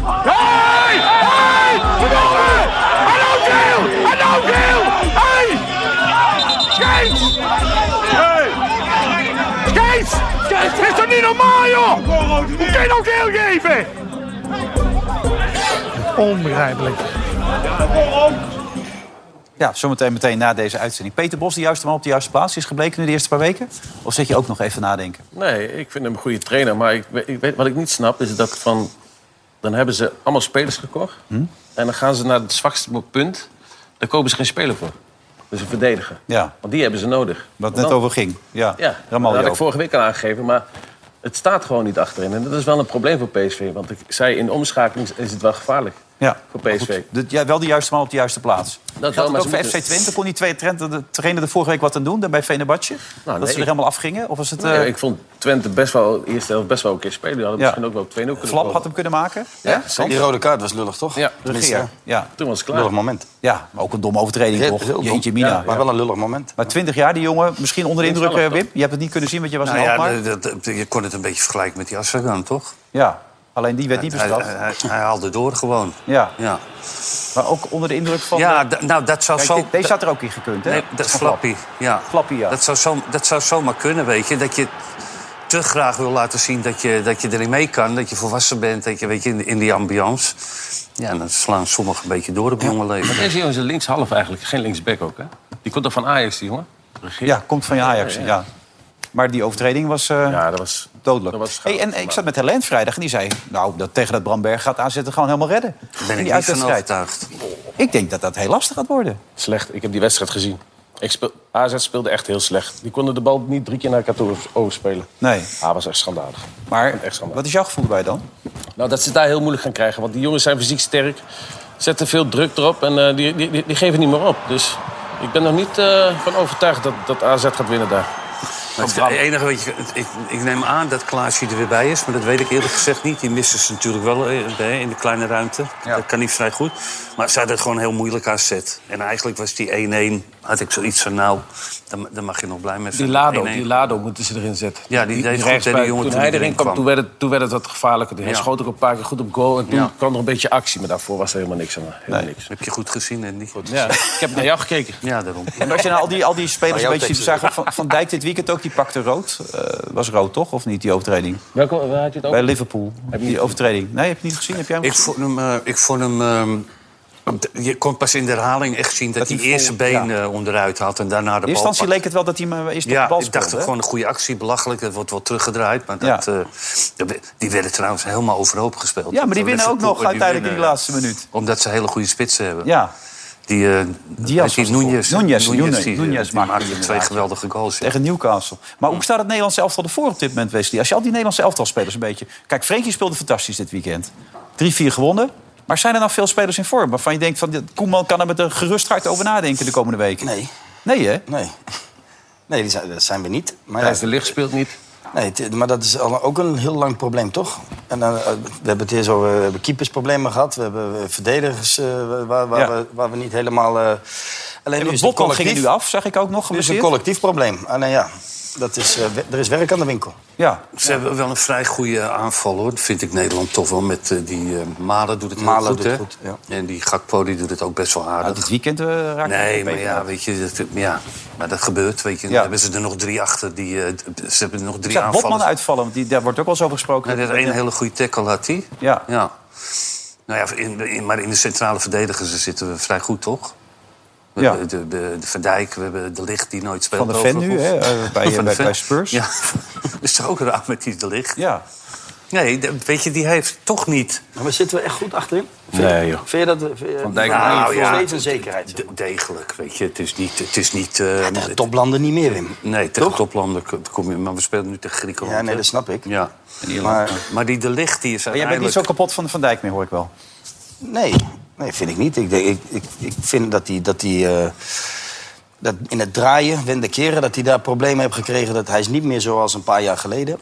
[SPEAKER 10] Hey! Hey! Verdomme! I don't feel! I don't feel! Hey! Kees! Hey! Kees! Kees, dit is toch niet normaal, joh? Hoe kan je nou geel geven?
[SPEAKER 15] Onbegrijpelijk.
[SPEAKER 2] Ja, zometeen meteen na deze uitzending. Peter Bos, de juiste man op de juiste plaats, is gebleken nu de eerste paar weken? Of zit je ook nog even nadenken?
[SPEAKER 5] Nee, ik vind hem een goede trainer. Maar ik, we- ik weet, wat ik niet snap is dat van... Dan hebben ze allemaal spelers gekocht.
[SPEAKER 2] Hm?
[SPEAKER 5] En dan gaan ze naar het zwakste punt. Daar kopen ze geen speler voor. Dus een verdediger.
[SPEAKER 2] Ja,
[SPEAKER 5] Want die hebben ze nodig.
[SPEAKER 2] wat
[SPEAKER 5] Want
[SPEAKER 2] net
[SPEAKER 5] dan-
[SPEAKER 2] over ging. Ja,
[SPEAKER 5] Ja,
[SPEAKER 2] Ramaljo.
[SPEAKER 5] dat had ik vorige week al aangegeven. Maar het staat gewoon niet achterin. En dat is wel een probleem voor PSV. Want ik zei, in de omschakeling is het wel gevaarlijk.
[SPEAKER 2] Ja.
[SPEAKER 5] Voor PSV.
[SPEAKER 2] Dit- ja, wel de juiste man op de juiste plaats.
[SPEAKER 5] wel,
[SPEAKER 2] Dat Geldt
[SPEAKER 5] maar
[SPEAKER 2] het ook
[SPEAKER 5] ze
[SPEAKER 2] voor
[SPEAKER 5] moeten-
[SPEAKER 2] FC Twente? Kon die twee Twente, de trainer er vorige week wat aan doen? Daar bij Venebadje? dat
[SPEAKER 5] Nou, nee,
[SPEAKER 2] ze er
[SPEAKER 5] ik-
[SPEAKER 2] helemaal afgingen? Of was het... eh,
[SPEAKER 5] Nee, ik vond Twente best wel, de eerste helft best wel een keer spelen. Die hadden
[SPEAKER 2] Ja.
[SPEAKER 5] misschien ook wel 2-0 kunnen
[SPEAKER 2] Flap
[SPEAKER 5] komen.
[SPEAKER 2] had hem kunnen maken?
[SPEAKER 5] Ja,
[SPEAKER 2] Ja?
[SPEAKER 5] zeker.
[SPEAKER 2] Die rode
[SPEAKER 3] kaart was lullig, toch?
[SPEAKER 5] Ja,
[SPEAKER 2] Tenminste,
[SPEAKER 5] regeer.
[SPEAKER 2] Ja.
[SPEAKER 5] Toen was het klaar.
[SPEAKER 2] Lullig moment. Ja, maar ook een domme overtreding
[SPEAKER 3] Heel-
[SPEAKER 2] toch?
[SPEAKER 3] heel dom.
[SPEAKER 2] Jeetje mina.
[SPEAKER 3] Ja, maar wel een lullig moment.
[SPEAKER 2] Maar 20 jaar, die jongen, misschien onder de indruk,
[SPEAKER 4] Toevallig,
[SPEAKER 2] eh, Wim. Je hebt het niet kunnen zien, want je was
[SPEAKER 4] Nou
[SPEAKER 2] in
[SPEAKER 4] ja,
[SPEAKER 2] Alkmaar.
[SPEAKER 4] dat- dat- je kon het een beetje vergelijken met die Assagan, toch?
[SPEAKER 2] Ja, alleen die werd niet
[SPEAKER 4] Hij-
[SPEAKER 2] bestraft.
[SPEAKER 4] Hij, hij, hij haalde door gewoon.
[SPEAKER 2] Ja.
[SPEAKER 4] ja.
[SPEAKER 2] Maar ook onder de indruk van... eh,
[SPEAKER 4] Ja, d- nou, dat zou
[SPEAKER 2] Kijk,
[SPEAKER 4] zo...
[SPEAKER 2] dit- deze had er ook in gekund, hè?
[SPEAKER 4] Nee, dat is flappie. Ja.
[SPEAKER 2] Flappie, ja.
[SPEAKER 4] Dat zou, zo, dat zou zomaar kunnen, weet je. Dat je te graag wil laten zien dat je, dat je erin mee kan. Dat je volwassen bent, dat je, weet je, in, in die ambiance. Ja, dan slaan sommigen een beetje door op jonge
[SPEAKER 5] Maar
[SPEAKER 4] leven.
[SPEAKER 5] deze jongen is een linkshalf eigenlijk, geen linksback ook. Hè? Die komt toch van Ajax, die jongen? Regeer.
[SPEAKER 2] Ja, komt van je Ajax, ja.
[SPEAKER 5] Ja, ja.
[SPEAKER 2] Maar die overtreding was, eh,
[SPEAKER 5] dat was
[SPEAKER 2] dodelijk. hey, en ik zat met Helene vrijdag en die zei... nou, dat tegen dat Bramberg gaat aanzetten, gewoon helemaal redden. In
[SPEAKER 4] Ben ik
[SPEAKER 2] die
[SPEAKER 4] niet van
[SPEAKER 2] uitwedstrijd.
[SPEAKER 4] overtuigd.
[SPEAKER 2] Ik denk dat dat heel lastig gaat worden.
[SPEAKER 5] Slecht, ik heb die wedstrijd gezien. Ik speel, AZ speelde echt heel slecht. Die konden de bal niet drie keer naar elkaar toe overspelen.
[SPEAKER 2] Nee.
[SPEAKER 5] Ah, was echt schandalig.
[SPEAKER 2] Maar
[SPEAKER 5] Echt schandalig.
[SPEAKER 2] wat is jouw gevoel bij dan?
[SPEAKER 5] Nou, dat ze het daar heel moeilijk gaan krijgen. Want die jongens zijn fysiek sterk. Zetten veel druk erop en eh, die, die, die, die geven niet meer op. Dus ik ben nog niet eh, van overtuigd dat, dat AZ gaat winnen daar.
[SPEAKER 4] Maar Het enige wat je, ik, ik neem aan dat Klaasje er weer bij is, maar dat weet ik eerlijk gezegd niet. Die missen ze natuurlijk wel eh, hè, in de kleine ruimte. Dat kan niet vrij goed. Maar ze hadden het gewoon heel moeilijk aan zet. En eigenlijk was die 1-1, had ik zoiets van nou, dan, dan mag je nog blij mee zijn.
[SPEAKER 5] Die Lado,
[SPEAKER 4] 1-1.
[SPEAKER 5] die Lado moeten ze erin zetten.
[SPEAKER 4] Ja, die deed goed,
[SPEAKER 5] rechtsbuit.
[SPEAKER 4] hè, die jongen
[SPEAKER 5] Toen
[SPEAKER 4] toen
[SPEAKER 5] hij
[SPEAKER 4] die
[SPEAKER 5] erin
[SPEAKER 4] erin kwam.
[SPEAKER 5] kwam, toen werd, het, toen werd het wat gevaarlijker. Hij
[SPEAKER 4] Ja.
[SPEAKER 5] schoot ook een paar keer goed op goal. En toen
[SPEAKER 4] Ja.
[SPEAKER 5] kwam er een beetje actie. Maar daarvoor was er helemaal niks aan. Helemaal niks.
[SPEAKER 4] Heb je goed gezien, en niet goed.
[SPEAKER 5] Ja, ik heb naar jou gekeken.
[SPEAKER 4] Ja, daarom.
[SPEAKER 2] En als je nou al die, al die
[SPEAKER 5] Maar
[SPEAKER 2] spelers een
[SPEAKER 5] jouw
[SPEAKER 2] beetje ziet,
[SPEAKER 5] tekst
[SPEAKER 2] we
[SPEAKER 5] is-
[SPEAKER 2] zagen van, van Dijk dit weekend ook, die pakte rood. Eh, was rood, toch? Of niet, die overtreding?
[SPEAKER 5] Welke, waar had je het over?
[SPEAKER 2] Bij Liverpool, die overtreding. Nee, heb je niet gezien? Heb jij hem
[SPEAKER 4] Ik vond hem... eh, ik vond hem ehm, je kon pas in de herhaling echt zien dat,
[SPEAKER 2] hij
[SPEAKER 4] hij eerste
[SPEAKER 2] vol-
[SPEAKER 4] been
[SPEAKER 2] ja.
[SPEAKER 4] eh, onderuit had en daarna de
[SPEAKER 2] In
[SPEAKER 4] bal
[SPEAKER 2] eerste instantie
[SPEAKER 4] pakte.
[SPEAKER 2] leek het wel dat hij maar eerst op
[SPEAKER 4] Ja,
[SPEAKER 2] de bal
[SPEAKER 4] ik dacht
[SPEAKER 2] speelde,
[SPEAKER 4] ook
[SPEAKER 2] hè?
[SPEAKER 4] gewoon een goede actie, belachelijk. Dat wordt wel teruggedraaid. Maar dat, eh, dat we- die werden trouwens helemaal overhoop gespeeld.
[SPEAKER 2] Ja, maar die
[SPEAKER 4] Door
[SPEAKER 2] winnen ook
[SPEAKER 4] Liverpool,
[SPEAKER 2] nog uiteindelijk in
[SPEAKER 4] winnen, eh,
[SPEAKER 2] die laatste minuut.
[SPEAKER 4] Omdat ze hele goede spitsen hebben.
[SPEAKER 2] Ja.
[SPEAKER 4] Die, eh
[SPEAKER 2] Diaz
[SPEAKER 4] die
[SPEAKER 2] was het
[SPEAKER 4] Nunez.
[SPEAKER 2] voor. Nunez, Nunez,
[SPEAKER 4] die, eh,
[SPEAKER 2] Nunez
[SPEAKER 4] die
[SPEAKER 2] maakte
[SPEAKER 4] maakte
[SPEAKER 2] die
[SPEAKER 4] twee
[SPEAKER 2] inderdaad.
[SPEAKER 4] geweldige goals. ja.
[SPEAKER 2] Tegen Newcastle. Maar hoe staat het Nederlandse elftal ervoor op dit moment, Wesley? Als je al die Nederlandse elftalspelers een beetje... Kijk, Frenkie speelde fantastisch dit weekend. 3-4 gewonnen. Maar zijn er nou veel spelers in vorm waarvan je denkt... Van, dit- Koeman kan er met een gerust hart over nadenken de komende weken?
[SPEAKER 3] Nee.
[SPEAKER 2] Nee, hè?
[SPEAKER 3] Nee. Nee, die zijn, dat zijn we niet. Maar
[SPEAKER 5] Thijs de Ligt speelt niet.
[SPEAKER 3] Nee, het- maar dat is al, ook een heel lang probleem, toch? En dan, eh, we hebben het eerst over we hebben keepersproblemen gehad. We hebben eh, verdedigers eh, waar, waar,
[SPEAKER 2] Ja.
[SPEAKER 3] we, waar we niet helemaal... eh, alleen
[SPEAKER 2] En
[SPEAKER 3] nu is het
[SPEAKER 2] Botman ging er
[SPEAKER 3] collectief.
[SPEAKER 2] nu af, zag ik ook nog.
[SPEAKER 3] Nu is het een
[SPEAKER 2] geblesseerd.
[SPEAKER 3] collectief probleem. Alleen ja, dat is, eh, we- er is werk aan de winkel.
[SPEAKER 2] Ja.
[SPEAKER 4] Ze hebben wel een vrij goede aanval, hoor. Dat vind ik Nederland toch wel. Met eh, die eh, Malen doet het heel
[SPEAKER 3] Malen
[SPEAKER 4] goed,
[SPEAKER 3] doet
[SPEAKER 4] hè?
[SPEAKER 3] het goed, ja.
[SPEAKER 4] En die Gakpo die doet het ook best wel aardig.
[SPEAKER 2] Dit weekend eh raakte hij
[SPEAKER 4] Nee,
[SPEAKER 2] een
[SPEAKER 4] maar
[SPEAKER 2] beetje
[SPEAKER 4] ja,
[SPEAKER 2] uit.
[SPEAKER 4] weet je, dat, eh, ja, maar dat gebeurt, weet je. Dan hebben ze er nog drie achter. Die, eh, d- ze hebben er nog
[SPEAKER 2] Ik
[SPEAKER 4] drie
[SPEAKER 2] zag Botman
[SPEAKER 4] aanvallen.
[SPEAKER 2] uitvallen, want die, daar wordt ook wel eens over gesproken.
[SPEAKER 4] Nou, dat is één hele goede tackle had hij.
[SPEAKER 2] Ja.
[SPEAKER 4] ja. Nou ja, in, in- maar in de centrale verdedigers zitten we vrij goed, toch? We
[SPEAKER 2] Ja.
[SPEAKER 4] hebben de, de, de Verdijk, we hebben de Licht die nooit speelt.
[SPEAKER 2] Van de Ven nu,
[SPEAKER 4] overigens.
[SPEAKER 2] hè, eh, bij-
[SPEAKER 4] Van de
[SPEAKER 2] bij-
[SPEAKER 4] Ven.
[SPEAKER 2] bij Spurs.
[SPEAKER 4] Ja, dat is toch ook raar met die de Licht.
[SPEAKER 2] Ja.
[SPEAKER 4] Nee, dat- weet je, die heeft toch niet...
[SPEAKER 3] Maar zitten we echt goed achterin?
[SPEAKER 4] Nee, joh.
[SPEAKER 3] Vind je dat... Vind je,
[SPEAKER 4] Van Dijk en
[SPEAKER 3] nou,
[SPEAKER 4] Malen
[SPEAKER 3] ja.
[SPEAKER 4] voor-
[SPEAKER 3] steeds een zekerheid.
[SPEAKER 4] De- degelijk, weet je. Het is niet... Het is niet eh,
[SPEAKER 3] De toplanden niet meer, Wim.
[SPEAKER 4] Nee, tegen toplanden k- kom je... Maar we spelen nu tegen Griekenland.
[SPEAKER 3] Ja, nee,
[SPEAKER 4] hè?
[SPEAKER 3] dat snap ik.
[SPEAKER 4] Ja.
[SPEAKER 3] Maar-
[SPEAKER 4] Maar, die de licht die is
[SPEAKER 2] Maar jij bent niet
[SPEAKER 4] uiteindelijk...
[SPEAKER 2] zo kapot van Van Dijk meer, hoor ik wel.
[SPEAKER 3] Nee, nee vind ik niet. Ik, denk, ik, ik, ik vind dat hij dat die, eh, dat in het draaien, wenden keren, dat hij daar problemen heeft gekregen. Dat hij is niet meer zoals een paar jaar geleden.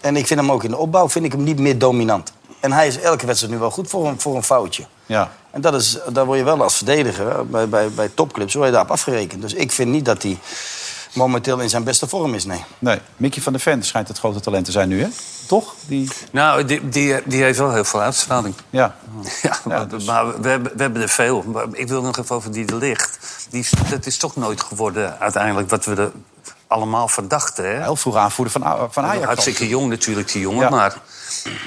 [SPEAKER 3] En ik vind hem ook in de opbouw vind ik hem niet meer dominant. En hij is elke wedstrijd nu wel goed voor een, voor een foutje.
[SPEAKER 2] Ja.
[SPEAKER 3] En dat is, daar word je wel als verdediger hè, bij, bij, bij topclubs word je daarop afgerekend. Dus ik vind niet dat hij momenteel in zijn beste vorm is, nee.
[SPEAKER 2] Nee, Mickey van der Ven schijnt het grote talent te zijn nu, hè? Toch? Die...
[SPEAKER 4] Nou, die, die, die heeft wel heel veel uitstraling.
[SPEAKER 2] Ja. dus-
[SPEAKER 4] Ja, maar, maar we, hebben, we hebben er veel. Maar ik wil nog even over die de licht. Die, is- dat is toch nooit geworden eh, uiteindelijk wat we er allemaal van dachten. Hè?
[SPEAKER 2] Heel vroeg aanvoerder van, A- van Ajax.
[SPEAKER 4] Hartstikke jong natuurlijk, die jongen. Maar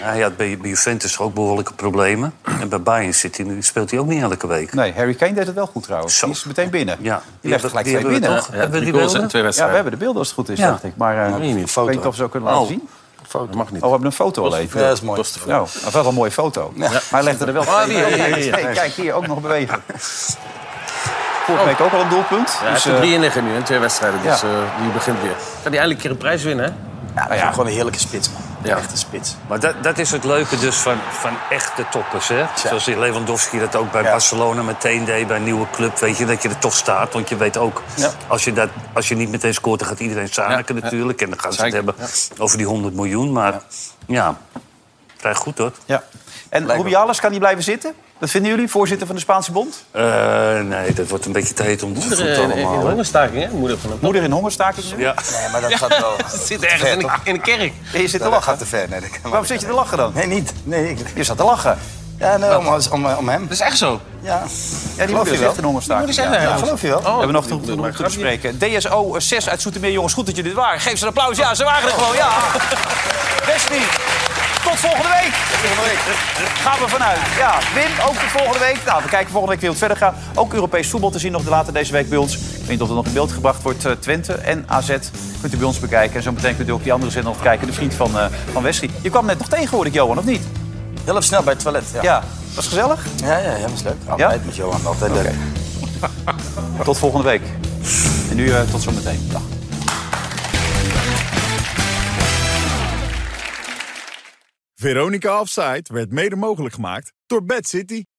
[SPEAKER 4] hij had bij, bij Juventus ook behoorlijke problemen. En bij Bayern zit hij nu, speelt hij ook niet elke week.
[SPEAKER 2] Nee, Harry Kane deed het wel goed trouwens.
[SPEAKER 4] Zo.
[SPEAKER 2] Die is meteen binnen.
[SPEAKER 4] Ja.
[SPEAKER 2] Die legt er gelijk twee binnen.
[SPEAKER 4] hebben we toch? Hebben we die beelden?
[SPEAKER 2] Ja, we hebben de beelden als het goed is,
[SPEAKER 4] Ja.
[SPEAKER 2] dacht ik. Maar eh, ik weet niet of ze ook kunnen laten zien.
[SPEAKER 5] Dat mag niet.
[SPEAKER 2] Oh, we hebben een foto al even.
[SPEAKER 3] Ja, dat is mooi.
[SPEAKER 2] Nou, dat is wel een mooie foto. Maar hij legde er wel
[SPEAKER 5] Ah,
[SPEAKER 2] twee
[SPEAKER 5] hier,
[SPEAKER 2] binnen.
[SPEAKER 5] hier, hier.
[SPEAKER 2] Kijk, Kijk, hier ook nog bewegen. Vorige week ook al een doelpunt.
[SPEAKER 5] Ja, hij
[SPEAKER 2] dus,
[SPEAKER 5] heeft er
[SPEAKER 2] eh,
[SPEAKER 5] drie in liggen nu in twee wedstrijden. Dus
[SPEAKER 2] ja.
[SPEAKER 5] eh, die begint weer. Kan hij eindelijk een keer een prijs winnen, hè?
[SPEAKER 3] Ja, dat is ook gewoon een heerlijke spits, man.
[SPEAKER 4] Ja. Echte spits. Maar dat, dat is het leuke dus van, van echte toppers. Hè? Zoals die Lewandowski dat ook bij Barcelona meteen deed, bij een nieuwe club. Weet je, dat je er toch staat. Want je weet ook,
[SPEAKER 2] Ja.
[SPEAKER 4] als, je dat, als je niet meteen scoort, dan gaat iedereen zaniken
[SPEAKER 2] Ja.
[SPEAKER 4] natuurlijk. En dan gaan ze het
[SPEAKER 2] Zeker.
[SPEAKER 4] hebben over die 100 miljoen. Maar ja, vrij goed hoor.
[SPEAKER 2] Ja. En Rubiales, kan die blijven zitten? Dat vinden jullie, voorzitter van de Spaanse Bond?
[SPEAKER 4] Eh, nee, dat wordt een beetje te heet om te
[SPEAKER 5] Moeder
[SPEAKER 4] voet
[SPEAKER 5] in, in, in
[SPEAKER 4] allemaal. hè?
[SPEAKER 5] hongerstaking, hè? Moeder van een
[SPEAKER 2] Moeder in hongerstaking?
[SPEAKER 4] Ja.
[SPEAKER 3] Nee, maar dat gaat wel.
[SPEAKER 5] Zit ergens in de, in de kerk.
[SPEAKER 2] Je zit te
[SPEAKER 3] dat
[SPEAKER 2] lachen.
[SPEAKER 3] gaat te ver. Nee, dat kan
[SPEAKER 2] Waarom zit je te lachen dan?
[SPEAKER 3] Nee, niet. Nee, ik...
[SPEAKER 2] Je zat te lachen.
[SPEAKER 3] Ja, nee, om, om, om hem.
[SPEAKER 2] Dat is echt zo.
[SPEAKER 3] Ja,
[SPEAKER 2] Ja, die moeder is echt een hongerstaking.
[SPEAKER 3] Die moeder is echt een- geloof je wel.
[SPEAKER 2] we hebben nog te, te, te bespreken. DSO 6 uit Zoetermeer, jongens. Goed dat jullie er waren. Geef ze een applaus. Ja, ze waren er gewoon. Ja. Wesley, tot volgende week. Gaan we vanuit. Ja, Wim, ook tot volgende week. Nou, we kijken volgende week weer hoe het verder gaat. Ook Europees voetbal te zien nog later deze week bij ons. Ik weet niet of dat nog in beeld gebracht wordt. eh, Twente en AZ kunt u bij ons bekijken. En zo meteen kunt u ook die andere zender nog kijken. De vriend van, eh, van Wesley. Je kwam net nog tegen, hoorde ik, Johan, of niet?
[SPEAKER 3] Heel even snel bij het toilet. Ja,
[SPEAKER 2] Ja, was gezellig?
[SPEAKER 3] ja, ja, ja was leuk. Altijd met Johan, altijd leuk.
[SPEAKER 2] Tot volgende week. En nu eh, tot zometeen. Dag.
[SPEAKER 1] Veronica Offside werd mede mogelijk gemaakt door Bad City.